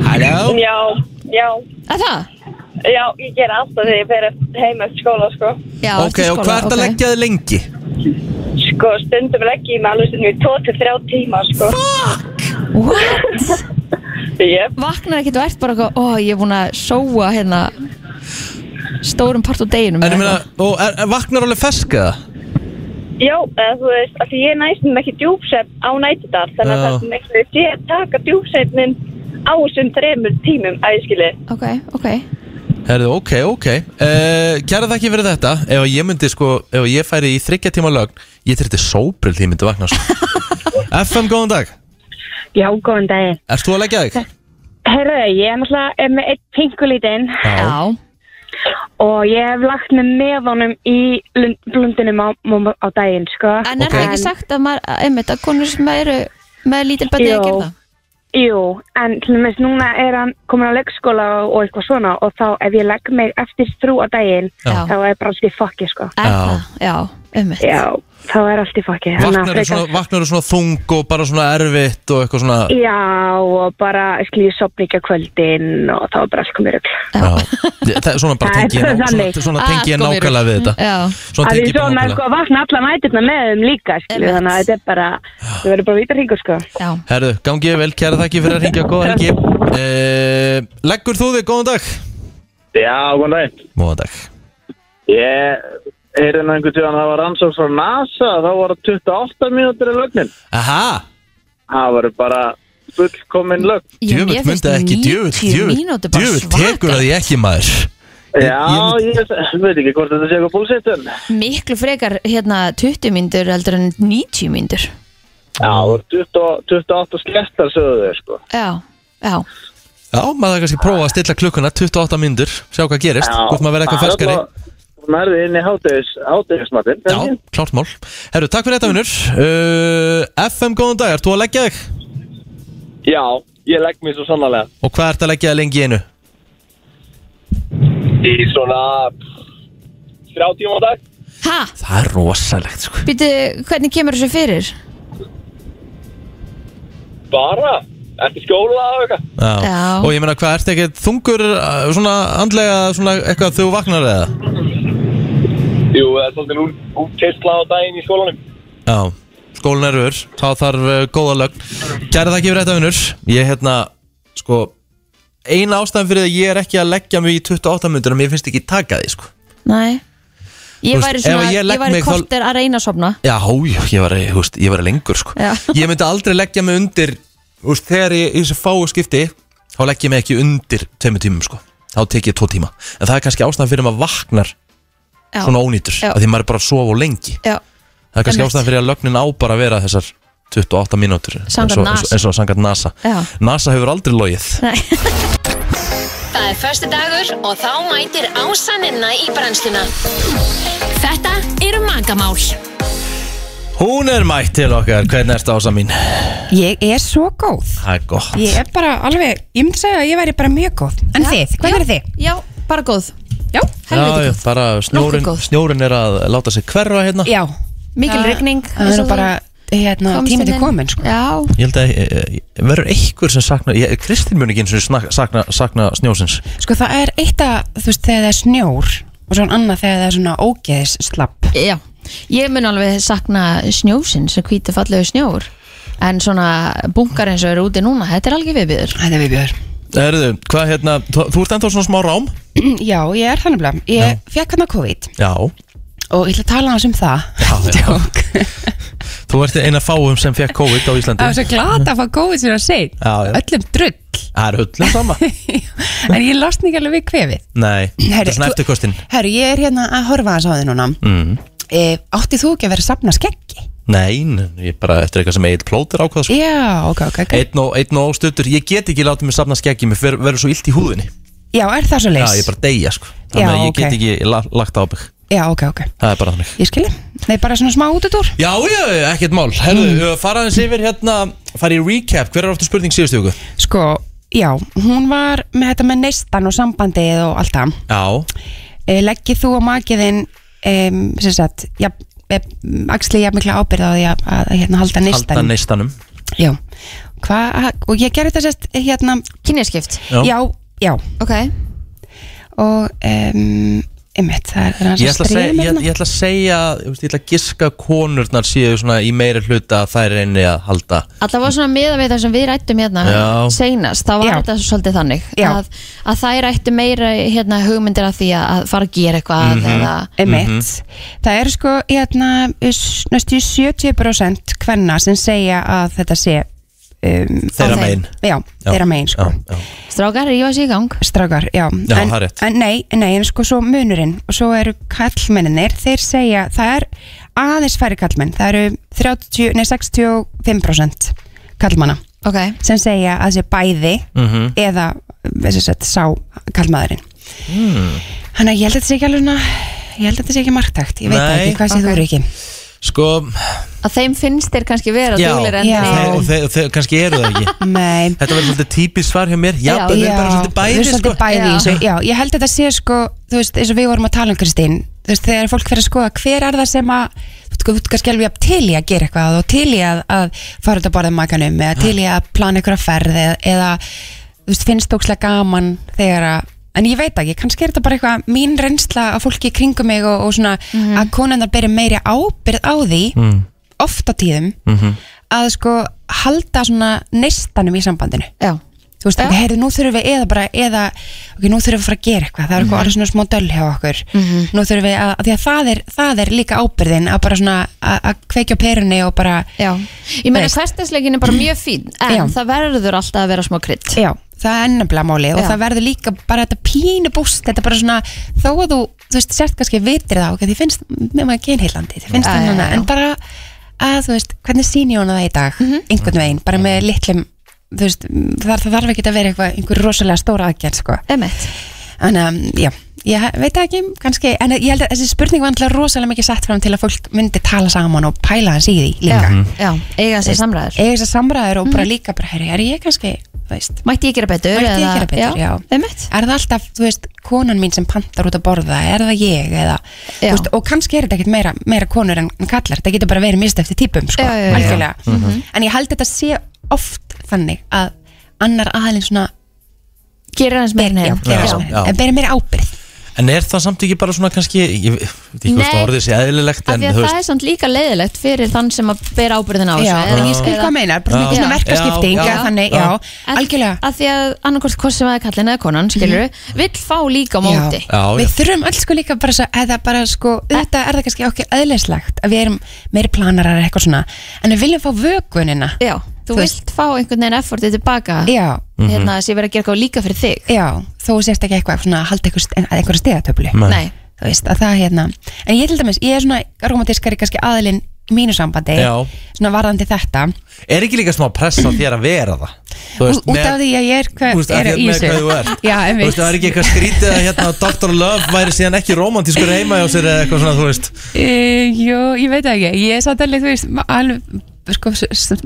[SPEAKER 1] Halló?
[SPEAKER 10] Já, já,
[SPEAKER 2] að það?
[SPEAKER 10] já, ég ger alltaf þegar ég fer heim eftir skóla, sko.
[SPEAKER 2] Já,
[SPEAKER 1] Ok,
[SPEAKER 2] eftir
[SPEAKER 1] og
[SPEAKER 2] skóla,
[SPEAKER 1] hvað ert að
[SPEAKER 2] ok.
[SPEAKER 1] leggja þig lengi?
[SPEAKER 10] Sko, stundum legg ég mig alveg stundum í 2-3 tíma, sko.
[SPEAKER 2] What?
[SPEAKER 10] Jep,
[SPEAKER 2] Vaknar ekkert og ert bara eitthvað, ó ég er búin að sóa hérna stórum part á deginum
[SPEAKER 1] En ég
[SPEAKER 2] eða
[SPEAKER 1] meina,
[SPEAKER 2] eitthvað."
[SPEAKER 1] og er, er vaknar alveg fersk eða?
[SPEAKER 10] já, eða þú veist, af því ég næst um ekki djúpsepp á nættudar, þannig að
[SPEAKER 1] Já.
[SPEAKER 10] það sem ekki sé að taka djúpseppnin á þessum þremur tímum, æskilir.
[SPEAKER 2] Ok, ok
[SPEAKER 1] Herðu, ok, ok uh, Gæra það ekki verið þetta Ef ég myndi sko, ef ég færi í þryggja tíma lögn Ég þyrfti sóbril því ég myndi vakna sko. FM, góðan dag
[SPEAKER 11] Já, góðan daginn.
[SPEAKER 1] Ert þú að leggja
[SPEAKER 11] Hérna,
[SPEAKER 1] þig?
[SPEAKER 11] Herðu, ég er náttúrulega er með eitt pingulítinn
[SPEAKER 2] Já,
[SPEAKER 11] og ég hef lagt með meðanum í lund- blundunum á, á- á daginn, sko.
[SPEAKER 2] en er það ekki sagt að maður, einmitt, að konur sem eru með lítil bönni að
[SPEAKER 11] Jó.
[SPEAKER 2] gera það?
[SPEAKER 11] Jú, en til dæmis núna er hann komin á leikskóla og, og eitthvað svona og þá ef ég legg mig eftir þrjú á daginn,
[SPEAKER 2] Já.
[SPEAKER 11] þá er bara allt í fokki, sko.
[SPEAKER 2] Er
[SPEAKER 1] Já.
[SPEAKER 2] það? Já, einmitt
[SPEAKER 11] Já, þá er allt í fokki. Þannig að
[SPEAKER 1] Vaknar þú
[SPEAKER 11] hérna, frekar-
[SPEAKER 1] svona, vaknar þú svona þung og bara svona erfitt og eitthvað svona
[SPEAKER 11] Já, og bara skiljið sopni ekki á kvöldin og þá er bara allt komið rögl.
[SPEAKER 1] Já. Ég- Það er svona bara
[SPEAKER 11] Það er
[SPEAKER 1] tengi ég ná-
[SPEAKER 11] þannig.
[SPEAKER 1] svona, svona
[SPEAKER 2] Ah,
[SPEAKER 1] tengi ég
[SPEAKER 2] sko, mér-
[SPEAKER 1] nákvæmlega við þetta
[SPEAKER 2] Já,
[SPEAKER 1] Svona
[SPEAKER 11] að
[SPEAKER 1] tengi
[SPEAKER 11] því
[SPEAKER 1] ég bara
[SPEAKER 11] svona sko
[SPEAKER 1] nákvæmlega
[SPEAKER 11] vakna alla nættirna með þeim líka skilju,
[SPEAKER 2] Einmitt.
[SPEAKER 11] þannig að þetta er bara það verður bara vita hringur sko
[SPEAKER 2] já
[SPEAKER 1] Herðu, gangi ég vel, kæra þakki fyrir að ringja Góða helgi uh, Leggur þú þig, góðan dag
[SPEAKER 8] Já, góðan daginn.
[SPEAKER 1] Góðan dag
[SPEAKER 8] Ég heyrði nú einhvern tíðan að það var rannsókn frá NASA, þá var það 28 mínútur í lögnin.
[SPEAKER 1] Aha,
[SPEAKER 8] Það var bara fullkomin lögn.
[SPEAKER 2] Ég-
[SPEAKER 1] djöfull
[SPEAKER 2] mér finnst
[SPEAKER 1] myndi ekki
[SPEAKER 2] 90
[SPEAKER 1] Djöfull,
[SPEAKER 2] mínútur bara
[SPEAKER 1] djöfull tekur
[SPEAKER 2] svakalegt.
[SPEAKER 1] að ég ekki maður
[SPEAKER 8] Já, ég, veit ekki hvort þetta sé eitthvað búlsitt en já,
[SPEAKER 2] Miklu frekar hérna 20 myndur heldur en 90 myndur
[SPEAKER 8] það var 20 28 skettar sögðu þau sko.
[SPEAKER 2] Já, já
[SPEAKER 1] Já, maður þarf kannski að prófa að stilla klukkuna 28 myndur, sjá hvað gerist, hvort maður verði eitthvað ferskari
[SPEAKER 8] Hún erði inn í hátegis, hátegismatinn.
[SPEAKER 1] Já, klárt mál Herru, takk fyrir þetta vinnur uh, FM, góðan dag, ert þú að leggja þig?
[SPEAKER 8] já, ég legg mér svo sannarlega.
[SPEAKER 1] Og hvað ert að leggja þig lengi í einu?
[SPEAKER 8] Í svona þrjá tíma á dag.
[SPEAKER 2] Ha,
[SPEAKER 1] Það er rosalegt, sko
[SPEAKER 2] býtu, hvernig kemur þessu fyrir?
[SPEAKER 8] Bara, eftir skóla og eitthvað.
[SPEAKER 1] Já.
[SPEAKER 2] Já.
[SPEAKER 1] Og ég meina, hvað ert ekki þungur uh, svona andlega, svona eitthvað þegar þú vaknar eða?
[SPEAKER 8] Jú, það er svolítið út, útkeisla á daginn í skólanum.
[SPEAKER 1] Já, skólin er ör, þá þarf uh, góða lögn Kæra þakki fyrir þetta vinnur Ég, hérna, sko Eina ástæðan fyrir að ég er ekki að leggja mig í 28 myndur Mér finnst ekki taka því, sko
[SPEAKER 2] Nei
[SPEAKER 1] Þú
[SPEAKER 2] Ég
[SPEAKER 1] veist,
[SPEAKER 2] væri
[SPEAKER 1] ef
[SPEAKER 2] svona,
[SPEAKER 1] ég
[SPEAKER 2] ég,
[SPEAKER 1] legg
[SPEAKER 2] væri
[SPEAKER 1] mig þá-
[SPEAKER 2] kortir að reyna að sofna
[SPEAKER 1] Já, já, ég var, þú veist, ég var lengur sko.
[SPEAKER 2] Já.
[SPEAKER 1] Ég myndi aldrei leggja mig undir þú veist, Þegar ég í þessu fáu skipti Þá legg ég mig ekki undir tveimur tímum sko. Þá tek ég tvo tíma En það er kannski ástæðan fyrir að maður vaknar
[SPEAKER 2] Já,
[SPEAKER 1] Svona ónýtur,
[SPEAKER 2] Já.
[SPEAKER 1] af því maður er bara að sofa og lengi
[SPEAKER 2] já
[SPEAKER 1] Það er kannski
[SPEAKER 2] Einmitt.
[SPEAKER 1] ástæðan fyrir að lögnin á bara að vera þessar 28 mínútur
[SPEAKER 2] Samkvæmt
[SPEAKER 1] eins og- eins og-
[SPEAKER 2] NASA.
[SPEAKER 1] eins og sangat NASA
[SPEAKER 2] Já.
[SPEAKER 1] NASA hefur aldrei logið
[SPEAKER 12] Það er förstu dagur og þá mætir ásaninna í brennsluna. Þetta eru magamál.
[SPEAKER 1] Hún er mætt til okkar, hvernig ertu ása mín?
[SPEAKER 5] Ég er svo góð
[SPEAKER 1] Það er gott
[SPEAKER 5] Ég er bara alveg, ég myndi segja að ég væri bara mjög góð En þið, hvað verður þið?
[SPEAKER 2] Já, bara góð
[SPEAKER 5] Já,
[SPEAKER 1] Já, já,
[SPEAKER 5] helviti góð
[SPEAKER 1] bara snjórin,
[SPEAKER 2] Nokkuð góð.
[SPEAKER 1] snjórin er að láta sig hverfa hérna
[SPEAKER 5] Já,
[SPEAKER 2] Mikil
[SPEAKER 5] Það-
[SPEAKER 2] rigning
[SPEAKER 5] það er nú bara hérna,
[SPEAKER 2] Komst
[SPEAKER 5] tími til
[SPEAKER 2] inn.
[SPEAKER 5] komin sko.
[SPEAKER 2] Já,
[SPEAKER 1] Ég held að e, e, verður einhver sem sakna ég, Kristín mun ekki eins og sakna, sakna, sakna snjósins
[SPEAKER 5] sko það er eitt að, þú veist, þegar það er snjór Og svo annað þegar það er svona ógeðis slapp
[SPEAKER 2] já Ég mun alveg sakna snjósin sem hvíti fallegu snjór En svona bunkar eins og eru úti núna Þetta er algjör viðbyður
[SPEAKER 5] Þetta er við björ
[SPEAKER 1] Erðu, hvað hérna, þú, þú ert ennþá svona smá rám
[SPEAKER 5] Já, ég er þannig blá Ég fekk hérna COVID
[SPEAKER 1] Já
[SPEAKER 5] og ég ætla að tala hans um það
[SPEAKER 1] Já, já.
[SPEAKER 5] Djók.
[SPEAKER 1] Þú ert eina fáum sem fekk COVID á
[SPEAKER 5] Það var
[SPEAKER 1] Íslandi
[SPEAKER 5] svo glad að fá COVID sem það segir
[SPEAKER 1] Já, já.
[SPEAKER 5] Öllum drull
[SPEAKER 1] Það er höllum sama
[SPEAKER 5] En ég losna ekki alveg við kvefið
[SPEAKER 1] Nei, þetta er svona
[SPEAKER 5] þú-
[SPEAKER 1] eftirkostin
[SPEAKER 5] Herru, ég er hérna að horfa aðeins á þið núna
[SPEAKER 1] mm.
[SPEAKER 5] e, Átti þú ekki að vera að sapna skeggi?
[SPEAKER 1] Nei, nei, ég bara eftir eitthvað sem eitt plótur ákvað sko.
[SPEAKER 5] Já, ok, ok, ok
[SPEAKER 1] Einn og, einn og óstuttur, ég get ekki látið mig safna skeggi Mér ver, verður svo illt í húðinni
[SPEAKER 5] Já, er það svo
[SPEAKER 1] Já,
[SPEAKER 5] leys?
[SPEAKER 1] ég bara deyja sko Þannig
[SPEAKER 5] Já,
[SPEAKER 1] að ég
[SPEAKER 5] ok.
[SPEAKER 1] get ekki la, lagt á mig
[SPEAKER 5] Já, ok, ok
[SPEAKER 1] Það er bara þannig
[SPEAKER 5] Ég skilji Nei, bara svona smá útudúr
[SPEAKER 1] Já, já, ekkert mál Herðu, mm. fara aðeins yfir hérna Fara í recap, hver er ofta spurning síðustu viku?
[SPEAKER 5] Sko, já, hún var með þetta með neistan og sambandið og allt það
[SPEAKER 1] Já
[SPEAKER 5] e, Leggið þú og makiðinn um, sem sagt, ja, e, axli ég mikla ábyrð á því að, að hérna, halda neistan
[SPEAKER 1] Halda neistanum
[SPEAKER 5] Já, hvað, og ég gerði þetta sérst hérna
[SPEAKER 2] Kynjaskipt?
[SPEAKER 1] Já.
[SPEAKER 5] Já, já
[SPEAKER 2] Ok
[SPEAKER 5] Og, um, einmitt, það er hans
[SPEAKER 1] Ég ætla að segja, ég, ég ætla að segja þú veist, Ég ætla að giska að konurnar séu svona í meira hluta að þær reyni að halda
[SPEAKER 2] Alltaf var svona miða við það sem við rættum hérna
[SPEAKER 1] Já.
[SPEAKER 2] seinast, þá var þetta svolítið þannig
[SPEAKER 5] Já.
[SPEAKER 2] að, að þær rættu meira hérna, hugmyndir af því að- að fara að gera eitthvað
[SPEAKER 5] Mhm.
[SPEAKER 2] eða
[SPEAKER 5] Einmitt.
[SPEAKER 1] Mhm.
[SPEAKER 5] Það er sko, hérna, s- næstu 70% hvenna sem segja að þetta sé um,
[SPEAKER 1] Þeirra
[SPEAKER 5] á þeim.
[SPEAKER 1] megin.
[SPEAKER 5] Já, þeirra megin, sko
[SPEAKER 1] já, já.
[SPEAKER 2] Strákar, rífa sig í gang
[SPEAKER 5] Strákar, já
[SPEAKER 1] Já, það er rétt.
[SPEAKER 5] en nei, nei, en sko svo munurinn og svo eru kallmenninir, þeir segja það er aðeins færi kallmenn það eru 30, nei, 65% kallmanna
[SPEAKER 2] okay.
[SPEAKER 5] sem segja að þessi bæði
[SPEAKER 1] Mhm.
[SPEAKER 5] eða þessi sett sá kallmaðurinn
[SPEAKER 1] hmm.
[SPEAKER 5] Þannig að ég held að þetta sé ekki alveg svona ég held að þetta sé ekki marktækt, ég veit það
[SPEAKER 1] Nei.
[SPEAKER 5] ekki, hvað sé þú Ríki?
[SPEAKER 1] Sko,
[SPEAKER 2] að þeim finnst þeir kannski vera
[SPEAKER 1] já,
[SPEAKER 2] duglir en
[SPEAKER 1] þeir, og þeir, og þeir, kannski eru það ekki
[SPEAKER 5] Nei
[SPEAKER 1] Þetta verður svolítið típist svar hjá mér Já, já við erum bara svolítið
[SPEAKER 5] við
[SPEAKER 1] bæði
[SPEAKER 5] erum svolítið
[SPEAKER 1] sko.
[SPEAKER 5] bæði í þessu. Já, ég held að þetta sé sko, þú veist, eins og við vorum að tala um Kristín, þú veist, þegar fólk fyrir að skoða hver er það sem að, þú veist, þú veist, kannski alveg jafn til í að gera eitthvað og til í að, að fara út að borða með makanum eða til í að plana ykkur að ferð eða, eða þú veist, finnst ókslega gaman þegar að En ég veit ekki, kannski er þetta bara eitthvað mín reynsla að fólki í kringum mig og, og svona að konunnar beri meiri ábyrð á því,
[SPEAKER 1] Mhm. Mm.
[SPEAKER 5] oft á tíðum,
[SPEAKER 1] Mhm.
[SPEAKER 5] að sko halda svona neistanum í sambandinu
[SPEAKER 2] Já
[SPEAKER 5] Þú veist, ok, heyrðu, nú þurfum við eða bara, eða, ok, nú þurfum við að fara að gera eitthvað, það er eitthvað alveg svona smá döl hjá okkur.
[SPEAKER 2] Mhm.
[SPEAKER 5] Nú þurfum við að, af því að það er, það er líka ábyrðin að bara svona, að að kveikja á perunni og bara,
[SPEAKER 2] Já, ég meina
[SPEAKER 5] Veist.
[SPEAKER 2] hversdagsleikin er bara mjög fín en
[SPEAKER 5] Já.
[SPEAKER 2] það verður alltaf að vera smá krydd
[SPEAKER 5] Já, það er ennabla máli og
[SPEAKER 2] Já.
[SPEAKER 5] það verður líka bara þetta pínu búst, þetta bara svona, þó að þú, þú veist, sért kannski vitir það, ok, því finnst, með maður genheilandi, því finnst
[SPEAKER 2] Já,
[SPEAKER 5] það
[SPEAKER 2] já,
[SPEAKER 5] núna,
[SPEAKER 2] já.
[SPEAKER 5] en bara að, þú veist, hvernig síni hún það í dag,
[SPEAKER 12] Mhm.
[SPEAKER 5] einhvern veginn, bara með litlum, þú veist, það, það þarf ekki að vera eitthvað, einhver rosalega stóra aðgerð, sko.
[SPEAKER 2] Emmett.
[SPEAKER 5] Þannig að, já, ég veit það ekki, kannski, en ég held að þessi spurning var alltaf rosalega mikið sett fram til að fólk myndi tala saman og pæla hans í því líka.
[SPEAKER 1] Mhm.
[SPEAKER 5] e-
[SPEAKER 2] Já, já, eiga sér samræður
[SPEAKER 5] Eiga sér samræður og
[SPEAKER 2] Mhm.
[SPEAKER 5] bara líka bara, herri, er ég kannski, þú veist,
[SPEAKER 2] Mætti ég gera betur?
[SPEAKER 5] Mætti ég
[SPEAKER 2] eða-
[SPEAKER 5] gera betur, já. Er það alltaf, þú veist, konan mín sem pantar út að borða, er það ég eða, þú veist, og kannski er þetta ekkit meira, meira konur en en kallar, það getur bara verið mist eftir típum, sko,
[SPEAKER 2] Já, já, já.
[SPEAKER 5] algjörlega.
[SPEAKER 2] Mhm.
[SPEAKER 5] En ég held þetta sé oft þannig að annar aðalinn svona
[SPEAKER 2] Gerir hans
[SPEAKER 5] meira, já, gerir
[SPEAKER 1] Já,
[SPEAKER 5] hans meira,
[SPEAKER 1] já.
[SPEAKER 5] en beri meira ábyrð.
[SPEAKER 1] En er það samt ekki bara svona kannski Ég veit ekki hvort
[SPEAKER 2] Nei.
[SPEAKER 1] orðið sé eðlilegt
[SPEAKER 2] Af
[SPEAKER 1] en
[SPEAKER 2] því að
[SPEAKER 1] þú
[SPEAKER 2] það er samt líka leiðilegt fyrir þann sem að bera ábyrðin á þessu
[SPEAKER 5] Já,
[SPEAKER 2] eða-
[SPEAKER 5] ég skil
[SPEAKER 2] eða-
[SPEAKER 5] hvað meinar, bara mikið
[SPEAKER 2] Já.
[SPEAKER 5] svona verkaskipting,
[SPEAKER 2] Já,
[SPEAKER 5] já,
[SPEAKER 2] já,
[SPEAKER 5] þannig, já,
[SPEAKER 2] Að-
[SPEAKER 5] algjörlega. Mhm.
[SPEAKER 2] Að því að annarkort hvort sem aðeins kallin eða konan, skilur við, vill fá líka á móti
[SPEAKER 1] Já, já.
[SPEAKER 5] Við þurfum öll sko líka bara svo, eða bara sko, þetta er það kannski okkur eðlislegt að við erum meiri planarar eða eitthvað svona, en við viljum fá vökunina.
[SPEAKER 2] Já, þú vilt fá einhvern veginn effortið tilbaka
[SPEAKER 5] Já.
[SPEAKER 2] hérna
[SPEAKER 1] Mhm.
[SPEAKER 2] að sé verið að gera eitthvað líka fyrir þig
[SPEAKER 5] Já, þú sést ekki eitthvað svona að halda einhver- en- að einhverja stegatöflu.
[SPEAKER 2] Nei. Nei.
[SPEAKER 5] Þú veist, að það hérna, en ég til dæmis, ég er svona romantískari kannski aðilinn í mínu sambandi,
[SPEAKER 1] Já.
[SPEAKER 5] svona varðandi þetta,
[SPEAKER 1] Er ekki líka smá press á þér að vera það? Þú
[SPEAKER 5] Ú- út af því að ég er, hva,
[SPEAKER 1] Þú veist, af
[SPEAKER 5] er
[SPEAKER 1] því að
[SPEAKER 5] í
[SPEAKER 1] með
[SPEAKER 5] þessu.
[SPEAKER 1] hvað þú ert.
[SPEAKER 5] Já,
[SPEAKER 1] Þú
[SPEAKER 5] einmitt.
[SPEAKER 1] veist, það er ekki eitthvað skrítið að hérna Dr. Love væri síðan ekki romantískur heima hjá sér eða eitthvað svona, þú veist
[SPEAKER 5] Uh, jú, ég veit það ekki, ég er samt alveg, þú veist, ma- alveg, sko,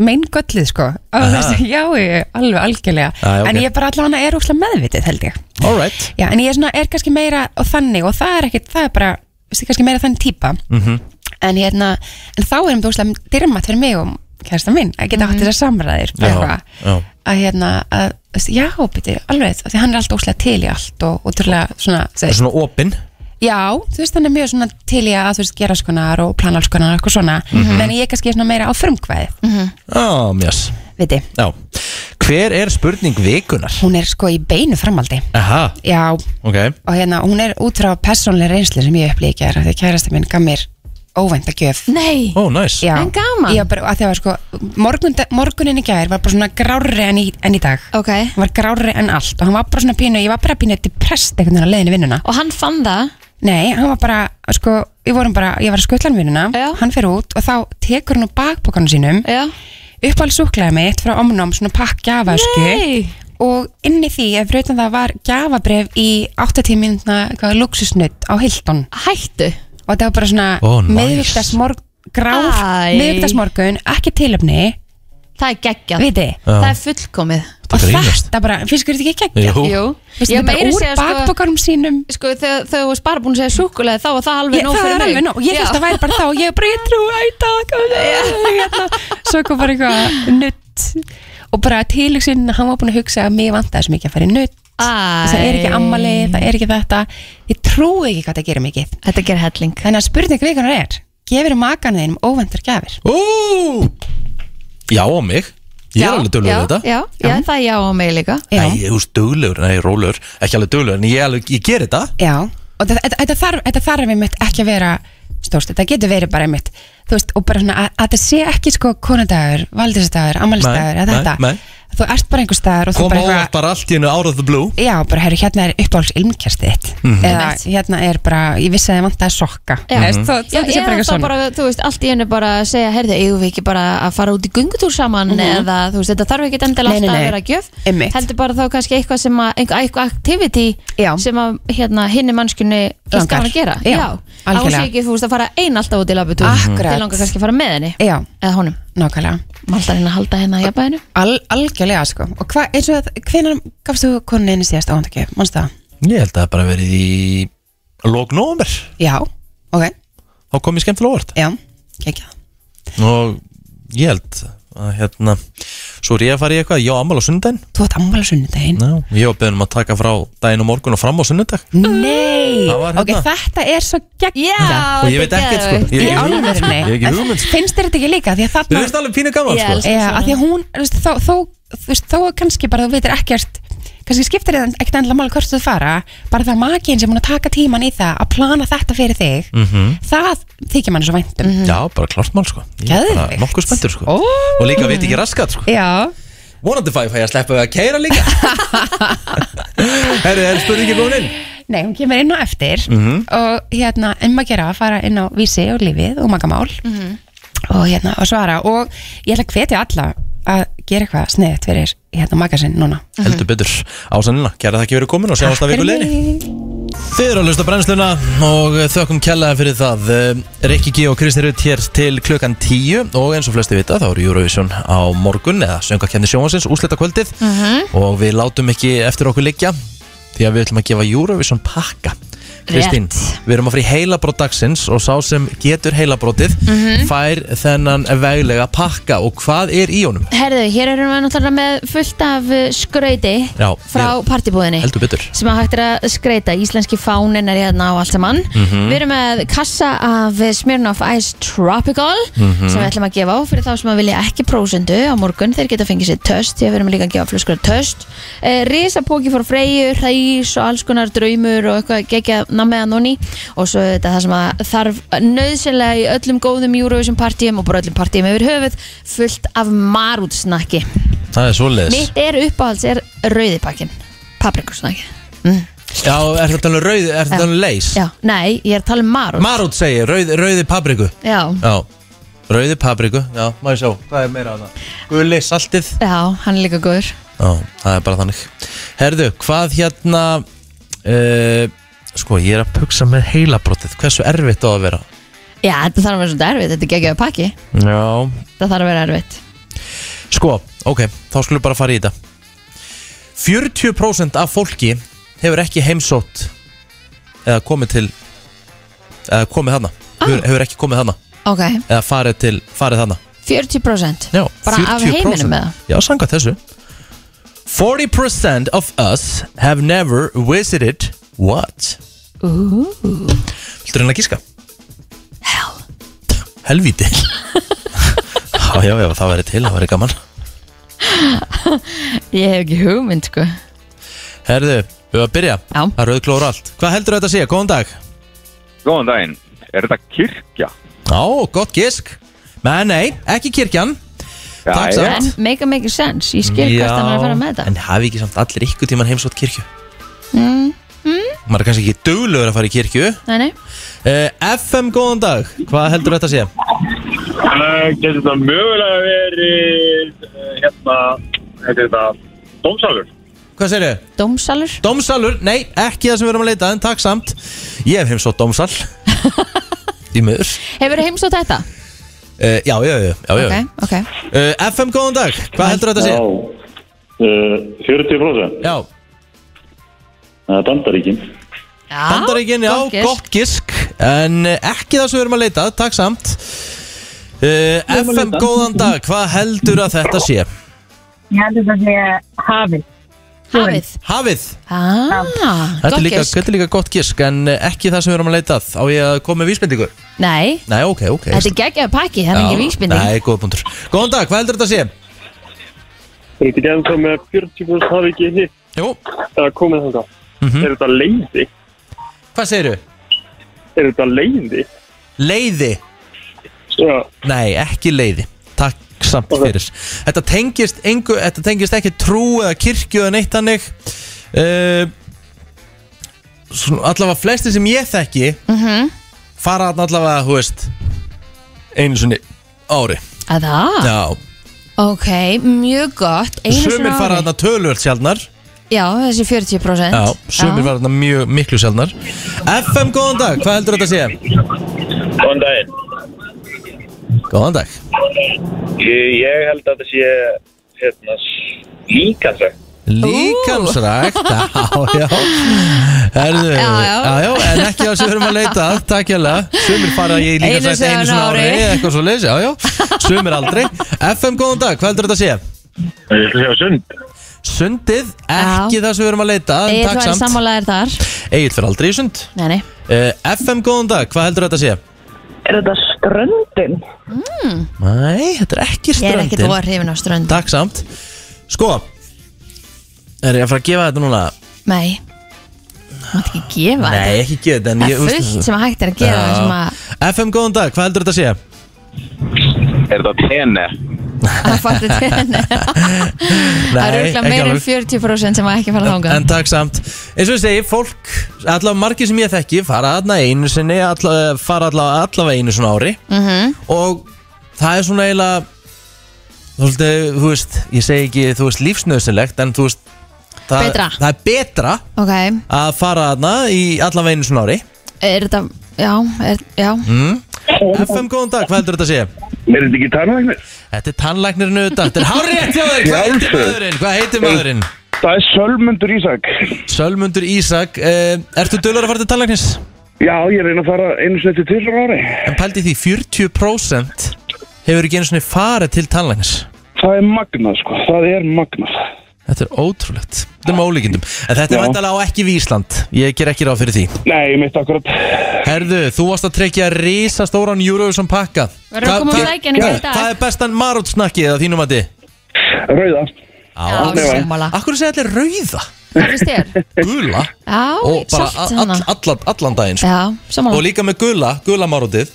[SPEAKER 5] meingöllið, sko, Á, þú
[SPEAKER 1] Aha.
[SPEAKER 5] veist, já, ég, alveg, algjörlega,
[SPEAKER 1] Já, já, ok.
[SPEAKER 5] en ég bara allavega er úrslega meðvitið, held ég.
[SPEAKER 1] Alright
[SPEAKER 5] Já, en ég er svona, er kannski meira og þannig og það er ekkit, það er bara, veist, ég er kannski meira þannig típa,
[SPEAKER 1] Mhm.
[SPEAKER 5] en hérna, en þá erum þú úrslega dyrmat fyrir mig og kærasta minn að geta átt þessar samræðir, bara eitthvað,
[SPEAKER 1] já
[SPEAKER 5] að hérna, að, þú veist, já, byrju, alveg, af því hann er alltaf úrslega til í allt og, og trúlega svona,
[SPEAKER 1] Það
[SPEAKER 5] þú
[SPEAKER 1] er
[SPEAKER 5] veist,
[SPEAKER 1] svona opinn
[SPEAKER 5] Já, þú veist, hann er mjög svona til í að þú veist, gera skonar og plana alls konar og eitthvað svona,
[SPEAKER 1] Mhm.
[SPEAKER 5] en ég er kannski svona meira á frumkvæði
[SPEAKER 1] Já, mjás
[SPEAKER 5] Viti.
[SPEAKER 1] Já Hver er spurning vikunar?
[SPEAKER 5] Hún er sko í beinu framaldi
[SPEAKER 1] Aha,
[SPEAKER 5] Já,
[SPEAKER 1] ok
[SPEAKER 5] og hérna, hún er út frá persónlega reynslu sem ég upplýði í gær, af því kærasta minn gaf mér óvænta gjöf
[SPEAKER 2] Nei,
[SPEAKER 1] Ó, næs
[SPEAKER 5] Já.
[SPEAKER 2] En gaman.
[SPEAKER 5] Ég var bara, að það var sko, morgun, morgunin í gær var bara svona grárri enn í, en í dag
[SPEAKER 2] Ok
[SPEAKER 5] Hann var grárri enn allt og hann var bara svona pínu, ég var bara pínu depressed einhvern veginn að leiðinu vinnuna
[SPEAKER 2] Og hann fann það?
[SPEAKER 5] Nei, hann var bara, sko, við vorum bara, ég var að skuttla hann vinnuna Hann fer út og þá tekur hann úr bakpokanum sínum
[SPEAKER 2] Já
[SPEAKER 5] Uppáhalds súklaði mitt frá omnum svona pakk gjafaðsku
[SPEAKER 2] Nei.
[SPEAKER 5] Og inn í því, ef rautan það var gjafabref í 80 mínútna luxusnutt á Hilton
[SPEAKER 2] Hættu
[SPEAKER 5] og þetta var bara svona
[SPEAKER 1] Ó, nice.
[SPEAKER 5] miðviktasmorg grár,
[SPEAKER 2] Æ.
[SPEAKER 5] miðviktasmorgun ekki tilöfni
[SPEAKER 2] það er geggjað,
[SPEAKER 5] Viti.
[SPEAKER 2] það er fullkomið
[SPEAKER 5] og þetta bara, finnst ykkur þetta ekki geggjað?
[SPEAKER 2] Jú.
[SPEAKER 5] Veistu,
[SPEAKER 2] Ég
[SPEAKER 5] þetta er
[SPEAKER 2] meiri
[SPEAKER 5] bara úr
[SPEAKER 2] segja, sko-
[SPEAKER 5] bakpokanum sínum
[SPEAKER 2] sko þegar þegar þú varst bara búin að segja súkulega þá var það alveg
[SPEAKER 5] Ég,
[SPEAKER 2] nóg
[SPEAKER 5] það
[SPEAKER 2] fyrir
[SPEAKER 5] er
[SPEAKER 2] mig
[SPEAKER 5] alveg nóg, ég
[SPEAKER 2] Já.
[SPEAKER 5] finnst það væri bara þá ég bara, ég trúi í dag hérna. svo kom bara eitthvað nutt og bara tilhugsin hann var búin að hugsa að mér vantaði svo mikið að fara í nutt það er ekki ammali, það er ekki þetta ég trúi ekki hvað það gerir mikið
[SPEAKER 2] þetta gerir helling
[SPEAKER 5] þannig að spurning vikunar er gefur makan þeinum óvendar gafir
[SPEAKER 1] Ú! Já, á mig Ég er alveg duglegur
[SPEAKER 2] já,
[SPEAKER 1] við þetta
[SPEAKER 2] já, já, það er já á mig líka
[SPEAKER 1] Nei, ég er duglegur, nei, rólur Ekki alveg duglegur, en ég, alveg, ég ger þetta
[SPEAKER 5] Já, og þetta- þetta þetta þarf, þetta þarf einmitt ekki að vera stórst, þetta getur verið bara einmitt þú veist, og bara svona að, að þetta sé ekki sko konadagur, valdísadagur, ammælisdagur eða þetta,
[SPEAKER 1] nei, nei.
[SPEAKER 5] þú ert bara einhver staðar og þú
[SPEAKER 1] Kom
[SPEAKER 5] bara
[SPEAKER 1] ávart bara allt í hennu out of the blue
[SPEAKER 5] já, bara herru, hérna er uppáhalds ilmkerstið þitt
[SPEAKER 1] Mhm.
[SPEAKER 5] eða hérna er bara, ég vissi að ég vantaði sokka
[SPEAKER 2] Já.
[SPEAKER 5] Þú veist,
[SPEAKER 2] Já,
[SPEAKER 5] þetta sé bara
[SPEAKER 2] eða
[SPEAKER 5] eitthvað
[SPEAKER 2] þá
[SPEAKER 5] svona
[SPEAKER 2] bara, þú veist, allt í hennu bara að segja, heyrðu, eigum við ekki bara að fara út í gungutúr saman eða, þú veist, þetta þarf ekki endilega
[SPEAKER 5] Mhm. Nei, nei,
[SPEAKER 2] alltaf að
[SPEAKER 5] nei.
[SPEAKER 2] vera gjöf
[SPEAKER 5] Einmitt.
[SPEAKER 2] heldur bara þá kannski eitthvað sem að, einhver, eitthvað activity já. sem að, hérna, hinni mannskunni
[SPEAKER 5] Langar.
[SPEAKER 2] langar að gera,
[SPEAKER 5] Já,
[SPEAKER 2] algjörlega
[SPEAKER 5] algjörlega. Mhm.
[SPEAKER 2] ásveg ekki, þú veist, að fara ein alltaf út í labutúr
[SPEAKER 5] Akkurat.
[SPEAKER 2] þið langar kannski að fara með henni
[SPEAKER 5] já,
[SPEAKER 2] eða honum,
[SPEAKER 5] nákvæmlega
[SPEAKER 2] maldar henni að halda hérna henni að jafnbæðinu
[SPEAKER 5] Al, algjörlega sko og hvað, eins og að, hvenær gafst þú koninu einu síðast ávandakjöf, mannst það?
[SPEAKER 1] Ég held að það bara verið í Lók nómer
[SPEAKER 5] Já, ok,
[SPEAKER 1] Þá kom ég skemmtilega óvart
[SPEAKER 5] já, kekja
[SPEAKER 1] Og ég held að hérna Svo er ég að fara í eitthvað, ég á ammál á sunnudaginn
[SPEAKER 5] Þú átt ammál á sunnudaginn
[SPEAKER 1] Já, ég á beðin um að taka frá daginn og morgun og fram á sunnudag
[SPEAKER 5] Nei,
[SPEAKER 1] Það var
[SPEAKER 5] ok,
[SPEAKER 1] hérna.
[SPEAKER 5] þetta er svo geggjað
[SPEAKER 1] Já, Og ég veit þetta er ekkert, sko. geðveikt. Ég hef
[SPEAKER 5] Í
[SPEAKER 1] ekki hugmynd, sko.
[SPEAKER 5] alvörinni.
[SPEAKER 1] Ég hef ekki
[SPEAKER 5] En
[SPEAKER 1] hugmynd, sko.
[SPEAKER 5] Finnst þér þetta ekki líka? Því að þarna
[SPEAKER 1] Mér finnst alveg pínu gaman, Ég sko. elska
[SPEAKER 5] Já,
[SPEAKER 1] svona.
[SPEAKER 5] að því að hún, þú veist, þó, þó, þú veist, þó kannski bara þú veitir ekkert kannski skiptir þetta ekkert endilega máli hvort þú fara bara það makin sem hún að taka tíman í það að plana þetta fyrir þig
[SPEAKER 1] Mhm.
[SPEAKER 5] það þykir mann svo um. væntum
[SPEAKER 1] Já, bara klart mál sko Ég er bara
[SPEAKER 5] Geðveikt.
[SPEAKER 1] Nokkuð spenntur sko Og líka veit ekki raskat sko
[SPEAKER 5] Já
[SPEAKER 1] Vonandi fæ fæ ég að sleppa við að keira líka Herri, er spurningin komin inn?
[SPEAKER 5] Nei, hún kemur inn á eftir
[SPEAKER 1] Mhm.
[SPEAKER 5] og hérna, en maður gera að fara inn á vísi og lífið og magamál og hérna að svara og ég ætla að hvetja alla að gera eitthvað sniðið fyrir hérna magasinn núna
[SPEAKER 2] Mhm.
[SPEAKER 1] Heldur betur Ásanina, kæra þakki fyrir komin og sjáumst að viku leini Þið eru að hlusta á brennsluna og þökkum kellaði fyrir það Eh, Rikki G og Kristi Rutt hér til klukkan 10 og eins og flesti vita þá eru Eurovision á morgun eða söngakefni sjónvansins úsleta kvöldið
[SPEAKER 2] Mhm.
[SPEAKER 1] og við látum ekki eftir okkur liggja því að við ætlum að gefa Eurovision pakka Kristín, við erum að fara í heilabrót dagsins og sá sem getur heilabrótið
[SPEAKER 2] Mhm.
[SPEAKER 1] fær þennan veglega pakka og hvað er í honum?
[SPEAKER 2] Herðu, hér erum við náttúrulega með fullt af uh, skrauti
[SPEAKER 1] Já,
[SPEAKER 2] frá
[SPEAKER 1] við-
[SPEAKER 2] partibúðinni
[SPEAKER 1] Heldur betur
[SPEAKER 2] sem að hægt er að skreita, íslenski fánin er hérna á allt saman
[SPEAKER 1] Mhm.
[SPEAKER 2] Við erum með kassa af Smirnoff Ice Tropical
[SPEAKER 1] Mhm.
[SPEAKER 2] sem við ætlum að gefa á fyrir þá sem að vilja ekki prósendu á morgun, þeir geta fengið sér töst því að við erum líka að gefa flöskur af töst eh, Risapóki fór freyju, hræs og alls konar draumur og eitthvað gegja nammeðan nonni og svo þetta það sem að þarf nöðsynlega í öllum góðum Eurovision partíum og bara öllum partíum yfir höfuð fullt af marútsnakki
[SPEAKER 1] Það er svoleiðis
[SPEAKER 2] Mitt er uppáhalds er rauðipakkin paprikursnakki Mm.
[SPEAKER 1] Já, er þetta alveg rauð, er þetta alveg leis?
[SPEAKER 2] Já, nei, ég er að tala um marút
[SPEAKER 1] Marút segir, rauð, rauði pabriku
[SPEAKER 2] Já,
[SPEAKER 1] Já, rauði pabriku, já, má ég sjá Hvað er meira að það? Gulli, saltið
[SPEAKER 2] já, hann er líka góður
[SPEAKER 1] Já, það er bara þannig Herðu, hvað hérna uh, Sko, ég er að puksa með heilabrótið Hversu erfitt á að vera?
[SPEAKER 2] Já, þetta þarf að vera svona erfitt, þetta er geggjaðu pakki
[SPEAKER 1] Já
[SPEAKER 2] Þetta þarf að vera erfitt
[SPEAKER 1] Sko, ok, þá skulum við bara fara í þetta 40% af fólki hefur ekki heimsótt eða komið til eða komið þarna
[SPEAKER 2] Ah.
[SPEAKER 1] hefur, hefur ekki komið þarna
[SPEAKER 2] Ok,
[SPEAKER 1] eða farið til, farið þarna
[SPEAKER 2] 40%
[SPEAKER 1] Já,
[SPEAKER 2] Bara af
[SPEAKER 1] 40%.
[SPEAKER 2] heiminum með það
[SPEAKER 1] Já, sanga þessu 40% of us have never visited what? Viltu reyna að gíska? Hell Helvíti Já, já, já, það væri til, það væri gaman
[SPEAKER 2] Ég hef ekki hugmynd, sko
[SPEAKER 1] Herðu, við varum að byrja Já Það rauðklóður allt Hvað heldur þetta að segja? Góðan dag
[SPEAKER 13] Góðan daginn, er þetta kirkja?
[SPEAKER 1] Já, gott gisk Men nei, ekki kirkjan Já, Takk
[SPEAKER 2] En
[SPEAKER 1] samt
[SPEAKER 2] make a make a sense, ég skil hvað það er að fara með
[SPEAKER 1] En hafi ekki samt allir ykkur tíman heimsótt kirkju
[SPEAKER 2] þetta mm. Mm.
[SPEAKER 1] Maður er kannski ekki duglegur að fara í kirkju
[SPEAKER 2] Nei, nei
[SPEAKER 1] uh, FM, góðan dag Hvað heldur þetta að segja?
[SPEAKER 14] Uh, getur þetta mögulega verið uh, hérna, heitir þetta dómsalur?
[SPEAKER 1] Hvað segir þau?
[SPEAKER 2] Dómsalur
[SPEAKER 1] Dómsalur, nei, ekki það sem við erum að leita en takk samt Ég hef heimsótt dómsal Því miður
[SPEAKER 2] Hefur þú heimsótt þetta?
[SPEAKER 1] uh, Já, já, já, já, já.
[SPEAKER 2] Ok, ok
[SPEAKER 1] Uh, FM, góðan dag, hvað heldur þetta að segja?
[SPEAKER 15] Uh, 40%
[SPEAKER 1] Já
[SPEAKER 15] Það er bandaríkin
[SPEAKER 1] Bandaríkin, já,
[SPEAKER 15] gott
[SPEAKER 1] gott,
[SPEAKER 15] gisk.
[SPEAKER 1] gisk En eh, ekki það sem við erum að leita, takk samt uh,
[SPEAKER 16] erum að
[SPEAKER 1] FM,
[SPEAKER 16] leita.
[SPEAKER 1] góðan dag, hvað heldur að þetta sé?
[SPEAKER 16] Ég heldur það að segja hafið.
[SPEAKER 2] Hafið.
[SPEAKER 1] Hafið
[SPEAKER 2] Ah,
[SPEAKER 1] Þetta
[SPEAKER 2] gott
[SPEAKER 1] er líka,
[SPEAKER 2] gisk.
[SPEAKER 1] þetta er líka gott gisk En eh, ekki það sem við erum að leita að Á ég að koma með vísbendingu?
[SPEAKER 2] Nei,
[SPEAKER 1] Nei, ok, ok
[SPEAKER 2] þetta er geggjaðu pakki, það er
[SPEAKER 1] Já,
[SPEAKER 2] ekki vísbinding
[SPEAKER 1] Nei, góða punktur Góðan dag, hvað heldur þetta að sé?
[SPEAKER 14] Er þetta ekki ennþá með að 40% hafi ekki hitt
[SPEAKER 1] Jú
[SPEAKER 14] Það er komið þangað Er þetta leiði?
[SPEAKER 1] Hvað segirðu?
[SPEAKER 14] Er þetta leiði?
[SPEAKER 1] Leiði?
[SPEAKER 14] Já
[SPEAKER 1] Nei, ekki leiði Takk samt fyrir Þetta tengist, engu, þetta tengist ekki trú eða kirkju eða neitt hannig uh, Allavega flesti sem ég þekki
[SPEAKER 2] Mhm.
[SPEAKER 1] fara þarna allavega, þú veist einu sinni ári
[SPEAKER 2] Að það?
[SPEAKER 1] Já,
[SPEAKER 2] Ok, mjög gott Ah, Einu
[SPEAKER 1] sumir
[SPEAKER 2] sinni á
[SPEAKER 1] fara
[SPEAKER 2] ári.
[SPEAKER 1] þarna tölvöld sjálfnar
[SPEAKER 2] Já, þessi 40%
[SPEAKER 1] Já, sumir fara þarna mjög miklu sjálfnar FM, góðan dag, hvað heldur þetta að segja?
[SPEAKER 14] Góðan daginn
[SPEAKER 1] Góðan dag
[SPEAKER 14] Ég held að þetta sé hérna, líka þræk
[SPEAKER 1] Líkamsrækt, já, já Herðu, já, já. en ekki það sem við erum að leita að, Takk hella, sumir fara í líkamsrækt
[SPEAKER 2] Einu
[SPEAKER 1] einu
[SPEAKER 2] sinni
[SPEAKER 1] svona
[SPEAKER 2] á
[SPEAKER 1] ári
[SPEAKER 2] ári.
[SPEAKER 1] Eitthvað svo leys, já, já, sumir aldrei FM, góðan dag, hvað heldur þetta að sé?
[SPEAKER 14] Ég ætla að segja sund
[SPEAKER 1] Sundið, ekki það sem við erum að leita að,
[SPEAKER 2] Egil
[SPEAKER 1] en
[SPEAKER 2] var
[SPEAKER 1] Takk samt,
[SPEAKER 2] sammálaðir þar
[SPEAKER 1] Egil fyrir aldrei í sund
[SPEAKER 2] Nei, nei
[SPEAKER 1] uh, FM, góðan dag, hvað heldur þetta að sé?
[SPEAKER 16] Er þetta ströndin?
[SPEAKER 2] mm,
[SPEAKER 1] Nei, þetta er ekki
[SPEAKER 2] Ég er
[SPEAKER 1] ströndin
[SPEAKER 2] ekkert voru hrifin á strönd
[SPEAKER 1] Takk samt Sko Er ég að fara að gefa þetta núna?
[SPEAKER 2] Nei Þú mátt ekki gefa
[SPEAKER 1] Nei, ekki gefa þetta en
[SPEAKER 2] Það
[SPEAKER 1] ég-
[SPEAKER 2] er fullt sem að hægt er að gefa
[SPEAKER 1] Já.
[SPEAKER 2] sem að
[SPEAKER 1] FM, góðan dag, hvað heldur þetta að sé?
[SPEAKER 13] Er þetta tene?
[SPEAKER 2] að fatta til henni Það eru örugglega meira en 40% sem að ekki fara
[SPEAKER 1] en,
[SPEAKER 2] þangað
[SPEAKER 1] en takk samt Eins og ég segi, fólk, allavega margir sem ég þekki fara allavega einu sinni allavega, fara allavega, allavega einu svona ári
[SPEAKER 2] Mhm.
[SPEAKER 1] og það er svona eiginlega svolítið, þú veist, ég segi ekki þú veist lífsnöðsilegt en þú veist það,
[SPEAKER 2] Betra.
[SPEAKER 1] það er betra
[SPEAKER 2] Ok,
[SPEAKER 1] að fara þarna í allavega einu svona ári
[SPEAKER 2] er þetta Já, er, já
[SPEAKER 1] mm. FM, góðan dag, hvað heldur þetta að segja?
[SPEAKER 14] Er þetta ekki tannlæknir?
[SPEAKER 1] Þetta er tannlæknirinn auðvitað, þetta er hárétt hjá þér, hvað heitir maðurinn? Hvað heitir maðurinn?
[SPEAKER 14] Það er Sölmundur Ísak
[SPEAKER 1] Sölmundur Ísak, uh, ertu dölur að fara til tannlæknis?
[SPEAKER 14] Já, ég reyna að fara einu sinni til tvisar ári
[SPEAKER 1] En pældi því, 40% hefur ekki einu svona farið til tannlæknis
[SPEAKER 14] Það er magnað sko, það er magnað
[SPEAKER 1] Þetta er ótrúlegt, þetta er með ólíkindum En þetta
[SPEAKER 14] Já.
[SPEAKER 1] er væntalega á ekki við Ísland, ég ger ekki ráð fyrir því
[SPEAKER 14] Nei, ég mitt akkurat
[SPEAKER 1] Herðu, þú varst að trekja risastóran Eurovision pakka
[SPEAKER 2] Verður að
[SPEAKER 1] Hva-
[SPEAKER 2] koma og
[SPEAKER 1] hva-
[SPEAKER 2] sækja hann í
[SPEAKER 1] hvað-
[SPEAKER 2] dag?
[SPEAKER 1] Hvað er bestan marótsnakki eða þínum að þið?
[SPEAKER 14] Rauða
[SPEAKER 2] Já, sammála.
[SPEAKER 1] Akkur segja allir rauða?
[SPEAKER 2] Hvað finnst þér?
[SPEAKER 1] Gula
[SPEAKER 2] Já,
[SPEAKER 1] Og bara
[SPEAKER 2] sált
[SPEAKER 1] all,
[SPEAKER 2] hana.
[SPEAKER 1] all, allan daginn sko.
[SPEAKER 2] hérna. Já, sammála
[SPEAKER 1] Og líka með gula, gula marótið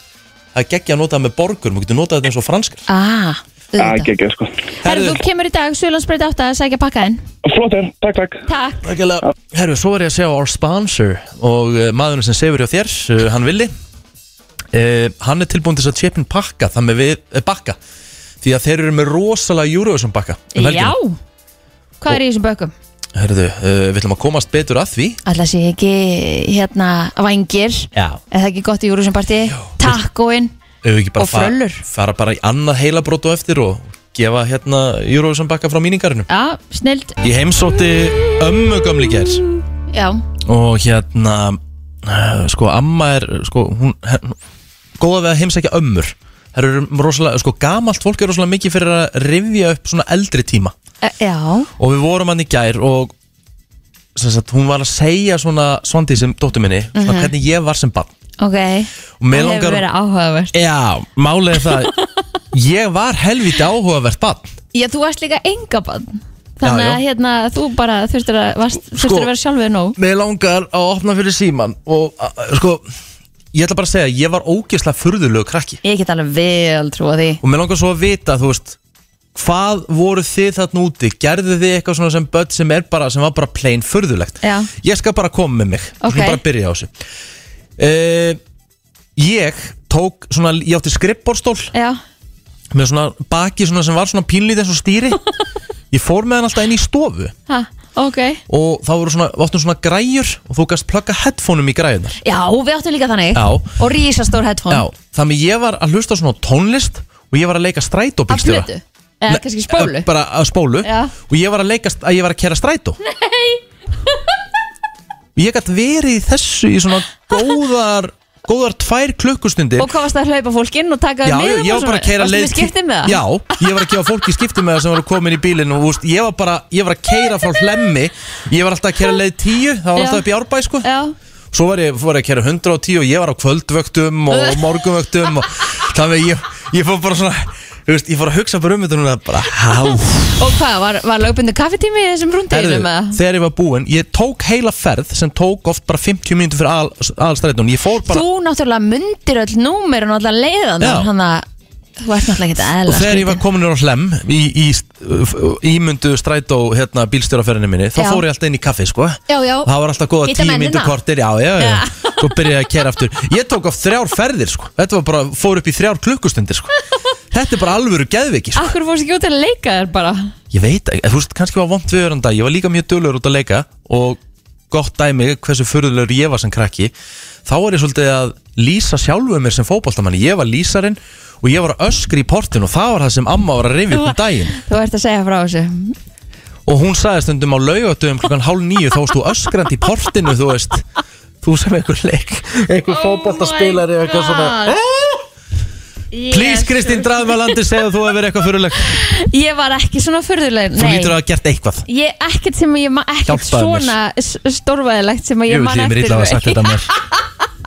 [SPEAKER 1] Það er geggja að nota það með borgur, maður getur notað þetta eins og franskar
[SPEAKER 2] Ah, auðvitað
[SPEAKER 14] geggja sko
[SPEAKER 2] Herðu, þú kemur í dag, Suðlandsbreyt 8 að sækja pakkaðinn
[SPEAKER 14] Flott er, takk, takk
[SPEAKER 2] Takk
[SPEAKER 1] Þakkilega Herru, svo er ég að sjá our sponsor Og uh, maðurinn sem sefur hjá þér, uh, hann Vili uh, Hann er tilbúin til þess að chipin pakka Þannig við uh, bakka Því að þeir eru með rosalega Eurovision bakka um helgina.
[SPEAKER 2] Já, hvað er í þessum bökum?
[SPEAKER 1] Herðu, uh, við ætlum að komast betur að því
[SPEAKER 2] Alla sé ekki hérna vængir
[SPEAKER 1] Já
[SPEAKER 2] Er það ekki gott í Júruvísum partí? Takkoinn
[SPEAKER 1] Ef við ekki bara
[SPEAKER 2] Og fröllur.
[SPEAKER 1] fara, fara bara í annað heilabrót og eftir Og gefa hérna Eurovision bakka frá míningarinu
[SPEAKER 2] Já, snild
[SPEAKER 1] Ég heimsótti ömmu gömli gerð
[SPEAKER 2] Já,
[SPEAKER 1] og hérna eh, sko amma er sko, hún, hún, góða við að heimsækja ömmur það eru rosalega, sko gamalt fólk er rosalega mikið fyrir að rifja upp svona eldri tíma
[SPEAKER 2] e, já
[SPEAKER 1] og við vorum hann í gær og sem sagt, hún var að segja svona svandi sem dóttur minni, svona
[SPEAKER 2] Mhm.
[SPEAKER 1] hvernig ég var sem barn
[SPEAKER 2] Ok, E-
[SPEAKER 1] Og mig
[SPEAKER 2] það
[SPEAKER 1] langar-
[SPEAKER 2] hefur verið áhugavert
[SPEAKER 1] já, málið er það ég var helviti áhugavert barn
[SPEAKER 2] Já, þú varst líka engabann
[SPEAKER 1] Já,
[SPEAKER 2] Þannig
[SPEAKER 1] Sko- já.
[SPEAKER 2] að hérna, þú bara þurftir að, varst, þurftir að vera sjálfið nóg
[SPEAKER 1] Mér langar að opna fyrir síman og a, a, sko, ég ætla bara að segja ég var ógeðslega furðulegu krakki
[SPEAKER 2] Ég get alveg vel trúa því
[SPEAKER 1] og mér langar svo að vita, þú veist hvað voru þið þarna úti gerðu þið eitthvað svona sem börn sem er bara sem var bara plain furðulegt
[SPEAKER 2] Já.
[SPEAKER 1] ég skal bara koma með mig,
[SPEAKER 2] Ok.
[SPEAKER 1] okay. bara byrja á þessu uh, ég tók svona, ég átti skrippborstól
[SPEAKER 2] Já.
[SPEAKER 1] með svona baki svona sem var svona pínlítið eins og stýri ég fór með hann alltaf inn í stofu
[SPEAKER 2] Ha? ok
[SPEAKER 1] og þá voru svona, við áttum svona græjur og þú gast plugga headphoneum í græjunar
[SPEAKER 2] Já, við áttum líka þannig
[SPEAKER 1] Já.
[SPEAKER 2] Og rísastór headphone
[SPEAKER 1] Já, þannig ég var að hlusta á svona tónlist og ég var að leika
[SPEAKER 2] Af
[SPEAKER 1] strætóbílstjóra
[SPEAKER 2] plötu Eða
[SPEAKER 1] Nei,
[SPEAKER 2] kannski spólu
[SPEAKER 1] eh, Bara að spólu
[SPEAKER 2] Já.
[SPEAKER 1] og ég var að leika, st- að ég var að kera strætó
[SPEAKER 2] Nei
[SPEAKER 1] og ég gætt verið í þessu í svona góðar góðar tvær klukkustundir
[SPEAKER 2] Og hvað varst að hlaupa fólk inn og taka
[SPEAKER 1] Já,
[SPEAKER 2] þau
[SPEAKER 1] já,
[SPEAKER 2] niður
[SPEAKER 1] ég var bara að keira leið
[SPEAKER 2] Varstu með skiptið með það?
[SPEAKER 1] Já, ég var að gefa fólki skiptið með það sem var að koma inn í bílinn og úst, ég var bara, ég var að keira frá hlemmi ég var alltaf að keira leið 10 það var
[SPEAKER 2] Já.
[SPEAKER 1] alltaf upp í árbæ sko
[SPEAKER 2] Já.
[SPEAKER 1] svo var ég, var ég að keira 110 og ég var á kvöldvöktum og morgunvöktum og þannig að ég, ég fór bara svona þú veist, ég fór að hugsa bara um þetta núna bara, há
[SPEAKER 2] Og hvað, var, var lögbundu kaffitími í þessum rúndeginum eða?
[SPEAKER 1] þegar ég var búinn, ég tók heila ferð sem tók oft bara 50 mínútur fyrir al, alstrætun, ég fór bara
[SPEAKER 2] Þú náttúrulega myndir öll númer og náttúrulega leiðan
[SPEAKER 1] Já.
[SPEAKER 2] Þannig að þú ert náttúrulega ekki
[SPEAKER 1] Og
[SPEAKER 2] eðla
[SPEAKER 1] þegar ég var komin úr á hlem í, í st- uh, ímyndu strætó hérna, bílstjóraferinni minni, þá
[SPEAKER 2] Já.
[SPEAKER 1] fór ég alltaf inn í kaffi sko.
[SPEAKER 2] Já, já.
[SPEAKER 1] Og Það var alltaf góða
[SPEAKER 2] Hitta
[SPEAKER 1] tíu
[SPEAKER 2] mennina.
[SPEAKER 1] myndu kortir, já, já, já, Svo byrjaði ég að kera aftur. Ég tók á þrjár ferðir sko. Þetta var bara, fór upp í þrjár klukkustundir sko. Þetta er bara alvöru geðviki sko.
[SPEAKER 2] Akkur fórst ekki út að leika þér bara
[SPEAKER 1] Ég veit, ekki, þú veist, kannski var vond við öranda. Ég var líka mjög dölur út að leika og gott dæmi hversu furðulegur ég var sem krakki. Þá var ég svolítið að lýsa sjálfuð mér sem fótboltamanni. Ég var lýsarinn og ég var að öskri í portin og það var það sem amma var að rifja upp um daginn.
[SPEAKER 2] Þú ert að segja frá þessu
[SPEAKER 1] Og hún sagði stundum á laugatöfum klukkan hálf nýju þá varst þú öskrandi í portinu, þú veist Þú sem einhver leik, einhver oh fótballtaspilari
[SPEAKER 2] Oh
[SPEAKER 1] eitthvað svona "Eh?" Please Kristín, draðum að landi segðu þú hefur verið eitthvað fyrirleg
[SPEAKER 2] Ég var ekki svona furðuleg
[SPEAKER 1] Þú lítur að hafa gert eitthvað
[SPEAKER 2] Ég, ekkert sem ég man, ekkert
[SPEAKER 1] Hjálpaðu mér.
[SPEAKER 2] svona stórvæðilegt sem að ég
[SPEAKER 1] Jú,
[SPEAKER 2] man
[SPEAKER 1] því mér
[SPEAKER 2] eftir
[SPEAKER 1] illa að hafa sagt þetta mér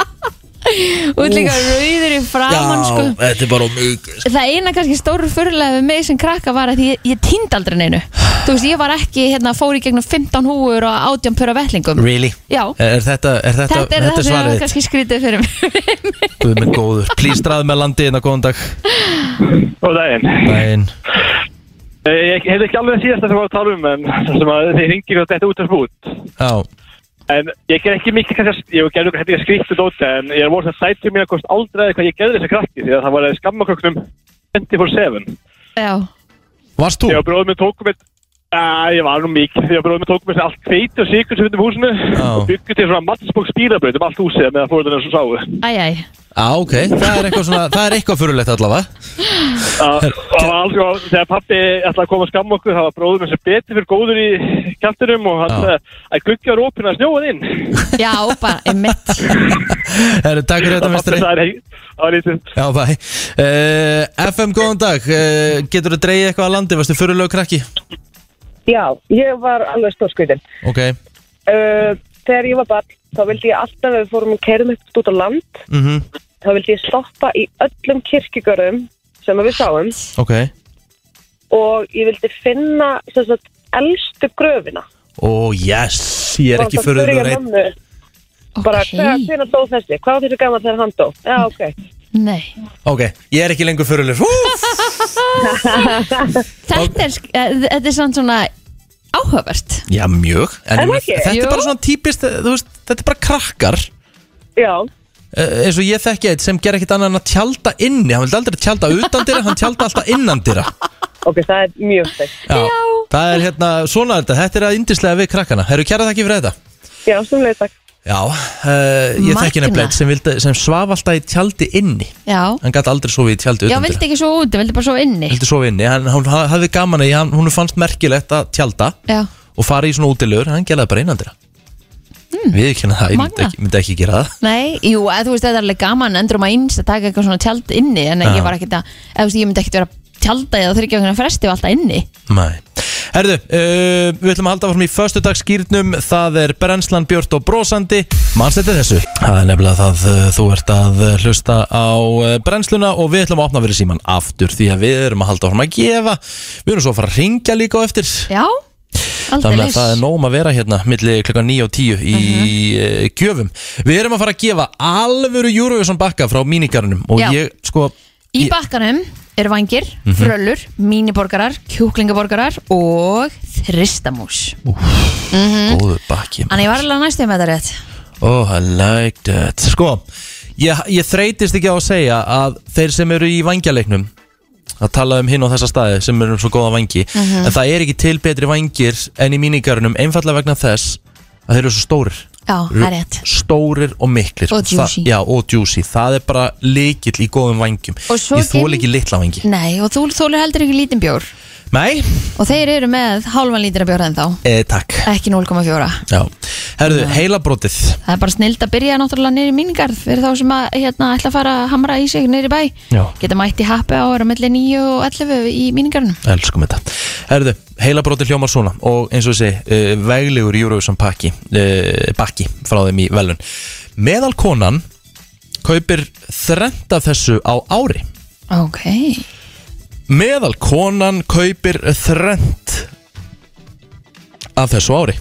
[SPEAKER 2] Þú ert líka rauður í framann sko
[SPEAKER 1] þetta er bara mikið
[SPEAKER 2] Það eina kannski stóru fyrirlega við mig sem krakka var að ég, ég týnd aldrei neinu Þú veist, ég var ekki, hérna, fór í gegnum 15 húur og 18 pöra vettlingum
[SPEAKER 1] Really?
[SPEAKER 2] Já
[SPEAKER 1] Er þetta, er þetta,
[SPEAKER 2] Þetta er það sem
[SPEAKER 1] svarið
[SPEAKER 2] ég
[SPEAKER 1] þitt?
[SPEAKER 2] kannski skrítið fyrir mig
[SPEAKER 1] Guð minn góður, please draðum að landi hérna, góðan dag
[SPEAKER 14] Góð daginn
[SPEAKER 1] Dæin
[SPEAKER 14] Eh, Ég hefði ekki alveg síðast að það var að tala um en það sem að þið ringir og þetta út af spút
[SPEAKER 1] Já,
[SPEAKER 14] en ég ger ekki mikið kannski, að- ég gerði okkur hefði ekki skrýttu dóti en ég er voru sem sætið mín að kost aldrei hvað ég gerði þessu krakki því að það var að skamma kröknum 24-7
[SPEAKER 2] Já
[SPEAKER 1] Varst þú?
[SPEAKER 14] Þegar bróðum minn tókum eitt Æ, ég var nú mikið Þegar bróðum minn tókum eitt allt feit og sikur sem við um húsinu og byggum til svona mattsbók spýrabraut um allt húsið með að fórðan eins og sáu
[SPEAKER 2] Æj, æj
[SPEAKER 1] á, ok, það er eitthvað svona, það er eitthvað fyrirlegt allavega
[SPEAKER 14] Það var alls og þegar pappi ætlaði að koma að skamma okkur það var bróðum minn sem betur fyrir góður í kjæftinum og hann sagði að guggja var opinn að snjóað inn
[SPEAKER 2] Já, bara, einmitt
[SPEAKER 1] Herru, takk fyrir þetta, mestari
[SPEAKER 14] Það var lítið
[SPEAKER 1] Já, bæ uh, FM, góðan dag uh, Getur þú að dreigja eitthvað að landi, varstu fyrirlög krakki?
[SPEAKER 16] Já, ég var alveg stórskutin.
[SPEAKER 1] Ok
[SPEAKER 16] Uh, þegar ég var barn, þá vildi ég alltaf ef við fórum að keirum upp út á land,
[SPEAKER 1] mm
[SPEAKER 16] þá vildi ég stoppa í öllum kirkigörðum sem að við sáum
[SPEAKER 1] Ok
[SPEAKER 16] og ég vildi finna sem sagt, elstu gröfina.
[SPEAKER 1] Ó, yes, ég er ekki fyrirlög einn
[SPEAKER 16] einn. Bara, okay. hvernig dó þessi? Hvað var þessi gaman þegar hann dó? Já, ok.
[SPEAKER 2] Nei.
[SPEAKER 1] Ok, ég er ekki lengur fyrirlög
[SPEAKER 2] Þetta er, sk- eh, þetta er samt svona áhugavert
[SPEAKER 1] Já, mjög En
[SPEAKER 2] Er
[SPEAKER 1] ég meina,
[SPEAKER 2] það ekki?
[SPEAKER 1] Þetta
[SPEAKER 2] Jú.
[SPEAKER 1] er bara svona típist, þú veist, þetta er bara krakkar
[SPEAKER 16] Já
[SPEAKER 1] Uh, eins og ég þekki eitt sem ger ekkit annað en að tjálta inni hann vildi aldrei tjálta utan dyra, hann tjálta alltaf innan dyra
[SPEAKER 16] Ok, það er mjög stegt.
[SPEAKER 1] Já, það er hérna svona þetta þetta er að indislega við krakkana, herru kæra þakki fyrir þetta
[SPEAKER 16] Já, sem leið, takk.
[SPEAKER 1] Já, uh, ég þekki
[SPEAKER 2] Magnað.
[SPEAKER 1] nefnilegt sem, vildi- sem svaf alltaf í tjaldi inni
[SPEAKER 2] Já
[SPEAKER 1] Hann gæti aldrei sofið í tjaldi
[SPEAKER 2] Já,
[SPEAKER 1] utan
[SPEAKER 2] vildi ekki svo úti, vildi bara svo inni
[SPEAKER 1] Vildi sofið inni, hann, hann hafði gaman að í- hann, hún fannst merkilegt að tjalda
[SPEAKER 2] Já
[SPEAKER 1] og fara í svona útilegur, hann gerði það bara innandir
[SPEAKER 2] Hmm.
[SPEAKER 1] mm. Við ekki það, ég myndi
[SPEAKER 2] Magnað.
[SPEAKER 1] ekki, myndi ekki gera það
[SPEAKER 2] Nei, jú, eða þú veist, þetta er alveg gaman endur um að eins að taka eitthvað svona tjald inni en
[SPEAKER 1] Já.
[SPEAKER 2] ég var ekkert að, eða þú veist, ég myndi ekkert vera að tjalda eða þryggja okkur fresti og alltaf inni
[SPEAKER 1] Nei. Herðu, uh, við ætlum að halda fram í föstudagsskýrnum, það er brennslan björt og brosandi, mannstætti þessu Það er nefnilega það, uh, þú ert að uh, hlusta á uh, brennsluna og við ætlum að opna fyrir síman aftur því að við erum að halda fram að gefa Við erum svo að fara að ringja líka á eftir
[SPEAKER 2] Já,
[SPEAKER 1] Þannig að
[SPEAKER 2] aldeilis
[SPEAKER 1] það er nóg um að vera hérna milli klukkan 9 og 10 í uh
[SPEAKER 2] Mhm.
[SPEAKER 1] gjöfum Við erum að fara að gefa alvöru Eurovision bakka frá mínikarunum og
[SPEAKER 2] Já.
[SPEAKER 1] ég sko
[SPEAKER 2] Í bakkanum er vangir,
[SPEAKER 1] Mhm.
[SPEAKER 2] frölur, míniborgarar, kjúklingaborgarar og þristamús Mhm.
[SPEAKER 1] Góðu bakki
[SPEAKER 2] Þannig ég var alveg næstum með þetta rétt
[SPEAKER 1] Oh, I like that Sko, ég, ég þreytist ekki á að segja að þeir sem eru í vangjaleiknum að tala um hinn á þessa staði sem eru um svo góða vangi
[SPEAKER 2] Mhm.
[SPEAKER 1] en það er ekki til betri vangir enn í mínigarunum einfallega vegna þess að þeir eru svo stórir
[SPEAKER 2] Já, það er rétt.
[SPEAKER 1] stórir og miklir
[SPEAKER 2] Og juicy.
[SPEAKER 1] það, já, og juicy, það er bara líkill í góðum vangjum
[SPEAKER 2] Og svo
[SPEAKER 1] ég þól
[SPEAKER 2] gem-
[SPEAKER 1] ekki litla vangi
[SPEAKER 2] Nei, og þú þólur heldur ekki lítinn bjór
[SPEAKER 1] nei,
[SPEAKER 2] Og þeir eru með hálfan lítra bjór ennþá
[SPEAKER 1] e, takk
[SPEAKER 2] Ekki 0,4
[SPEAKER 1] já. herðu, heilabrótið
[SPEAKER 2] Það er bara snild að byrja náttúrulega niður í míningarð Fyrir þá sem að hérna, ætla að fara að hamra í sig niður í bæ
[SPEAKER 1] já.
[SPEAKER 2] Geta mætt í happi á ára milli 9 og 11 í míningarðunum
[SPEAKER 1] elskum þetta herðu, heilabrótið hljómar svona og eins og þessi, uh, veglegur Eurovision pakki uh, bakki frá þeim í velun meðal konan kaupir þrend af þessu á ári
[SPEAKER 2] Ok,
[SPEAKER 1] meðal konan kaupir þrend af þessu ári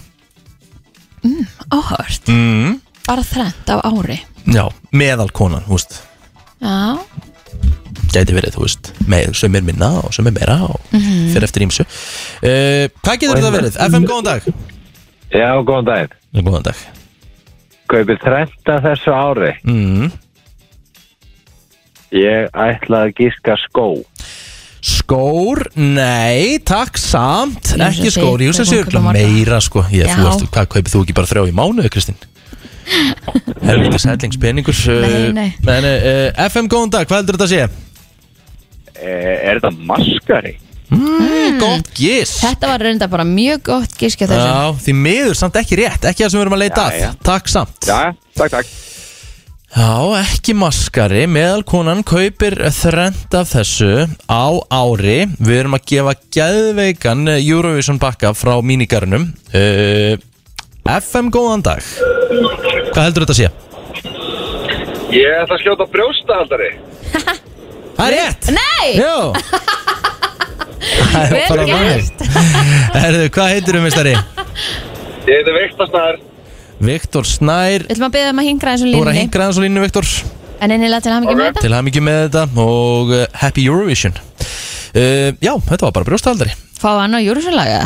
[SPEAKER 2] áhört
[SPEAKER 1] mm.
[SPEAKER 2] Bara þrennt á ári
[SPEAKER 1] já, meðal konan, þú veist
[SPEAKER 2] Já,
[SPEAKER 1] gæti verið, þú veist, með, sem er minna og sem er meira og
[SPEAKER 2] Mhm.
[SPEAKER 1] fyrir eftir ímsu uh, hvað getur þetta verið? FM, góðan dag
[SPEAKER 17] Já, góðan daginn.
[SPEAKER 1] Góðan dag.
[SPEAKER 17] Kaupið 30 þessu ári.
[SPEAKER 1] mm.
[SPEAKER 17] Ég ætla að gíska skó.
[SPEAKER 1] skór, nei takk samt,
[SPEAKER 17] Jú,
[SPEAKER 1] ekki
[SPEAKER 17] sem
[SPEAKER 1] skór
[SPEAKER 17] segir,
[SPEAKER 1] jú sem
[SPEAKER 17] þau
[SPEAKER 1] séu
[SPEAKER 17] fá
[SPEAKER 1] örugglega
[SPEAKER 17] kaupa marga.
[SPEAKER 1] meira sko ég, þú
[SPEAKER 17] Já.
[SPEAKER 1] veist, hvað kaupir þú ekki bara þrjá í mánuði, Kristín? eh, helviti sætlingspenningur
[SPEAKER 17] Nei, nei.
[SPEAKER 1] uh, FM, góðan dag, hvað heldur þetta að sé?
[SPEAKER 17] E, Er þetta maskari?
[SPEAKER 1] Mm, gott gís
[SPEAKER 2] Þetta var reynda bara mjög gott gískja þessu
[SPEAKER 1] Já, því miður samt ekki rétt, ekki það sem við erum að leita
[SPEAKER 17] Já, já.
[SPEAKER 1] að Takk samt
[SPEAKER 17] Já, takk, takk
[SPEAKER 1] Já, ekki maskari, meðalkonan kaupir þrend af þessu á ári Við erum að gefa geðveikan eh, Eurovision bakka frá mínigarunum uh, FM, góðan dag Hvað heldur þetta að sé?
[SPEAKER 18] Ég ætla að skjóta brjóstahaldari
[SPEAKER 1] Það er rétt
[SPEAKER 2] Nei
[SPEAKER 1] Jó Það
[SPEAKER 18] Vel
[SPEAKER 1] er bara
[SPEAKER 18] gert.
[SPEAKER 1] þannig. Herðu, hvað heitir um mistari?
[SPEAKER 18] Ég heiti Viktasnar
[SPEAKER 1] Viktor Snær
[SPEAKER 2] Við ætlum að byrja um að hingra eins og
[SPEAKER 1] Þú er að
[SPEAKER 2] línni
[SPEAKER 1] hingra aðeins á línu, Viktor
[SPEAKER 2] En innilega til hann ekki með þetta
[SPEAKER 1] Til hamingi með þetta og uh, Happy Eurovision uh, Já, þetta var bara brjóstahaldari
[SPEAKER 2] Fá hann á júrusunlaga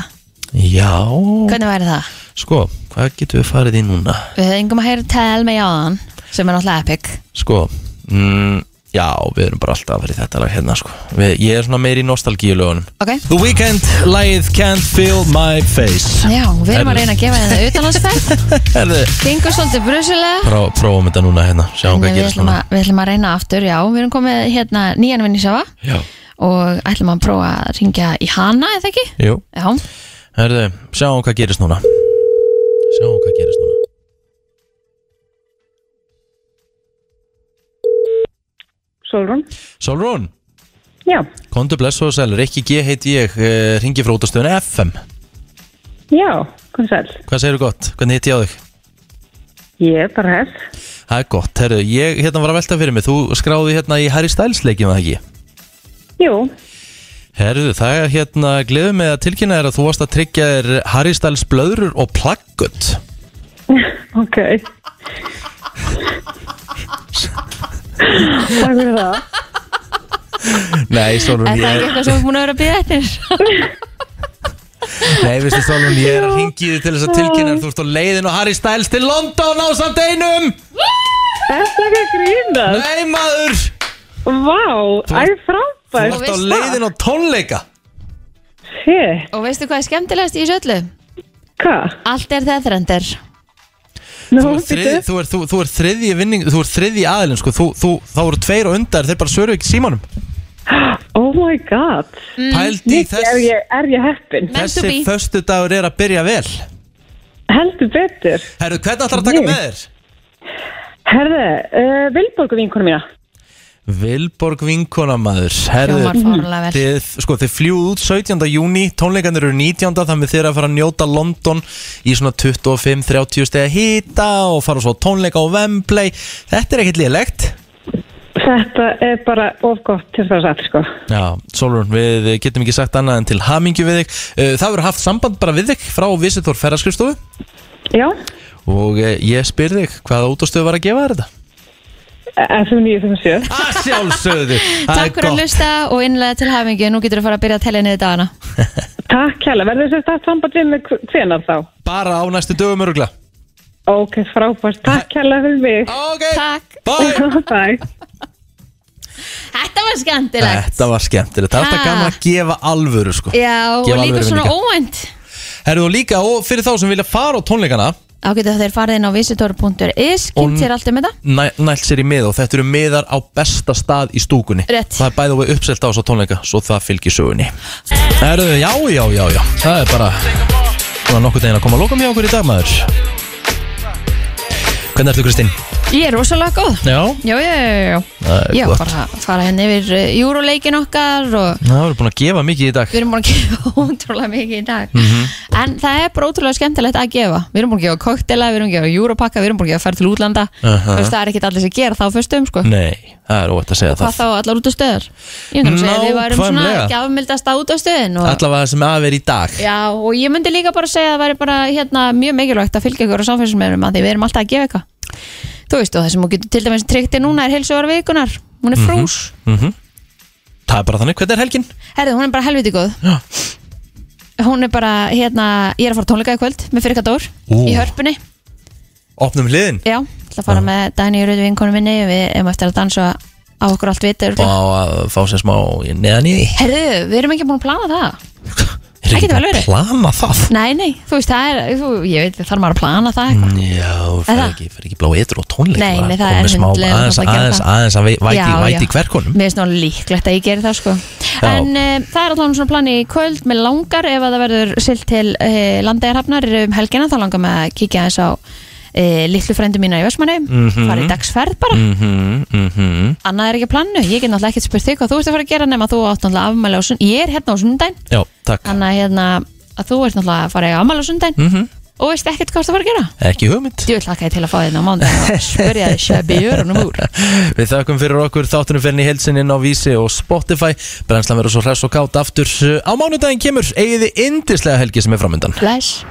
[SPEAKER 1] Já,
[SPEAKER 2] Hvernig væri það?
[SPEAKER 1] sko, hvað getum við farið í núna?
[SPEAKER 2] Við hefðum að heyra tell með jáðan sem er náttúrulega epic
[SPEAKER 1] Sko, mm, já, við erum bara alltaf að vera í þetta lag hérna, sko við, Ég er svona meir í nostalgíulögunum
[SPEAKER 2] Ok
[SPEAKER 1] The Weeknd, lagið Can't Feel My Face
[SPEAKER 2] Já, við erum
[SPEAKER 1] Herðu.
[SPEAKER 2] að reyna að gefa þetta utanlandsferð
[SPEAKER 1] Herðu,
[SPEAKER 2] Gengur svolítið brusilega
[SPEAKER 1] pró, prófum þetta núna hérna, sjáum
[SPEAKER 2] Við
[SPEAKER 1] hvað gerist
[SPEAKER 2] ætlum,
[SPEAKER 1] núna
[SPEAKER 2] að, við ætlum að reyna aftur, já Við erum komið hérna nýjan vinnisjafa
[SPEAKER 1] Já,
[SPEAKER 2] og ætlum að prófa að ringja í hana eða ekki?
[SPEAKER 1] jú,
[SPEAKER 2] Já,
[SPEAKER 1] herðu, sjáum hvað gerist núna Sjáum hvað gerist núna
[SPEAKER 16] Sólrún
[SPEAKER 1] Solrún,
[SPEAKER 16] Já,
[SPEAKER 1] kontu bless og sæl, Rikki G heiti ég, uh, ringi frá útastöðun FM
[SPEAKER 16] já, kom sæl
[SPEAKER 1] Hvað segirðu gott? Hvernig hitti ég á þig?
[SPEAKER 16] Ég er bara hef
[SPEAKER 1] Það er gott, herru, ég hérna var að velta fyrir mig Þú skráði hérna í Harry Styles leikjum að ekki
[SPEAKER 16] Jú,
[SPEAKER 1] Herru, það er hérna, gleðu mig að tilkynna þér að þú varst að tryggja þér Harry Styles blöðrur og plaggut
[SPEAKER 16] ok Takk fyrir það
[SPEAKER 1] Nei, Solon,
[SPEAKER 2] er það ekki
[SPEAKER 1] ég,
[SPEAKER 2] eitthvað sem við búin að vera að bíða eftir?
[SPEAKER 1] nei, veistu Solon, ég er að ringi þig til þess að tilkynna þér Þú ert á leiðin og Harry Styles til London á samt einum
[SPEAKER 16] Þetta er ekki að grínast
[SPEAKER 1] Nei maður
[SPEAKER 16] Vá, það er
[SPEAKER 1] Þú
[SPEAKER 16] frábært
[SPEAKER 1] ert á leiðin á tónleika
[SPEAKER 16] Shit
[SPEAKER 2] Og veistu hvað er skemmtilegast í þessu öllu?
[SPEAKER 16] Hvað?
[SPEAKER 2] Allt er það þrendir
[SPEAKER 1] Þú ert þriðji- Þú ert- þú- þú ert þriðji vinning, þú ert þriðji aðilinn sko, þú, þú, þá eru tveir og undar, þeir bara svöru ekki símanum
[SPEAKER 16] Oh my god
[SPEAKER 1] Pældi í
[SPEAKER 16] Mikið
[SPEAKER 1] þess-
[SPEAKER 16] Er ég, er ég heppin?
[SPEAKER 1] Þessi föstu dagur er að byrja vel
[SPEAKER 16] Heldur betur
[SPEAKER 1] Herru, hvernig ætlar að taka
[SPEAKER 16] Ég?
[SPEAKER 1] með þér?
[SPEAKER 16] Herðu, uh, Vilborgu vinkonu mína
[SPEAKER 1] Vilborg vinkona maður Herðu,
[SPEAKER 16] Hljómar fáránlega vel.
[SPEAKER 1] þið, sko, þið fljúðu út 17. júni Tónleikandir eru 19. Þannig þið eru að fara að njóta London Í svona 25-30 stegi hýta Og fara svo á tónleika og Wembley Þetta er ekkert lélegt
[SPEAKER 16] Þetta er bara of gott til þess að sko
[SPEAKER 1] Já, Solrún, við getum ekki sagt annað en til hamingju við þig Eh, Það verður haft samband bara við þig Frá Visitor ferðarskristofu
[SPEAKER 16] Já,
[SPEAKER 1] Og eh, ég spyr þig hvaða útastöðu var að gefa þér þetta
[SPEAKER 16] FM 957
[SPEAKER 1] Að sjálfsögðu Það er
[SPEAKER 2] Takk fyrir að
[SPEAKER 1] gott.
[SPEAKER 2] hlusta og innlega til hafingi Nú getur þú að fara að byrja að telja niður dagana
[SPEAKER 16] Takk kjæla, verður þess að samband við mig hvenar þá?
[SPEAKER 1] Bara á næstu dögum örugla
[SPEAKER 16] Ok, frábært, takk kjæla fyrir mig
[SPEAKER 1] Ok,
[SPEAKER 2] Takk
[SPEAKER 1] bye
[SPEAKER 16] Bye
[SPEAKER 2] Þetta var var skemmtilegt
[SPEAKER 1] Þetta var skemmtilegt, það er alltaf
[SPEAKER 2] Ha.
[SPEAKER 1] gaman að gefa alvöru sko.
[SPEAKER 2] Já, og
[SPEAKER 1] Gefa
[SPEAKER 2] líka
[SPEAKER 1] alvöru
[SPEAKER 2] svona
[SPEAKER 1] vinninga.
[SPEAKER 2] óvænt
[SPEAKER 1] Herðu og líka, og fyrir þá sem vilja fara á tónleikana
[SPEAKER 2] Þá getur þeir farið inn á visitor.is
[SPEAKER 1] Og-
[SPEAKER 2] Kynnt sér allt um þetta
[SPEAKER 1] næ- Nælt sér í miða og þetta eru miðar á besta stað í stúkunni
[SPEAKER 2] Rétt.
[SPEAKER 1] Það er bæði og við uppselt á þess að tónleika Svo það fylgir sögunni Herðu, já, já, já, já Það er bara Það er nokkuð deginn að koma að lóka mjög okkur í dag maður Hvernig ertu Kristín?
[SPEAKER 2] Ég er rosalega góð
[SPEAKER 1] Já
[SPEAKER 2] Jú, jú, jú,
[SPEAKER 1] Það
[SPEAKER 2] jú
[SPEAKER 1] er
[SPEAKER 2] Já,
[SPEAKER 1] gott.
[SPEAKER 2] bara að fara henni yfir júruleikin okkar og
[SPEAKER 1] Það voru búin að gefa mikið í dag
[SPEAKER 2] við erum búin að gefa ótrúlega mikið í dag
[SPEAKER 1] Mhm.
[SPEAKER 2] En það er bara ótrúlega skemmtilegt að gefa Við erum búin að gefa koktela, við erum búin að gefa júrupakka Við erum búin að gefa að fara til útlanda
[SPEAKER 1] Aha.
[SPEAKER 2] Þú veist, það er ekkert allir sem gera það á föstum sko.
[SPEAKER 1] Nei, það er óvægt að segja
[SPEAKER 2] Hvað
[SPEAKER 1] það
[SPEAKER 2] þá allar út á stöðar Ég myndi nú segja, við værum svona
[SPEAKER 1] Nákvæmlega.
[SPEAKER 2] gjafmildasta út á stöðin og...
[SPEAKER 1] Allavega sem af er í dag
[SPEAKER 2] Já, og ég myndi líka bara segja að það væri bara hérna, mjög mikilvægt að fylgja ykkur á samfélagsmeðurum að því við erum alltaf að gefa eitthvað Þú veist, og það sem þú getur til dæmis tryggti núna er heilsugar vikunar, hún er frús
[SPEAKER 1] mm Það er bara þannig, hvernig er helgin?
[SPEAKER 2] Herðu, hún er bara helviti góð
[SPEAKER 1] Já.
[SPEAKER 2] Hún er bara, hérna, ég er að fara á tónleika í kvöld með fyrir Dór
[SPEAKER 1] Ú.
[SPEAKER 2] í hörpunni
[SPEAKER 1] Opnum hliðin
[SPEAKER 2] Já, ætla að fara með Dæni Rauði vinkonu minni við erum eftir að dansa á okkur allt viti
[SPEAKER 1] Og á að fá sér smá neðan í því
[SPEAKER 2] Herðu, við erum ekki búin að plana það
[SPEAKER 1] Er
[SPEAKER 2] Það getur vel verið.
[SPEAKER 1] Plana það
[SPEAKER 2] Nei, nei, þú veist, það er, þú, ég veit, þarf maður að plana það eitthvað
[SPEAKER 1] Já, fer
[SPEAKER 2] það?
[SPEAKER 1] ekki, fer ekki blá ytru og tónleik
[SPEAKER 2] Nei,
[SPEAKER 1] bara
[SPEAKER 2] nei, það
[SPEAKER 1] komið
[SPEAKER 2] er
[SPEAKER 1] smá
[SPEAKER 2] myndlega
[SPEAKER 1] aðeins,
[SPEAKER 2] að gera
[SPEAKER 1] aðeins,
[SPEAKER 2] það.
[SPEAKER 1] aðeins að vei- væti,
[SPEAKER 2] Já,
[SPEAKER 1] væti
[SPEAKER 2] já.
[SPEAKER 1] hverkonum
[SPEAKER 2] Mér finnst ná líklegt að ég geri það sko
[SPEAKER 1] Já.
[SPEAKER 2] En uh, það er alltaf svona plan í kvöld með langar ef að það verður silt til uh, landegarhafnar um helgina þá langar mig að kíkja aðeins á uh, litlu frendu mína í Vestmanni
[SPEAKER 1] Mhm.
[SPEAKER 2] fara í dagsferð bara
[SPEAKER 1] Mhm, mhm
[SPEAKER 2] Annað er ekki á plannu, ég get náttúrulega ekkert spurt þig hvað þú ert að fara að gera nema þú átt náttúrulega afmæli á sund Ég er hérna á sundaginn
[SPEAKER 1] Já, takk
[SPEAKER 2] Þannig að, hérna, að þú ert náttúrulega að fara að eiga afmæli á sundaginn
[SPEAKER 1] Mhm.
[SPEAKER 2] Og veist ekkert hvað þú ert að fara að gera
[SPEAKER 1] Ekki hugmynd
[SPEAKER 2] Ég vil hlaka til að fá þérna á mándaginn og spyrja þig shabby jörunum úr
[SPEAKER 1] Við þakkum fyrir okkur þáttunum fyrir í heilsinn inn á Vísi og Spotify eh, Brennslan verður svo hress og kátt aftur uh, Á mánudaginn kemur eigiði indislega helgi sem er framöndan
[SPEAKER 2] Bless